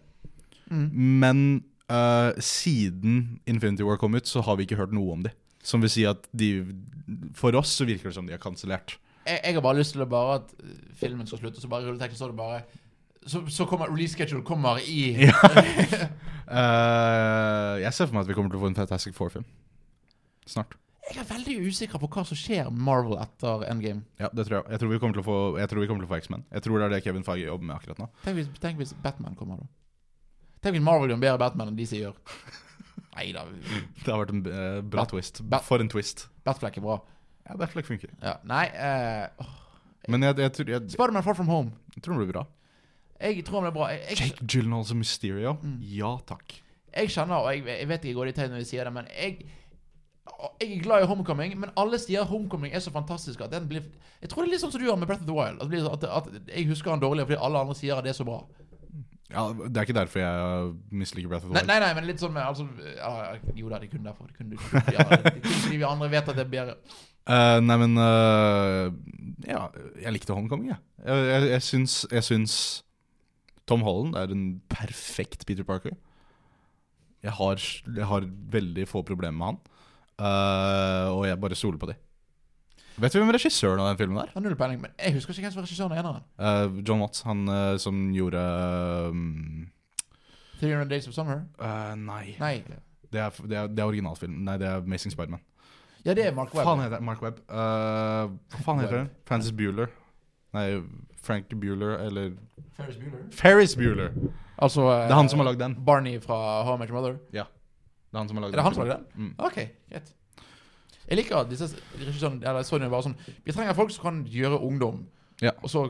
Speaker 1: Mm.
Speaker 2: men eh, siden Infinity War kom ut, så har vi ikke hørt noe om de. Som vil si at de For oss så virker det som de har kansellert.
Speaker 1: Jeg, jeg har bare lyst til å bare at eh, filmen skal slutte, så bare i rulleteksten står det bare så, så kommer release schedule kommer i
Speaker 2: Eh, jeg ser for meg at vi kommer til å få en Fantastic Four-film. Snart.
Speaker 1: Jeg er veldig usikker på hva som skjer med Marvel etter Endgame.
Speaker 2: Ja, det tror jeg. Jeg tror vi kommer til å få, jeg tror vi kommer til å få X-Men. Jeg tror det er det Kevin Feige jobber med akkurat nå.
Speaker 1: Tenk hvis, tenk hvis Batman kommer, da. Tenk hvis Marvel gjør en bedre Batman enn de som gjør. Nei da,
Speaker 2: Det har vært en eh, bra
Speaker 1: Bat-
Speaker 2: twist.
Speaker 1: Bat-
Speaker 2: For en twist.
Speaker 1: Batfleck er bra.
Speaker 2: Ja, Batfleck funker.
Speaker 1: Ja, nei eh, åh.
Speaker 2: Men jeg, jeg, tror- jeg,
Speaker 1: Spiderman Far From Home.
Speaker 2: jeg tror det blir bra.
Speaker 1: Jeg tror han blir bra. Jeg, jeg,
Speaker 2: Jake Gyllenhaal som Mysterio?
Speaker 1: Mm.
Speaker 2: Ja takk.
Speaker 1: jeg kjenner, og jeg, jeg vet ikke går i tegn når jeg sier det, men jeg jeg er glad i Homecoming, men alle sier Homecoming er så fantastisk at den blir Jeg tror det er litt sånn som du gjør med Breath of the Wild. At, det blir sånn at, at jeg husker han dårligere fordi alle andre sier at det er så bra.
Speaker 2: Ja, det er ikke derfor jeg misliker Breath of the
Speaker 1: Nei,
Speaker 2: Wild.
Speaker 1: nei, nei men litt sånn med altså, ja, Jo da, det er kun derfor. Det kunne, det kunne, ja, det kunne fordi vi andre vet at det er bedre.
Speaker 2: Eh, nei, men eh, Ja, jeg likte Homecoming, jeg. Jeg, jeg, jeg, syns, jeg syns Tom Holland er en perfekt Peter Parker. Jeg har, jeg har veldig få problemer med han, Eh, og jeg bare stoler på de. Vet du hvem regissøren av den filmen er?
Speaker 1: Jeg har null peiling, men jeg husker ikke hvem som var regissøren av eneren.
Speaker 2: Eh, John Watts, han eh, som gjorde um,
Speaker 1: 300 Days of Summer?
Speaker 2: eh, Nei.
Speaker 1: Nei.
Speaker 2: Det, er, det, er, det er originalfilm. Nei, det er Amazing Spiderman.
Speaker 1: Ja, det er Mark
Speaker 2: Faen
Speaker 1: Webb.
Speaker 2: heter det? Mark Webb. Eh, hva faen heter
Speaker 1: Webb.
Speaker 2: den? Francis Bueller. Nei, Frank Bueller eller
Speaker 1: Ferris Bueller.
Speaker 2: Ferris Bueller!
Speaker 1: Altså
Speaker 2: Det er han som har lagd den.
Speaker 1: Barney fra How I Met Your Mother.
Speaker 2: Det er han som har lagd
Speaker 1: Er det han som har lagd den?
Speaker 2: Mm.
Speaker 1: Ok, greit. Jeg liker at disse regissørene eller Sony er bare sånn Vi trenger folk som kan gjøre ungdom.
Speaker 2: Ja.
Speaker 1: Og så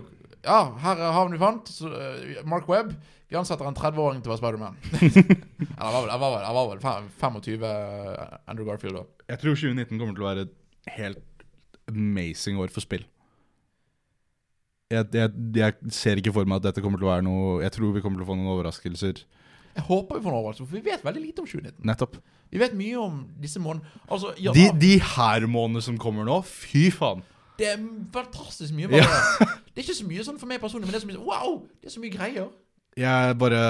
Speaker 1: Ja, her er han vi fant. Så, eh, Mark Webb. Vi ansetter en 30-åring til å være Spiderman. Eller han var vel- han var vel- han var vel fem- 25 eh, Andrew Garfield, da.
Speaker 2: Jeg tror 2019 kommer til å være et helt amazing år for spill. Jeg, jeg, jeg ser ikke for meg at dette kommer til å være noe Jeg tror vi kommer til å få noen overraskelser.
Speaker 1: Jeg håper vi får en overraskelse, for vi vet veldig lite om 2019.
Speaker 2: Nettopp.
Speaker 1: Vi vet mye om disse månedene. Altså, ja,
Speaker 2: De, de her månedene som kommer nå, fy faen!
Speaker 1: det er fantastisk mye. Bare. Det er ikke så mye sånn for meg personlig, men det er så mye sånn, Wow! Det er så mye greier.
Speaker 2: Jeg bare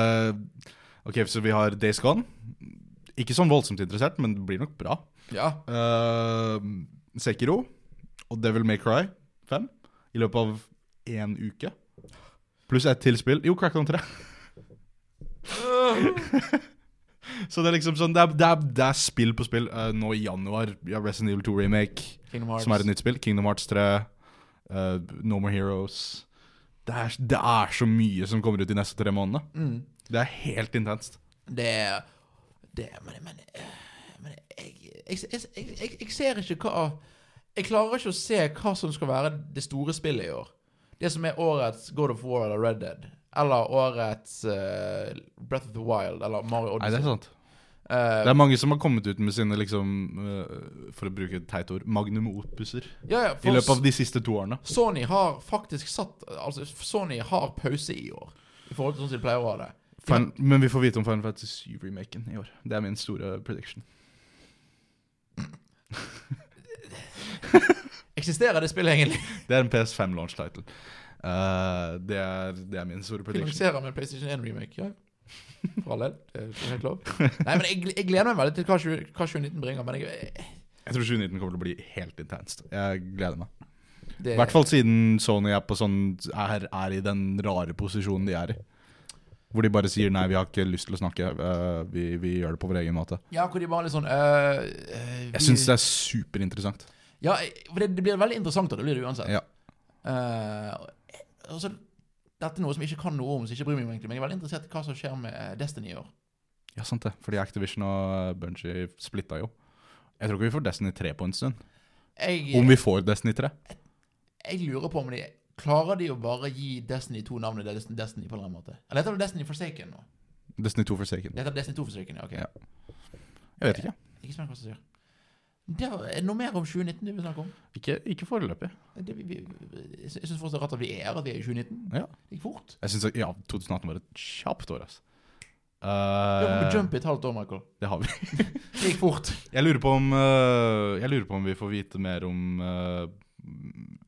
Speaker 2: Ok, så vi har Days Gone. Ikke sånn voldsomt interessert, men det blir nok bra.
Speaker 1: Ja.
Speaker 2: Eh, Sekiro og Devil May Cry 5 i løpet av én uke. Pluss ett til spill. Jo, Crackdown 3. Så det er liksom sånn Det er, det er, det er spill på spill. Eh, nå i januar ja, Resident Evil 2 Remake,
Speaker 1: Kingdom Hearts.
Speaker 2: som er et nytt spill. Kingdom Hearts 3. eh, no More Heroes. Det er, det er så mye som kommer ut de neste tre månedene.
Speaker 1: Mm.
Speaker 2: Det er helt intenst.
Speaker 1: Det er det, men, men, eh, men jeg, jeg, jeg, jeg, jeg ser ikke hva Jeg klarer ikke å se hva som skal være det store spillet i år. Det som er årets God of War eller Red Dead. Eller årets eh, Breath of the Wild eller Mario
Speaker 2: Nei,
Speaker 1: Odyssey.
Speaker 2: det er sant.
Speaker 1: Eh,
Speaker 2: Det er mange som har kommet ut med sine, liksom, eh, for å bruke et teit ord, magnum opuser
Speaker 1: ja, ja,
Speaker 2: i
Speaker 1: for
Speaker 2: løpet av de siste to årene.
Speaker 1: Sony har faktisk satt Altså, Sony har pause i år. I forhold til sånn som de pleier å ha det.
Speaker 2: Fin men vi får vite om Final Fantasy 7-remaken i år. Det er min store prediction.
Speaker 1: Eksisterer det spillet egentlig?
Speaker 2: Det er en PS5 launch title. Eh, det, er, det er min store prediction.
Speaker 1: Finansiere med PlayStation 1-remake. Ja. For all del. Det er helt lov. Nei, men jeg, gl- jeg gleder meg veldig til hva 20- hva 2019 bringer. Men jeg, eh,
Speaker 2: Jeg tror 2019 kommer til å bli helt intenst. Jeg gleder meg. I
Speaker 1: det,
Speaker 2: hvert fall siden Sony er, på sånn, er, er i den rare posisjonen de er i. Hvor de bare sier 'nei, vi har ikke lyst til å snakke, eh, vi, vi gjør det på vår egen måte'.
Speaker 1: Ja, hvor de bare litt sånn øh, øh, vi-
Speaker 2: Jeg syns det er superinteressant.
Speaker 1: Ja, for det, det blir veldig interessant, og det blir det uansett.
Speaker 2: Ja.
Speaker 1: Eh, og så- dette er noe som jeg ikke kan noe om, så jeg ikke bryr meg om egentlig, men jeg er veldig interessert i hva som skjer med eh, Destiny i år.
Speaker 2: Ja, sant det. Fordi Activision og eh, Bungie splitta jo. Jeg tror ikke vi får Destiny 3 på en stund.
Speaker 1: Jeg, eh,
Speaker 2: Om vi får Destiny 3.
Speaker 1: jeg lurer på om de Klarer de å bare gi Destiny 2 navnet Destiny, Destiny på en eller annen måte? Eller heter det Destiny Forsaken nå?
Speaker 2: Destiny 2 Forsaken.
Speaker 1: Det heter Destiny 2 Forsaken, ja. ok.
Speaker 2: Ja. Jeg vet ikke.
Speaker 1: Ikke spennende hva som skjer. Det er er det noe mer om 2019 du vil snakke om?
Speaker 2: Ikke, ikke foreløpig.
Speaker 1: Det, vi, vi, jeg sy- jeg syns fortsatt det er rart at vi er at vi er i 2019.
Speaker 2: Ja.
Speaker 1: Det gikk fort.
Speaker 2: Jeg synes, at- Ja, 2018 var et kjapt år, altså.
Speaker 1: Du har kommet på
Speaker 2: Eh,
Speaker 1: jump i et halvt år, Michael.
Speaker 2: det har vi.
Speaker 1: Det gikk fort.
Speaker 2: Jeg lurer på om, eh, jeg lurer på om vi får vite mer om eh,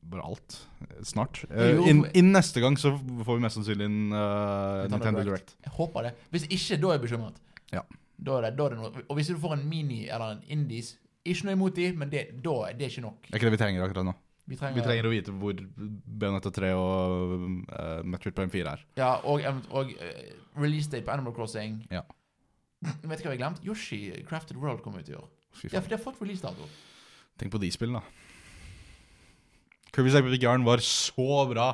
Speaker 2: bare alt eh, snart. Eh,
Speaker 1: Jo,
Speaker 2: Innen
Speaker 1: for-
Speaker 2: innen neste gang så får vi mest sannsynlig en eh,
Speaker 1: Nintendo
Speaker 2: Nintendo
Speaker 1: Direct.
Speaker 2: Direct.
Speaker 1: Jeg håper det. Hvis ikke, da er jeg bekymret.
Speaker 2: Ja.
Speaker 1: Da er det, da er det noe. Og hvis du får en mini eller en indies Ikke noe imot de, men det, da er det ikke nok.
Speaker 2: Det er ikke det vi trenger akkurat nå.
Speaker 1: Vi trenger,
Speaker 2: Vi trenger å vite hvor Benetta 3 og uh, Metroid Prime 4 er.
Speaker 1: Ja, og, event- og eh, release date på Animal Crossing.
Speaker 2: Ja.
Speaker 1: Vet du hva jeg glemte? Yoshi Crafted World kom ut i år.
Speaker 2: Fy
Speaker 1: Ja,
Speaker 2: faen.
Speaker 1: for de har fått releasedato.
Speaker 2: Tenk på de spillene, da. Kirby's Epic Yarn var så bra.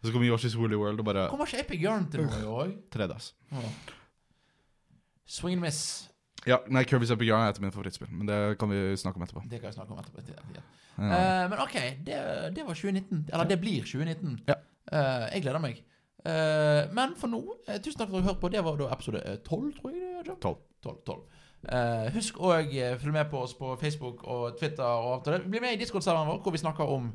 Speaker 2: Og så kom Yoshi's Woolly World og bare altså.
Speaker 1: Kommer ikke Epic Yarn til noe i år òg?
Speaker 2: 3D, ass.
Speaker 1: Swing and miss.
Speaker 2: Ja, nei, Kirby's Epic Yarn er et av mine favorittspill, men det kan vi snakke om etterpå.
Speaker 1: Det kan jeg snakke om etterpå. Ja.
Speaker 2: Ja.
Speaker 1: Eh, men OK, det, det var 2019. Eller det blir 2019.
Speaker 2: Ja.
Speaker 1: Eh, jeg gleder meg. Eh, men for nå, eh, tusen takk for at du hørte på. Det var da episode eh, 12, tror jeg. det er, Jim?
Speaker 2: 12.
Speaker 1: 12, 12. Eh, husk å eh, følge med på oss på Facebook og Twitter. og alt det. der. Bli med i Discord-serveren vår, hvor vi snakker om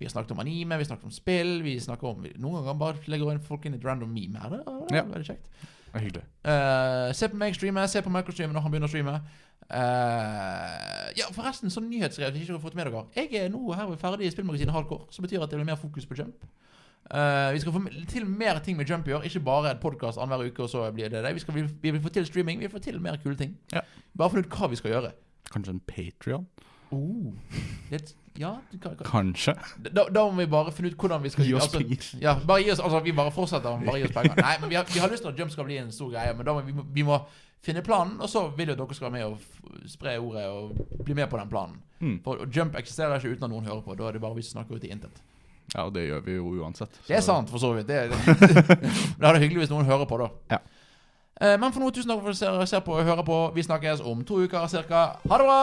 Speaker 1: vi har snakket om anime, vi snakker om spill vi snakker om, Noen ganger bare legger inn folk inn et random meme. Er det, er det
Speaker 2: Ja.
Speaker 1: veldig kjekt?
Speaker 2: Det er hyggelig.
Speaker 1: Eh, se på meg streame, se på Michael streame når han begynner å streame. Eh, ja, forresten, sånn nyhetsgreier hvis ikke dere har fått med dere. Jeg er nå her ferdig i spillmagasinet Hardcore, som betyr at det blir mer fokus på jump. Eh, vi skal få til mer ting med jump i år, ikke bare en podkast annenhver uke. og så blir det det. Vi, skal, vi, vi vil få til streaming, vi vil få til mer kule ting.
Speaker 2: Ja.
Speaker 1: Bare finne ut hva vi skal gjøre.
Speaker 2: Kanskje en Patrion?
Speaker 1: Det, ja, det kan, kan.
Speaker 2: Kanskje.
Speaker 1: Da, da må vi bare finne ut hvordan vi skal
Speaker 2: Gi oss
Speaker 1: altså-
Speaker 2: penger.
Speaker 1: ja, bare gi oss, altså vi bare fortsetter men bare gi oss penger. Nei, men vi har, vi har lyst til at Jump skal bli en stor greie, men da må vi, må- vi må finne planen, og så vil jo dere skal være med og f- spre ordet og bli med på den planen.
Speaker 2: Mm.
Speaker 1: For Jump eksisterer ikke uten at noen hører på, da er det bare vi som snakker ut i intet.
Speaker 2: Ja, og det gjør vi jo uansett.
Speaker 1: Det er
Speaker 2: så-
Speaker 1: sant, for så vidt. Det, det. Men det er hyggelig hvis noen hører på, da.
Speaker 2: Ja.
Speaker 1: Eh, Men for nå, tusen takk for at dere ser- ser på og hører på. Vi snakkes om to uker ca. Ha det bra!